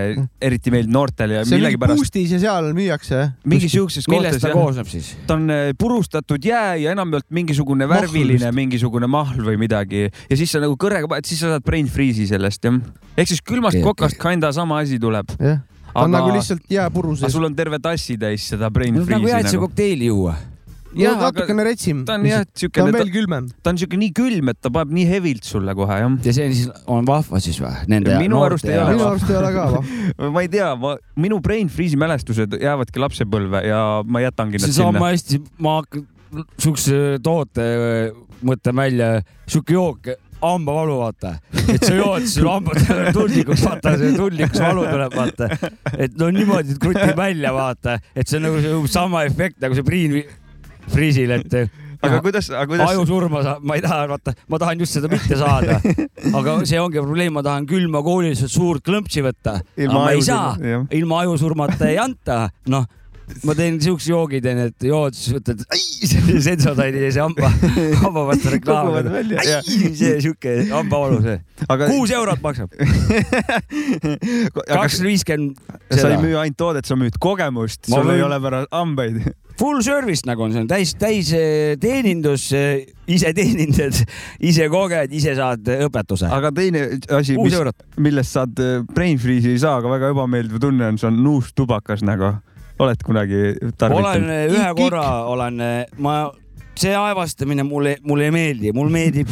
Speaker 2: eriti meil noortel ja
Speaker 1: see on mingi
Speaker 2: millegipärast
Speaker 1: boostis ja seal müüakse jah ?
Speaker 2: mingi siukses
Speaker 3: millest
Speaker 2: kohtas
Speaker 3: ta
Speaker 2: jah ,
Speaker 3: koosneb siis ?
Speaker 2: ta on eh, purustatud jää ja enamjaolt mingisugune
Speaker 1: Mahl
Speaker 2: värviline
Speaker 1: vist. ,
Speaker 2: mingisugune mahl või midagi ja siis sa nagu kõrrega paned , siis sa saad brain freeze'i sellest jah . ehk siis külmast
Speaker 3: Okei,
Speaker 2: kokast kinda sama asi tuleb ,
Speaker 1: jah , ta on
Speaker 2: aga
Speaker 1: nagu lihtsalt jääpuru
Speaker 2: aga
Speaker 1: sees .
Speaker 2: sul on terve tassi täis seda brain
Speaker 3: nagu
Speaker 2: freeze'i
Speaker 3: jäätise
Speaker 2: nagu .
Speaker 3: kokteili juua .
Speaker 2: jah,
Speaker 1: jah ,
Speaker 2: aga-
Speaker 1: natukene retsim .
Speaker 2: ta on jah ,
Speaker 1: ta on
Speaker 2: siukene ,
Speaker 1: veel külmem .
Speaker 2: ta on siuke nii külm , et ta paneb nii hevilt sulle kohe jah .
Speaker 3: ja see siis on vahva siis või ? Nende
Speaker 2: Minu arust ei ole
Speaker 1: minu arust ei ole ka vah .
Speaker 2: ma ei tea , ma , minu brain freeze'i mälestused jäävadki lapsepõlve ja ma jätangi
Speaker 3: see
Speaker 2: nad
Speaker 3: on
Speaker 2: sinna
Speaker 3: sama . hästi , ma hakkan siukse toote äh, mõtlen välja , siuke jook , hambavalu , vaata . et sa jood , sul hambad lähevad tundlikuks , vaata , see tundlikuks valu tuleb , vaata . et no niimoodi krutib välja , vaata , et see on nagu see sama efekt nagu see priin , priisil , et äh,
Speaker 2: aga
Speaker 3: Jah.
Speaker 2: kuidas , aga kuidas ,
Speaker 3: ajusurma saab , ma ei taha , vaata , ma tahan just seda mitte saada . aga see ongi probleem , ma tahan külma kooliliselt suurt klõmpsi võtta .
Speaker 2: Ilma
Speaker 3: aga ma ei saa
Speaker 2: ajusurma- jah. ,
Speaker 3: ilma ajusurmata ei anta , noh ma teen siukse joogi , teen , et jood , siis võtad , ai , sensotaini ja see hamba , hamba
Speaker 2: Koguvad
Speaker 3: vastu reklaam .
Speaker 2: välja, jah.
Speaker 3: ai , see siuke hambavalu , see .
Speaker 2: aga
Speaker 3: kuus eurot maksab ,
Speaker 2: aga
Speaker 3: kakssada viiskümmend
Speaker 2: sa ei
Speaker 3: seda .
Speaker 2: müü ainult toodet , sa müüd kogemust ,
Speaker 3: Ma
Speaker 2: sul ei
Speaker 3: müün-
Speaker 2: ole pärast hambaid .
Speaker 3: Full service nagu on , see on täis , täis eh, teenindus , ise teenindad , ise koged , ise saad õpetuse .
Speaker 2: aga teine asi ,
Speaker 3: kuus eurot .
Speaker 2: millest saad äh, brain freeze'i ei saa , aga väga ebameeldiv tunne on , see on nuustubakas nagu . oled kunagi
Speaker 3: olen eh,
Speaker 2: tarvitanud ?
Speaker 3: ühe korra , olen , ma , see aevastamine mulle , mulle ei meeldi , mulle meeldib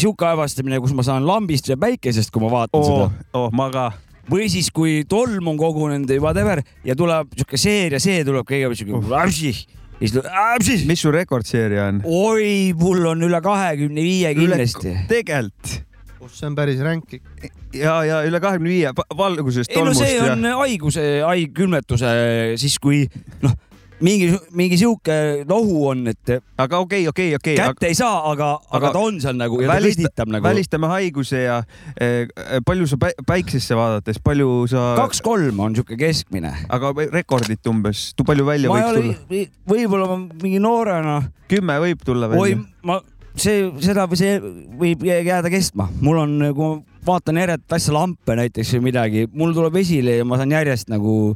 Speaker 3: sihuke aevastamine , kus ma saan lambist ja päikesest , kui ma vaatan
Speaker 2: oo
Speaker 3: seda ,
Speaker 2: oo , ma ka .
Speaker 3: või siis , kui tolm on kogunenud ja whatever ja tuleb sihuke seer ja see tuleb kõigepealt sihuke vapsi ja siis tuleb vapsi.
Speaker 2: mis su rekordseeria on ?
Speaker 3: oi , mul on üle kahekümne viie kindlasti .
Speaker 2: tegelikult
Speaker 1: see on päris ränk ikka .
Speaker 2: ja , ja üle kahekümne viie valgusest
Speaker 3: ei no
Speaker 2: tolmust
Speaker 3: see
Speaker 2: ja
Speaker 3: on haiguse , haig- , külmetuse siis , kui noh , mingi , mingi sihuke nohu on , et
Speaker 2: aga okei , okei , okei .
Speaker 3: kätte ei saa , aga ,
Speaker 2: aga
Speaker 3: aga ta on seal nagu ja ta kõditab nagu .
Speaker 2: välistame haiguse ja eh, palju sa pä- päiksesse vaadates , palju sa ,
Speaker 3: kaks-kolm on sihuke keskmine .
Speaker 2: aga rekordit umbes , palju välja
Speaker 3: ma ei
Speaker 2: võiks
Speaker 3: ole
Speaker 2: tulla ?,
Speaker 3: võib-olla ma mingi noorena ,
Speaker 2: kümme võib tulla
Speaker 3: oi
Speaker 2: välja .
Speaker 3: ma , see , seda või see võib jääda kestma . mul on , kui ma vaatan järjest asja lampe näiteks või midagi , mul tuleb esile ja ma saan järjest nagu ,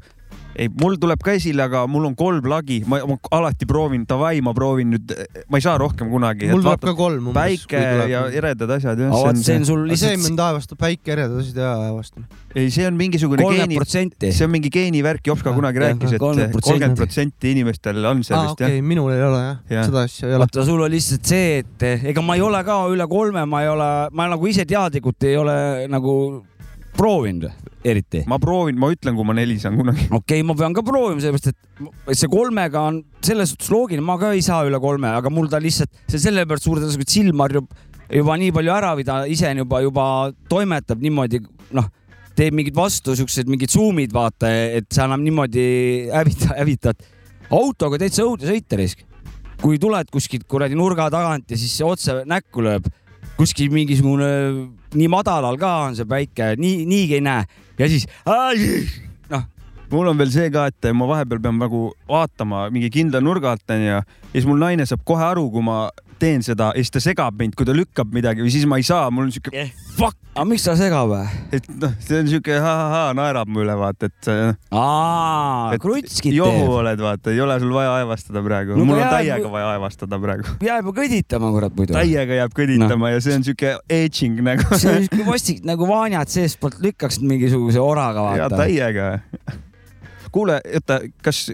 Speaker 2: ei , mul tuleb ka esile , aga mul on kolm lagi , ma alati proovin , davai , ma proovin nüüd , ma ei saa rohkem kunagi .
Speaker 1: mul tuleb ka kolm umbes .
Speaker 2: päike ja eredad asjad jah .
Speaker 3: vaat see on
Speaker 1: see
Speaker 3: sul
Speaker 1: nagu
Speaker 3: lihtsalt
Speaker 1: mind aevastab , päike eredasid ja aevastab .
Speaker 2: ei , see on mingisugune
Speaker 3: kolmkümmend
Speaker 2: geeni ,
Speaker 3: protsenti .
Speaker 2: see on mingi geenivärk , Jops ka
Speaker 1: Ah,
Speaker 2: kunagi
Speaker 1: jah,
Speaker 2: rääkis , et
Speaker 3: 30%.
Speaker 2: kolmkümmend protsenti inimestel on see
Speaker 1: aa
Speaker 2: vist jah
Speaker 1: okei , minul ei ole
Speaker 2: Jah.
Speaker 1: jah , seda asja ei ole .
Speaker 3: vaata , sul on lihtsalt see , et ega ma ei ole ka üle kolme , ma ei ole , ma nagu ise teadlikult ei ole nagu proovinud eriti .
Speaker 2: ma proovin , ma ütlen , kui ma neli saan kunagi .
Speaker 3: okei okay, , ma pean ka proovima , sellepärast et m- see kolmega on selles suhtes loogiline , ma ka ei saa üle kolme , aga mul ta lihtsalt , see sellepärast suur tõenäosus , et silm harjub juba nii palju ära või ta ise on juba , juba toimetab niimoodi , noh , teeb mingid vastu siuksed mingid suumid , vaata , et sa enam niimoodi hävita- , hävitad . autoga täitsa õudne sõita risk . kui tuled kuskilt kuradi nurga tagant ja siis see otse näkku lööb , kuskil mingisugune , nii madalal ka on see päike , nii , niigi ei näe ja siis noh ,
Speaker 2: mul on veel see ka , et ma vahepeal pean nagu vaatama mingi kindla nurga alt onju ja siis mul naine saab kohe aru , kui ma teen seda ja siis ta segab mind , kui ta lükkab midagi või siis ma ei saa , mul on siuke ,
Speaker 3: Fuck . Eh, aga miks ta segab või ?
Speaker 2: et noh , see on siuke ha-ha-ha naerab mu üle vaata , et, äh,
Speaker 3: aa ,
Speaker 2: et
Speaker 3: krutskid
Speaker 2: johu
Speaker 3: teeb .
Speaker 2: oled vaata , ei ole sul vaja aevastada praegu
Speaker 3: No
Speaker 2: no, , mul on
Speaker 3: jääb-
Speaker 2: täiega vaja aevastada praegu .
Speaker 3: jääb ju kõditama , kurat muidu .
Speaker 2: täiega jääb kõditama no. ja see on siuke edging nagu
Speaker 3: see on siuke vastik nagu vaanjad seestpoolt lükkaksid mingisuguse oraga ,
Speaker 2: ja
Speaker 3: vaata .
Speaker 2: täiega . kuule , oota , kas ,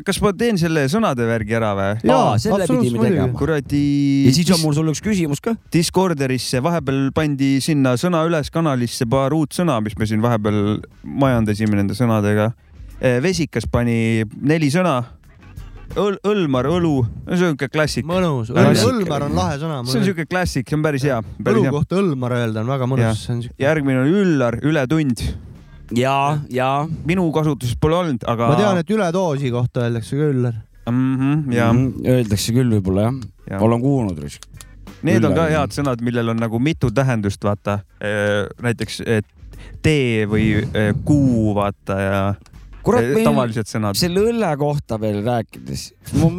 Speaker 2: kas ma teen selle sõnade värgi ära või ?
Speaker 1: Jaa,
Speaker 3: selle
Speaker 1: absoluutselt
Speaker 3: pidime tegema.
Speaker 1: muidugi.
Speaker 2: kuradi .
Speaker 3: ja siis on mul sulle üks küsimus ka .
Speaker 2: Discorderisse vahepeal pandi sinna sõna üles kanalisse paar uut sõna , mis me siin vahepeal majandasime nende sõnadega . Vesikas pani neli sõna Õl . Õlmar , õlu , see on siuke klassik ,
Speaker 1: mõnus ,
Speaker 2: Klassik.
Speaker 1: Õlmar on lahe sõna .
Speaker 2: see on siuke klassik , see on päris hea , päris
Speaker 1: õlu
Speaker 2: hea .
Speaker 1: kohta Õlmar öelda on väga
Speaker 2: Jah.
Speaker 1: mõnus , see on siuke .
Speaker 2: järgmine on Üllar , ületund .
Speaker 3: ja , ja .
Speaker 2: minu kasutuses pole olnud , aga .
Speaker 1: ma tean , et üledoosi kohta öeldakse ka Üllar .
Speaker 2: mm . -hmm,
Speaker 3: Mhm.
Speaker 2: ja mm ,
Speaker 3: Öeldakse küll võib-olla jah
Speaker 2: Jaa.
Speaker 3: ja. . olen kuulnud risk .
Speaker 2: -hmm. need on ka
Speaker 3: Üllar.
Speaker 2: head sõnad , millel on nagu mitu tähendust , vaata . näiteks eh, tee või eh, kuu , vaata ja
Speaker 3: kurat ,
Speaker 2: eh,
Speaker 3: meil
Speaker 2: tavalised sõnad .
Speaker 3: selle õlle kohta veel rääkides ,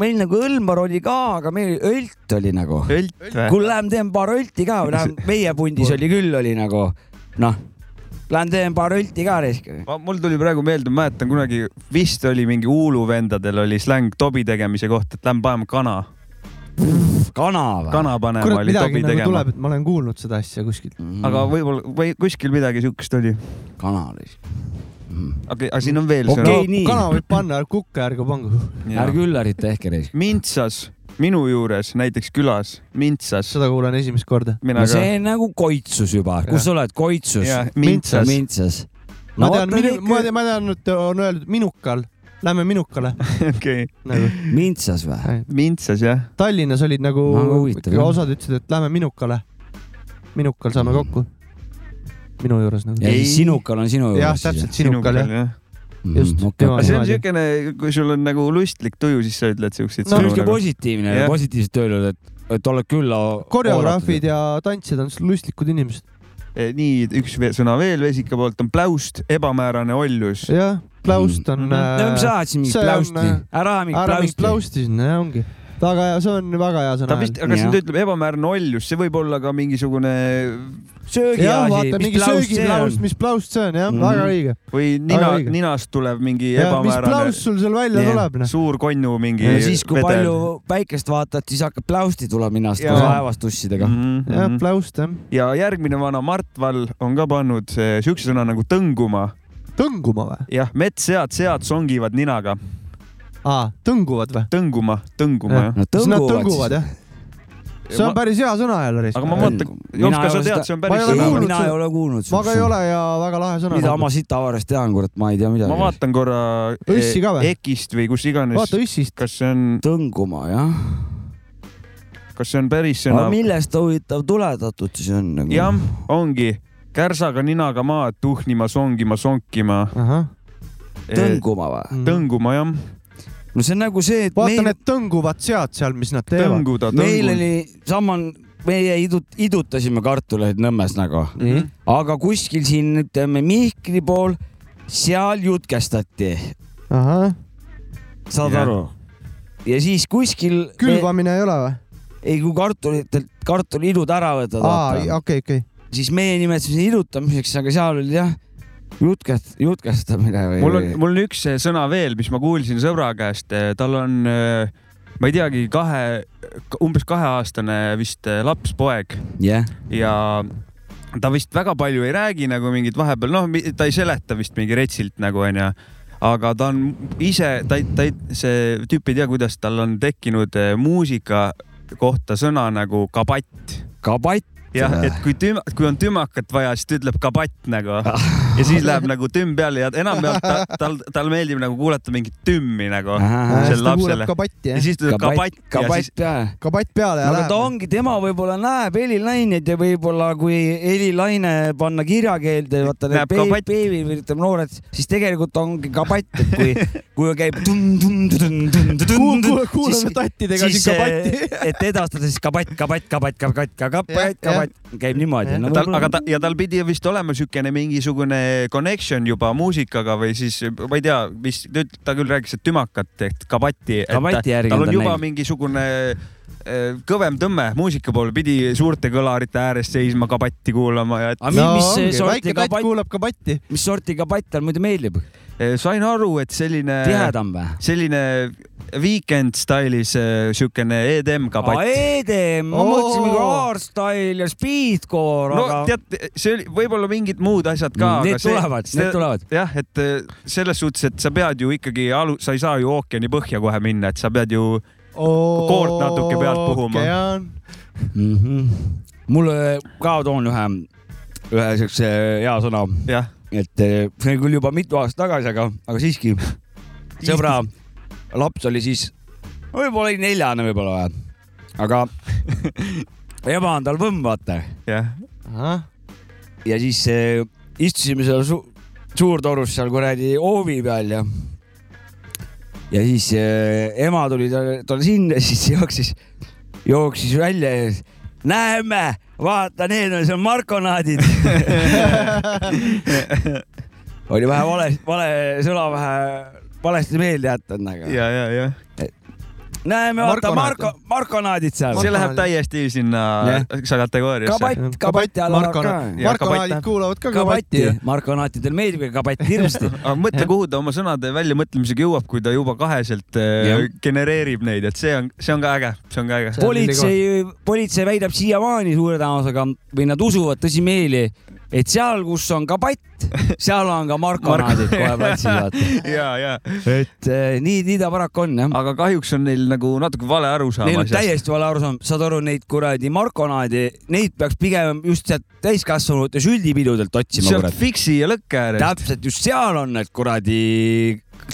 Speaker 3: meil nagu Õlmar oli ka , aga meil ölt oli nagu .
Speaker 2: Ölt või ?
Speaker 3: kuule , lähme teeme paar õlti ka , lähme meie pundis oli küll , oli nagu noh , lähme teeme paar õlti ka risk .
Speaker 2: ma , mul tuli praegu meelde , ma mäletan kunagi vist oli mingi Uulu vendadel oli släng tobi tegemise kohta , et lähme paneme kana ,
Speaker 3: kana või ?
Speaker 2: kana panema
Speaker 1: kurat ,
Speaker 2: oli
Speaker 1: midagi
Speaker 2: tobi
Speaker 1: nagu
Speaker 2: tegema
Speaker 1: tuleb , et mm. ma olen kuulnud seda asja kuskilt .
Speaker 2: aga võib-olla või kuskil midagi siukest oli ,
Speaker 3: kana risk .
Speaker 2: aga , aga siin on veel
Speaker 3: Okei.
Speaker 2: sõna
Speaker 3: Ei, nii.
Speaker 1: kana võib panna , kukke ärgu pangu .
Speaker 2: Jaa.
Speaker 3: ärge Üllarit tehke risk .
Speaker 2: mintsas , minu juures näiteks külas , mintsas ,
Speaker 1: seda kuulen esimest korda .
Speaker 2: mina
Speaker 3: no
Speaker 2: ka .
Speaker 3: see on nagu koitsus juba , kus sa oled , koitsus ?
Speaker 2: mintsas ,
Speaker 3: mintsas .
Speaker 1: ma tean , ma tean , ma tean , et on öeldud minukal , lähme minukale
Speaker 2: okei ,
Speaker 1: nagu .
Speaker 3: mintsas või ?
Speaker 2: mintsas jah .
Speaker 1: Tallinnas olid nagu
Speaker 3: Väga huvitav, , jah.
Speaker 1: osad ütlesid , et lähme minukale . minukal saame kokku . Mm. minu juures nagu .
Speaker 3: ja siis
Speaker 2: Ei.
Speaker 3: sinukal on sinu
Speaker 1: jah ,
Speaker 3: juures . Mm,
Speaker 1: täpselt sinukal jah . just, tema-
Speaker 2: aga see on
Speaker 1: Niimoodi.
Speaker 2: siukene , kui sul on nagu lustlik tuju , siis sa ütled siukseid
Speaker 1: No,
Speaker 2: sõnu
Speaker 3: niisugune
Speaker 2: nagu .
Speaker 3: positiivne
Speaker 2: Jah. ,
Speaker 3: positiivset öelnud , et , et oled küll .
Speaker 1: koreograafid ja tantsijad on lustlikud inimesed .
Speaker 2: Eh, nii , üks ve- sõna veel Vesika poolt on pläust , ebamäärane oljus .
Speaker 1: jah , plaust on
Speaker 2: Mhm.
Speaker 3: Mm. no ma
Speaker 1: äh, .
Speaker 3: saatsin mingit
Speaker 1: see on,
Speaker 3: pläusti
Speaker 1: äh, ,
Speaker 3: ära mingit
Speaker 1: ära mind
Speaker 3: pläusti .
Speaker 1: plausti sinna , ongi . väga hea , see on väga hea
Speaker 2: ta
Speaker 1: sõna .
Speaker 2: vist , aga kas
Speaker 3: Jah.
Speaker 2: nüüd ütleb ebamäärane oljus , see võib olla ka mingisugune
Speaker 1: jah ,
Speaker 3: söögiasi
Speaker 1: vaata , mingi söögiplaust , mis plaust see on , jah ,
Speaker 3: Mhm.
Speaker 1: väga õige .
Speaker 2: või
Speaker 1: Väga
Speaker 2: nina ,
Speaker 1: õige.
Speaker 2: ninast tuleb mingi
Speaker 1: mis plaust
Speaker 2: ebamäärane
Speaker 1: sul seal välja
Speaker 3: Jah.
Speaker 1: tuleb , noh .
Speaker 2: suur konju mingi .
Speaker 3: ja siis , kui palju päikest vaatad , siis hakkab pläusti tulema minast
Speaker 2: Jaa.
Speaker 3: koos laevast ussidega .
Speaker 1: jah
Speaker 2: palju ,
Speaker 1: plaust jah .
Speaker 2: Mhm, ja järgmine vana Mart Vall on ka pannud eh, siukse sõna nagu tõnguma .
Speaker 1: tõnguma või ?
Speaker 2: jah , metssead , sead songivad ninaga .
Speaker 1: aa , tõnguvad või ?
Speaker 2: tõnguma , tõnguma
Speaker 1: Jah.
Speaker 2: jah .
Speaker 3: no
Speaker 1: siis nad
Speaker 3: tõmbuvad
Speaker 1: tõnguvad
Speaker 3: siis .
Speaker 1: jah ? see on päris hea sõna jälle , Riis .
Speaker 2: aga ma
Speaker 1: ma
Speaker 2: vaatan ,
Speaker 3: Mina
Speaker 2: Jops , kas
Speaker 3: ei
Speaker 2: sa
Speaker 3: ole
Speaker 2: tead ,
Speaker 3: seda-
Speaker 2: see on
Speaker 1: ei
Speaker 2: päris
Speaker 1: ole
Speaker 2: sõna
Speaker 1: kuulnud
Speaker 2: või ?
Speaker 3: mina
Speaker 1: seda.
Speaker 3: ei ole kuulnud .
Speaker 1: ka ei . ole ja väga lahe sõna .
Speaker 3: mida ma siit avarist tean , kurat , ma ei tea
Speaker 2: ma
Speaker 3: midagi .
Speaker 2: vaatan korra eh,
Speaker 1: Õssi ka või?
Speaker 2: EKist või kus iganes
Speaker 1: vaata , üssist .
Speaker 2: kas see on ,
Speaker 3: tõnguma , jah .
Speaker 2: kas see on päris
Speaker 3: aga
Speaker 2: sõna ?
Speaker 3: millest ta huvitav tuletatud siis on nagu ?
Speaker 2: jah , ongi kärsaga ninaga maad tuhnima , songima , sonkima ,
Speaker 1: ahah .
Speaker 2: eh,
Speaker 3: tõnguma või ?
Speaker 2: tõnguma jah ,
Speaker 3: no see on nagu see , et
Speaker 1: vaata
Speaker 3: meil
Speaker 1: need tõnguvad sead seal , mis nad teevad .
Speaker 2: tõnguda ,
Speaker 3: meil
Speaker 2: tõngun .
Speaker 3: oli sama , meie idut- , idutasime kartuleid Nõmmes nagu ,
Speaker 2: Mhm.
Speaker 1: nii ,
Speaker 3: aga kuskil siin ütleme Mihkli pool , seal jutkestati ,
Speaker 1: ahah .
Speaker 3: saad
Speaker 2: Jah.
Speaker 3: ja. aru ? ja siis kuskil ,
Speaker 1: külvamine ei ole või ?
Speaker 3: ei kui kartulitelt , kartuliidud ära võtad ,
Speaker 1: aa ,
Speaker 3: vaata ,
Speaker 1: okei , okei .
Speaker 3: siis meie nimetasime seda idutamiseks , aga seal oli jah , jutkest , jutkestamine või ?
Speaker 2: mul on , mul on üks äh, sõna veel , mis ma kuulsin sõbra käest , tal on , ma ei teagi , kahe , umbes kaheaastane vist eh, laps-poeg
Speaker 3: jah ,
Speaker 2: ja ta vist väga palju ei räägi nagu mingit vahepeal , noh , ta ei seleta vist mingi retsilt nagu onju , aga ta on ise , ta ei , ta ei , see tüüp ei tea , kuidas tal on tekkinud eh, muusika kohta sõna nagu kabatt .
Speaker 3: kabatt ,
Speaker 2: jah , et kui tüm- , kui on tümakat vaja , siis ta ütleb kabatt nagu ja siis läheb nagu tümm peale ja enamjaolt ta, tal , tal meeldib nagu kuulata mingit tümmi nagu
Speaker 3: Ahah.
Speaker 2: sellele lapsele
Speaker 1: kuuleb . kabatti
Speaker 2: ja
Speaker 1: jah ?
Speaker 2: siis ta ütleb kabatt ja siis
Speaker 3: kabatt jah
Speaker 1: kabatt peale ja
Speaker 3: no aga ta
Speaker 1: läheb .
Speaker 3: ongi , tema võib-olla näeb helilaineid ja võib-olla kui helilaine panna kirjakeelde , vaata need
Speaker 2: Näeb
Speaker 3: beebi
Speaker 2: kabatt. ,
Speaker 3: beebi või ütleme noored , siis tegelikult ongi kabatt , et kui , kui käib tum-tum-tum-tum-tum-tum-tum ,
Speaker 1: kuulame tattidega siin
Speaker 3: siis ,
Speaker 1: kabatti .
Speaker 3: et edastada siis kabatt , kabatt , kabatt , kabatt ,
Speaker 1: Jah,
Speaker 3: kabatt ,
Speaker 1: jah.
Speaker 3: kabatt käib niimoodi .
Speaker 1: Jah.
Speaker 2: tal , aga ta ja tal pidi vist olema niisugune mingisugune connection juba muusikaga või siis ma ei tea , mis ta küll rääkis , et tümakat ehk kabatti .
Speaker 3: Kabati järgi
Speaker 2: tal
Speaker 3: on
Speaker 2: on
Speaker 3: ta
Speaker 2: juba
Speaker 3: näinud.
Speaker 2: mingisugune äh, kõvem tõmme muusika poole pidi suurte kõlarite ääres seisma , kabatti kuulama ja et...
Speaker 3: Aga mi- No mis ongi, sorti
Speaker 1: väike katt
Speaker 3: kabatt-
Speaker 1: kuulab kabatti .
Speaker 3: mis sorti kabatt tal muidu meeldib ?
Speaker 2: äh, sain aru , et selline ,
Speaker 3: tihedam või ?
Speaker 2: selline weekend stailis eh, siukene EDM kabatt .
Speaker 3: EDM , ma
Speaker 1: Oo.
Speaker 3: mõtlesin mingi hardstyle ja speedcore ,
Speaker 2: no
Speaker 3: aga
Speaker 2: tead , see oli võib-olla mingid muud asjad ka .
Speaker 3: Mm, need tulevad, need tulevad.
Speaker 2: jah , et eh, selles suhtes , et sa pead ju ikkagi alu- , sa ei saa ju ookeani põhja kohe minna , et sa pead ju , Koort natuke pealt puhuma.
Speaker 3: mm -hmm. mul eh, ka toon ühe , ühe siukse äh, hea sõna ,
Speaker 2: jah ,
Speaker 3: et eh, see on küll juba mitu aastat tagasi , aga , aga siiski sõbra laps oli siis , võib-olla oli neljane võib-olla või , aga ema on tal võmm , vaata
Speaker 2: jah .
Speaker 3: ja siis eh, istusime seal su suurtorus seal kuradi hoovi peal ja , ja siis eh, ema tuli talle tal sinna , siis jooksis , jooksis välja ja siis näeme , vaata , need on seal markonaadid . oli vähe vale , vale sõna vähe valesti meelde jätnud , aga
Speaker 2: ja , ja , ja
Speaker 3: näeme , vaata marko,
Speaker 1: Markonaad.
Speaker 3: markonaadid seal .
Speaker 2: see läheb täiesti sinna
Speaker 3: Jah.
Speaker 2: sa kategooriasse .
Speaker 3: kabatt , kabati all on ka .
Speaker 1: markonaadid
Speaker 2: Ja kabatti.
Speaker 1: kuulavad ka kabatti
Speaker 3: kabatti ., markonaatidel meeldib ka kabatt hirmsasti
Speaker 2: aga mõtle , kuhu ta oma sõnade väljamõtlemisega jõuab , kui ta juba kaheselt eh,
Speaker 3: Jah.
Speaker 2: genereerib neid , et see on , see on ka äge , see on ka äge .
Speaker 1: See on
Speaker 3: politsei , politsei väidab siiamaani suure tõenäosusega või nad usuvad tõsimeeli , et seal , kus on kabatt , seal on ka markonaadid kohe platsil , vaata .
Speaker 2: ja , ja ,
Speaker 3: et eh,
Speaker 2: äh,
Speaker 3: nii , nii ta paraku on jah .
Speaker 2: aga kahjuks on neil nagu natuke vale arusaam
Speaker 3: Neil on
Speaker 2: asjast .
Speaker 3: täiesti vale arusaam , saad aru , neid kuradi markonaadi , neid peaks pigem just sealt täiskasvanute süldipidudelt otsima ,
Speaker 2: sealt
Speaker 3: kurat .
Speaker 2: fiksi ja lõkke äärest .
Speaker 3: täpselt just seal on need kuradi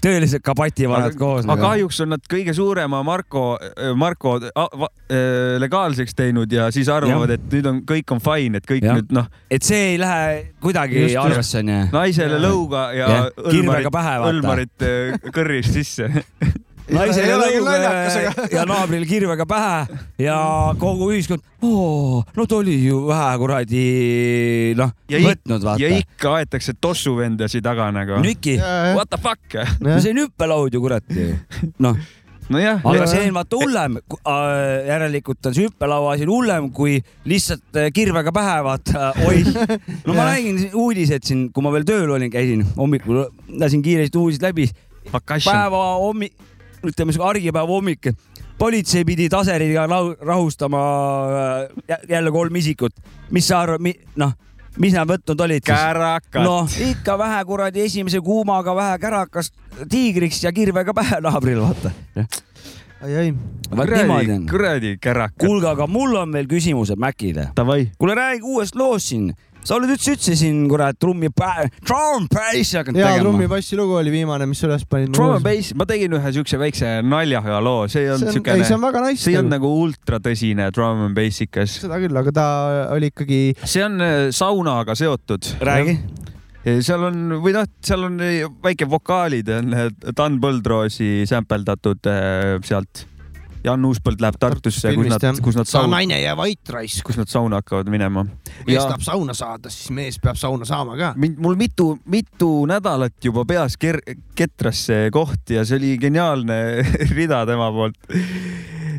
Speaker 3: tõelised kabativanad koos . nagu.
Speaker 2: aga kahjuks on nad kõige suurema Marko , Marko a- va- eh, legaalseks teinud ja siis arvavad , et nüüd on , kõik on fine , et kõik
Speaker 3: Jah.
Speaker 2: ja. nüüd noh ,
Speaker 3: et see ei lähe kuidagi
Speaker 2: Just, just.
Speaker 3: arvesse onju .
Speaker 2: naisele lõuga ja,
Speaker 3: Jah.
Speaker 2: ja.
Speaker 3: Kirvega pähe, vaata.
Speaker 2: õlmarit eh, kõrrist sisse äh,
Speaker 3: naisel
Speaker 1: Ei
Speaker 3: ja
Speaker 1: ole küll naljakas,
Speaker 3: lõuga ja naabril kirvega pähe ja kogu ühiskond , no ta oli ju vähe kuradi noh ,
Speaker 2: ja, ik-
Speaker 3: võtnud
Speaker 2: ja
Speaker 3: vaata .
Speaker 2: ikka aetakse tossuvendasid taga nagu .
Speaker 3: nüki ,
Speaker 2: What the fuck ?
Speaker 3: see on hüppelaud ju kurat ju . noh ,
Speaker 2: nojah ,
Speaker 3: aga see on vaata hullem , järelikult on see hüppelaua asi hullem kui lihtsalt äh, kirvega pähe vaata , oih . no ma nägin uudiseid siin , kui ma veel tööl olin , käisin hommikul , lasin kiiresti uudised läbi
Speaker 2: vacation .
Speaker 3: päeva hommik , ütleme sihuke argipäeva hommik , politsei pidi taseriga rahu- rahustama äh, jä- jälle kolm isikut . mis sa arvad , noh , mis nad võtnud olid siis ?
Speaker 2: kärakad no. .
Speaker 3: noh , ikka vähe kuradi esimese kuumaga vähe kärakast tiigriks ja kirvega pähe naabril , vaata .
Speaker 1: ai-ai .
Speaker 3: vaat niimoodi
Speaker 2: kuradi
Speaker 3: on ,.
Speaker 2: kuradi kärakad .
Speaker 3: kuulge , aga mul on veel küsimused Mäkile .
Speaker 2: Davai .
Speaker 3: kuule , räägi uuest loost siin . sa oled üldse , üldse siin kurat trummi , trummpassi hakanud
Speaker 1: hea
Speaker 3: tegema .
Speaker 1: trummipassi lugu oli viimane , mis sa üles panid .
Speaker 2: Drum and bass , ma tegin ühe siukse väikse naljaga loo , see ei
Speaker 1: ei ,
Speaker 2: olnud
Speaker 1: see on
Speaker 2: siukene ,
Speaker 1: väga
Speaker 2: see ei olnud
Speaker 1: nice .
Speaker 2: nagu ultratõsine drum and bassikas .
Speaker 1: seda küll , aga ta oli ikkagi
Speaker 2: see on äh, saunaga seotud .
Speaker 3: räägi .
Speaker 2: seal on või noh , seal on äh, väike vokaalid on äh, Dan Põldroosi sämpeldatud äh, sealt . Jan Uuspõld läheb Tartusse , kus
Speaker 1: filmist,
Speaker 2: nad
Speaker 1: jah. ,
Speaker 2: kus nad
Speaker 1: sa
Speaker 2: sauna ,
Speaker 1: naine ja vait raisk .
Speaker 2: kus nad sauna hakkavad minema .
Speaker 1: mees tahab sauna saada , siis mees peab sauna saama ka .
Speaker 2: mind , mul mitu , mitu nädalat juba peas ker- , ketras see koht ja see oli geniaalne rida tema poolt .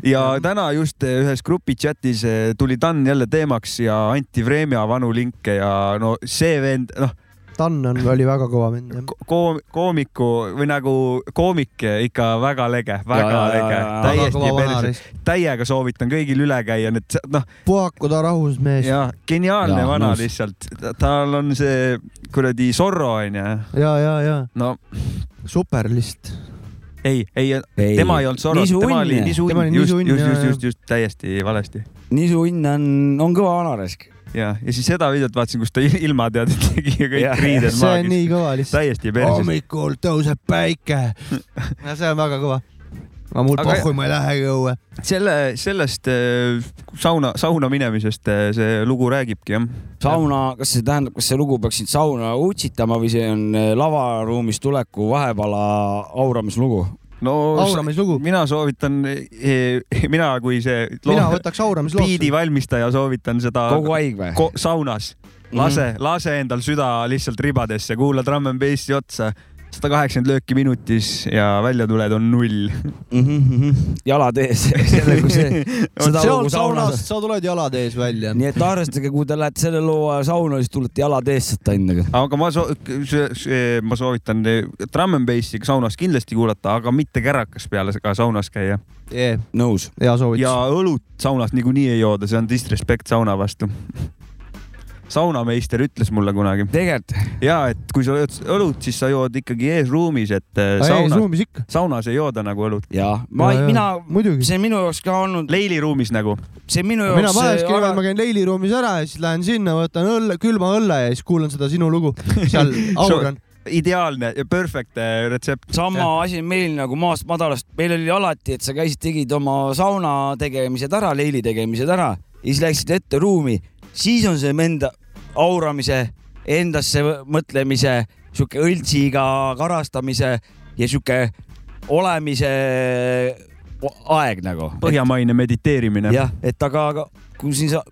Speaker 2: ja täna just ühes grupi chatis eh, tuli Dan jälle teemaks ja anti Vremja vanu linke ja no see vend , noh ,
Speaker 1: Dan on , oli väga kõva vend jah .
Speaker 2: koom- , koomiku või nagu koomik ikka väga lege , väga ja,
Speaker 3: ja, ja,
Speaker 2: lege
Speaker 3: ja. ,
Speaker 1: väga kõva
Speaker 2: täiesti perse ,
Speaker 1: vanaris .
Speaker 2: täiega soovitan kõigil üle käia , need sa- noh ,
Speaker 1: puhaku ta rahus mees .
Speaker 2: ja geniaalne
Speaker 3: Jaa,
Speaker 2: ja, vana nõus.
Speaker 3: nõus.
Speaker 2: lihtsalt , tal on see kuradi Zorro onju ,
Speaker 1: ja , ja , ja
Speaker 2: no
Speaker 1: super lihtsalt .
Speaker 2: ei , ei, ei , tema ei olnud Soros ,
Speaker 3: Nisu
Speaker 2: tema oli
Speaker 3: unn.
Speaker 2: Nisu
Speaker 1: Tema oli
Speaker 2: Unn , just ,
Speaker 1: Nisu Unn,
Speaker 2: just ,
Speaker 1: jaa,
Speaker 2: just ,
Speaker 1: jaa.
Speaker 2: just , just täiesti valesti
Speaker 3: Nisu Unn on , on kõva vanaraisk .
Speaker 2: ja , ja siis seda videot vaatasin , kus ta il- ilmateadet tegi ja
Speaker 3: Jah.
Speaker 2: kõik riided
Speaker 1: see on nii
Speaker 2: maagis ,
Speaker 1: kõva lihtsalt .
Speaker 2: täiesti perses .
Speaker 1: hommikul tõuseb päike . no see on väga kõva . aga mul
Speaker 2: Aga-
Speaker 1: pohhu , ma ei lähegi õue .
Speaker 2: selle , sellest äh, sauna , sauna minemisest äh, see lugu räägibki jah .
Speaker 3: sauna , kas see tähendab , kas see lugu peaks sind sauna utsitama või see on eh, lavaruumis tuleku vahepala auramislugu ?
Speaker 2: no s-
Speaker 1: auramislugu .
Speaker 2: mina soovitan , mina kui see
Speaker 1: mina võtaks
Speaker 2: biidi
Speaker 1: auramislooks .
Speaker 2: valmistaja soovitan seda
Speaker 3: kogu aeg või ? Mhm.
Speaker 2: ko- saunas , lase mm , -hmm. lase endal süda lihtsalt ribadesse , kuula Drum n Bassi otsa sada kaheksakümmend lööki minutis ja väljatuled on null .
Speaker 3: jalad ees , Mhm, selle kui see , seda
Speaker 1: seal
Speaker 3: lugu saunas
Speaker 1: saunast . sa tuled jalad ees välja .
Speaker 3: nii et arvestage , kui te lähete selle loo ajal sauna , siis tulete jalad ees sealt endaga .
Speaker 2: aga ma soo- , ma soovitan eh, Drum n Bassi saunas kindlasti kuulata , aga mitte kärakas peale ka saunas käia .
Speaker 1: hea
Speaker 3: nõus .
Speaker 1: soovitus
Speaker 2: ja . õlut saunas niikuinii ei jooda , see on disrespect sauna vastu . saunameister ütles mulle kunagi
Speaker 3: tegelikult
Speaker 2: ja et kui sa jood õlut , siis sa jood ikkagi eesruumis , et eh, saunas ,
Speaker 1: ruumis ikka .
Speaker 2: saunas ei jooda nagu õlut .
Speaker 3: ja ma , mina ,
Speaker 1: muidugi .
Speaker 3: see on minu jaoks ka olnud ,
Speaker 2: leiliruumis nagu .
Speaker 3: see on minu
Speaker 1: mina
Speaker 3: jaoks
Speaker 1: vahest
Speaker 3: äh,
Speaker 1: käin , ma käin leiliruumis ära ja siis lähen sinna , võtan õlle , külma õlle ja siis kuulan seda sinu lugu seal auran .
Speaker 2: ideaalne ja perfect eh, retsept .
Speaker 3: sama asi on meil nagu maast madalast , meil oli alati , et sa käisid , tegid oma sauna tegemised ära , leili tegemised ära ja siis läksid ette ruumi , siis on see enda auramise , endasse võ- mõtlemise , sihuke õltsiga karastamise ja sihuke olemise o- aeg nagu .
Speaker 2: põhjamaine mediteerimine .
Speaker 3: jah , et aga , aga kui siin sa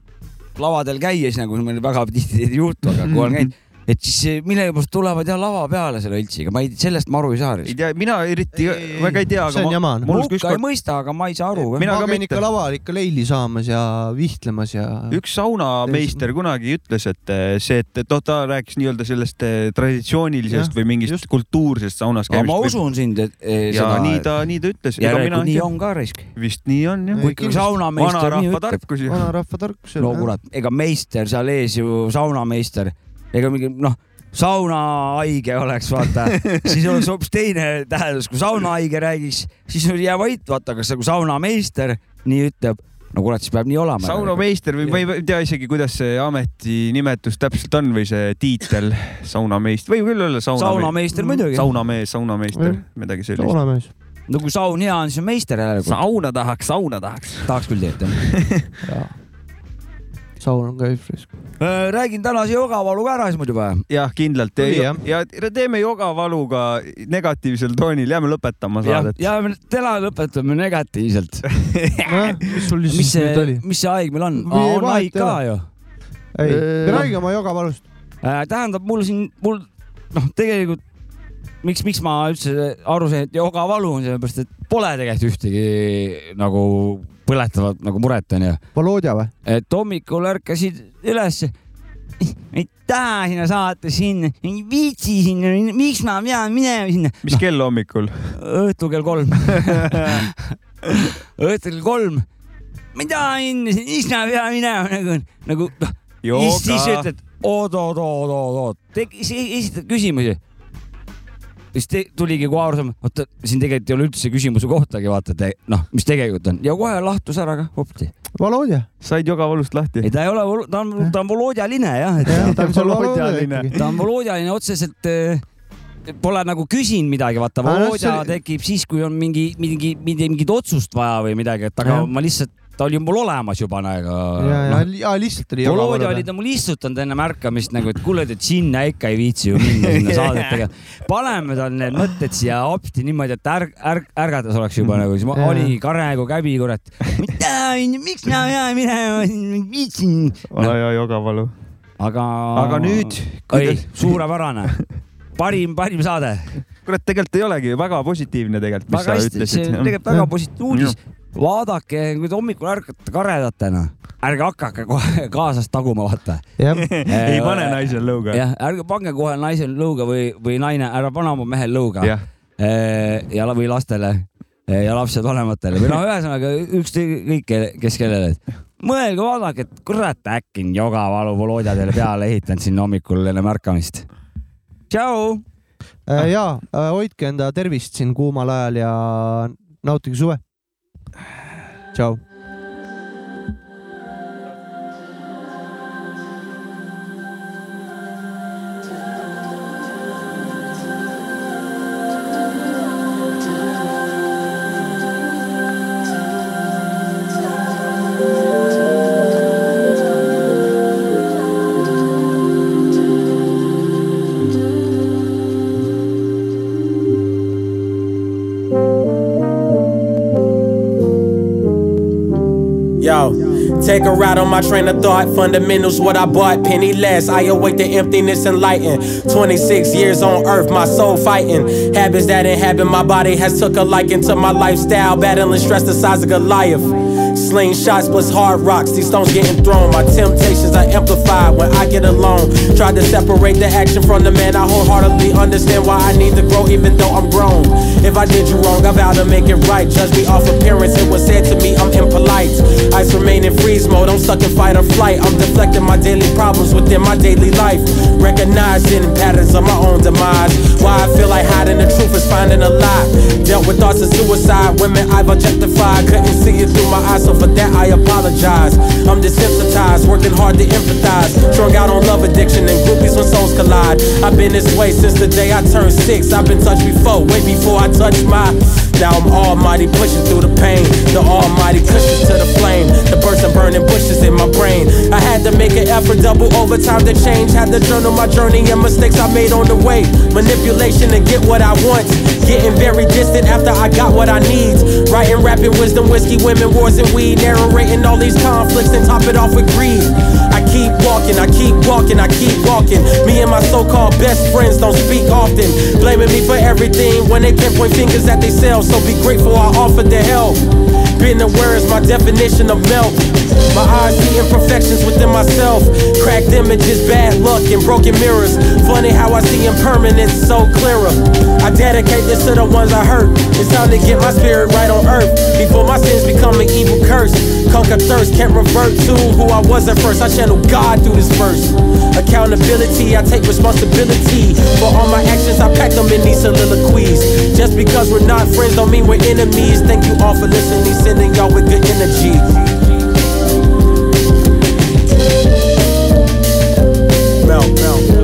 Speaker 3: lavadel käies nagu meil väga tihti ei juhtu , aga kui olen käinud , et siis millegipärast tulevad jah lava peale selle õltsiga , ma ei , sellest ma aru ei saa
Speaker 2: ei tea , mina eriti väga ei tea ,
Speaker 1: see
Speaker 2: aga
Speaker 1: on jama.
Speaker 2: mul
Speaker 3: mul
Speaker 2: oleks ka
Speaker 3: ka ei
Speaker 2: ükskord
Speaker 3: mõista , aga ma ei saa aru .
Speaker 2: Mina
Speaker 1: ma
Speaker 2: ka
Speaker 1: käin
Speaker 2: mitte.
Speaker 1: ikka laval ikka leili saamas ja vihtlemas ja .
Speaker 2: üks saunameister kunagi ütles , et eh, see , et et noh , ta rääkis nii-öelda sellest eh, traditsioonilisest
Speaker 1: Jah,
Speaker 2: või mingist
Speaker 1: just.
Speaker 2: kultuursest saunas
Speaker 3: aga
Speaker 2: käimist .
Speaker 3: ma usun sind , et eh,
Speaker 2: ja
Speaker 3: seda .
Speaker 2: nii ta , nii ta ütles .
Speaker 3: järelikult nii on ka risk .
Speaker 2: vist nii on jah .
Speaker 1: Ei,
Speaker 3: kuigi
Speaker 1: kindlasti.
Speaker 3: saunameister nii
Speaker 2: vanarahva
Speaker 3: ütleb .
Speaker 2: tarkusi .
Speaker 1: vanarahva tarkus .
Speaker 3: no kurat , ega meister seal ees ju , saunameister , ega mingi noh , saunahaige oleks , vaata , siis oleks hoopis teine tähendus , kui saunahaige räägiks , siis oli jää vait , vaata , aga see , kui saunameister nii ütleb , no kurat , siis peab nii olema .
Speaker 2: saunameister või ma ei tea isegi , kuidas see ametinimetus täpselt on või see tiitel , saunameist , võib küll olla saunameister .
Speaker 3: saunameister muidugi .
Speaker 2: saunamees , saunameister
Speaker 1: Jah. ,
Speaker 2: midagi sellist .
Speaker 1: olemas .
Speaker 3: no kui saun hea on , siis on meister järelikult .
Speaker 2: sauna tahaks , sauna tahaks .
Speaker 3: tahaks küll teada .
Speaker 1: saun on ka üpris .
Speaker 3: Äh, räägin tänase jogavalu ka ära siis muidu või ?
Speaker 2: jah , kindlalt
Speaker 1: Tuli,
Speaker 2: ja, ja, ja teeme jogavaluga negatiivsel toonil , jääme lõpetama saadet .
Speaker 3: ja me täna lõpetame negatiivselt .
Speaker 1: nojah , mis sul
Speaker 3: mis
Speaker 1: siis
Speaker 3: see
Speaker 1: nüüd oli ?,
Speaker 3: mis see haig meil on ?
Speaker 1: Ei,
Speaker 3: on
Speaker 1: vahet
Speaker 3: haig
Speaker 1: ei
Speaker 3: ka
Speaker 1: ole.
Speaker 3: ju .
Speaker 1: ei
Speaker 2: Äh, ,
Speaker 1: räägi oma jogavalust .
Speaker 3: Äh, tähendab , mul siin , mul noh , tegelikult miks , miks ma üldse aru sain , et joga valu on , sellepärast et pole tegelikult ühtegi nagu põletavat nagu muret onju .
Speaker 1: Volodja või ?
Speaker 3: et hommikul ärkasid ülesse . ei taha sinna saata sinna , ei viitsi sinna , miks ma pean minema sinna .
Speaker 2: mis kell hommikul ?
Speaker 3: õhtul kell kolm . õhtul kell kolm . ma ei taha minna , miks ma pean minema nagu , nagu noh , siis , siis sa ütled oot-oot-oot-oot-oot , esitad küsimusi . siis te, tuligi kohe arusaam , oota siin tegelikult ei ole üldse küsimuse kohtagi vaata , noh , mis tegelikult on ja kohe lahtus ära ka hopsti .
Speaker 1: Volodja .
Speaker 2: said jogavalust lahti
Speaker 3: ei ? ta ei ole , ta on , ta on Volodjaline jah , et
Speaker 1: ta on seal Volodjaline .
Speaker 3: ta on Volodjaline otseselt eh, Pole nagu küsinud midagi , vaata
Speaker 1: Aa, noh, see
Speaker 3: Volodja
Speaker 1: oli-
Speaker 3: tekib siis , kui on mingi , mingi , mingi , mingit otsust vaja või midagi , et aga
Speaker 1: Jah.
Speaker 3: ma lihtsalt , ta oli mul olemas juba , aga
Speaker 1: ja ,
Speaker 3: noh,
Speaker 1: ja , ja lihtsalt oli
Speaker 3: Volodja oli . ta mul istutanud enne märkamist nagu , et kuule , et sinna ikka ei viitsi ju minna sinna saadetega . paneme tal need mõtted siia hopsti niimoodi , et ärg , ärg , ärgates oleks juba nagu , siis ma
Speaker 1: Jaa.
Speaker 3: oligi karjagu käbi , kurat . miks ma pean minema , viitsin .
Speaker 2: ole hea , jogavalu .
Speaker 3: Noh, aga .
Speaker 2: aga nüüd ,
Speaker 3: ei
Speaker 2: kuidas ,,
Speaker 3: suurepärane , parim , parim saade .
Speaker 2: kurat , tegelikult ei olegi ju väga positiivne tegelikult , mis
Speaker 3: väga
Speaker 2: sa
Speaker 3: hästi , see on
Speaker 2: ütlesid .
Speaker 3: tegelikult väga positiivne uudis . vaadake , kui te hommikul ärkate karedatena , ärge hakake kohe kaasast taguma , vaata
Speaker 1: jah ,
Speaker 2: ei
Speaker 3: Äh.
Speaker 2: pane naisel lõuga .
Speaker 3: jah , ärge pange kohe naisel lõuga või , või naine , ära pane oma mehel lõuga
Speaker 2: jah ,
Speaker 3: ja la- või lastele eh, ja lapsed vanematele või noh , ühesõnaga ükskõik , kes kellele . mõelge , vaadake , et kurat , äkki on jogavalu Volodja teile peale ehitanud siin hommikul enne märkamist . tšau .
Speaker 1: ja Äh, hoidke enda tervist siin kuumal ajal ja nautige suve . tšau .
Speaker 9: Thank Take a ride on my train of thought. Fundamentals, what I bought. Penny less. I await the emptiness enlightened. 26 years on earth, my soul fighting. Habits that inhabit my body has took a liking to my lifestyle. Battling stress the size of Goliath. Slingshots plus hard rocks, these stones getting thrown. My temptations are amplified when I get alone. Try to separate the action from the man. I wholeheartedly understand why I need to grow, even though I'm grown. If I did you wrong, I vow to make it right. Judge me off appearance, it was said to me I'm impolite. Ice remain in freeze mode, I'm stuck in fight or flight. I'm deflecting my daily problems within my daily life. Recognizing patterns of my own demise. Why I feel like hiding the truth is finding a lie. Dealt with thoughts of suicide, women I've objectified. Couldn't see it through my eyes, so for that I apologize. I'm desensitized, working hard to empathize. Strung out on love addiction and groupies when souls collide. I've been this way since the day I turned six. I've been touched before, way before I touched my. Now I'm almighty, pushing through the pain. The almighty cushions to the flame. The burst and burning bushes in my brain. I had to make an effort, double overtime to change. Had to journal my journey and mistakes I made on the way. Manipulation to get what I want. Getting very distant after I got what I need. Writing, rapping, wisdom, whiskey, women, wars, and weed. Narrating all these conflicts and top it off with greed. I keep walking, I keep walking, I keep walking. Me and my so called best friends don't speak often. Blaming me for everything when they can point fingers at themselves. So be grateful I offered the help. Being aware is my definition of melt. My eyes see imperfections within myself. Cracked images, bad luck, and broken mirrors. Funny how I see impermanence so clearer. I dedicate this to the ones I hurt. It's time to get my spirit right on earth. Before my sins become an evil curse. Conquer thirst, can't revert to who I was at first. I channel God through this verse. Accountability, I take responsibility for all my actions. I pack them in these soliloquies. Just because we're not friends, don't mean we're enemies. Thank you all for listening, sending y'all with good energy. Mel, Mel.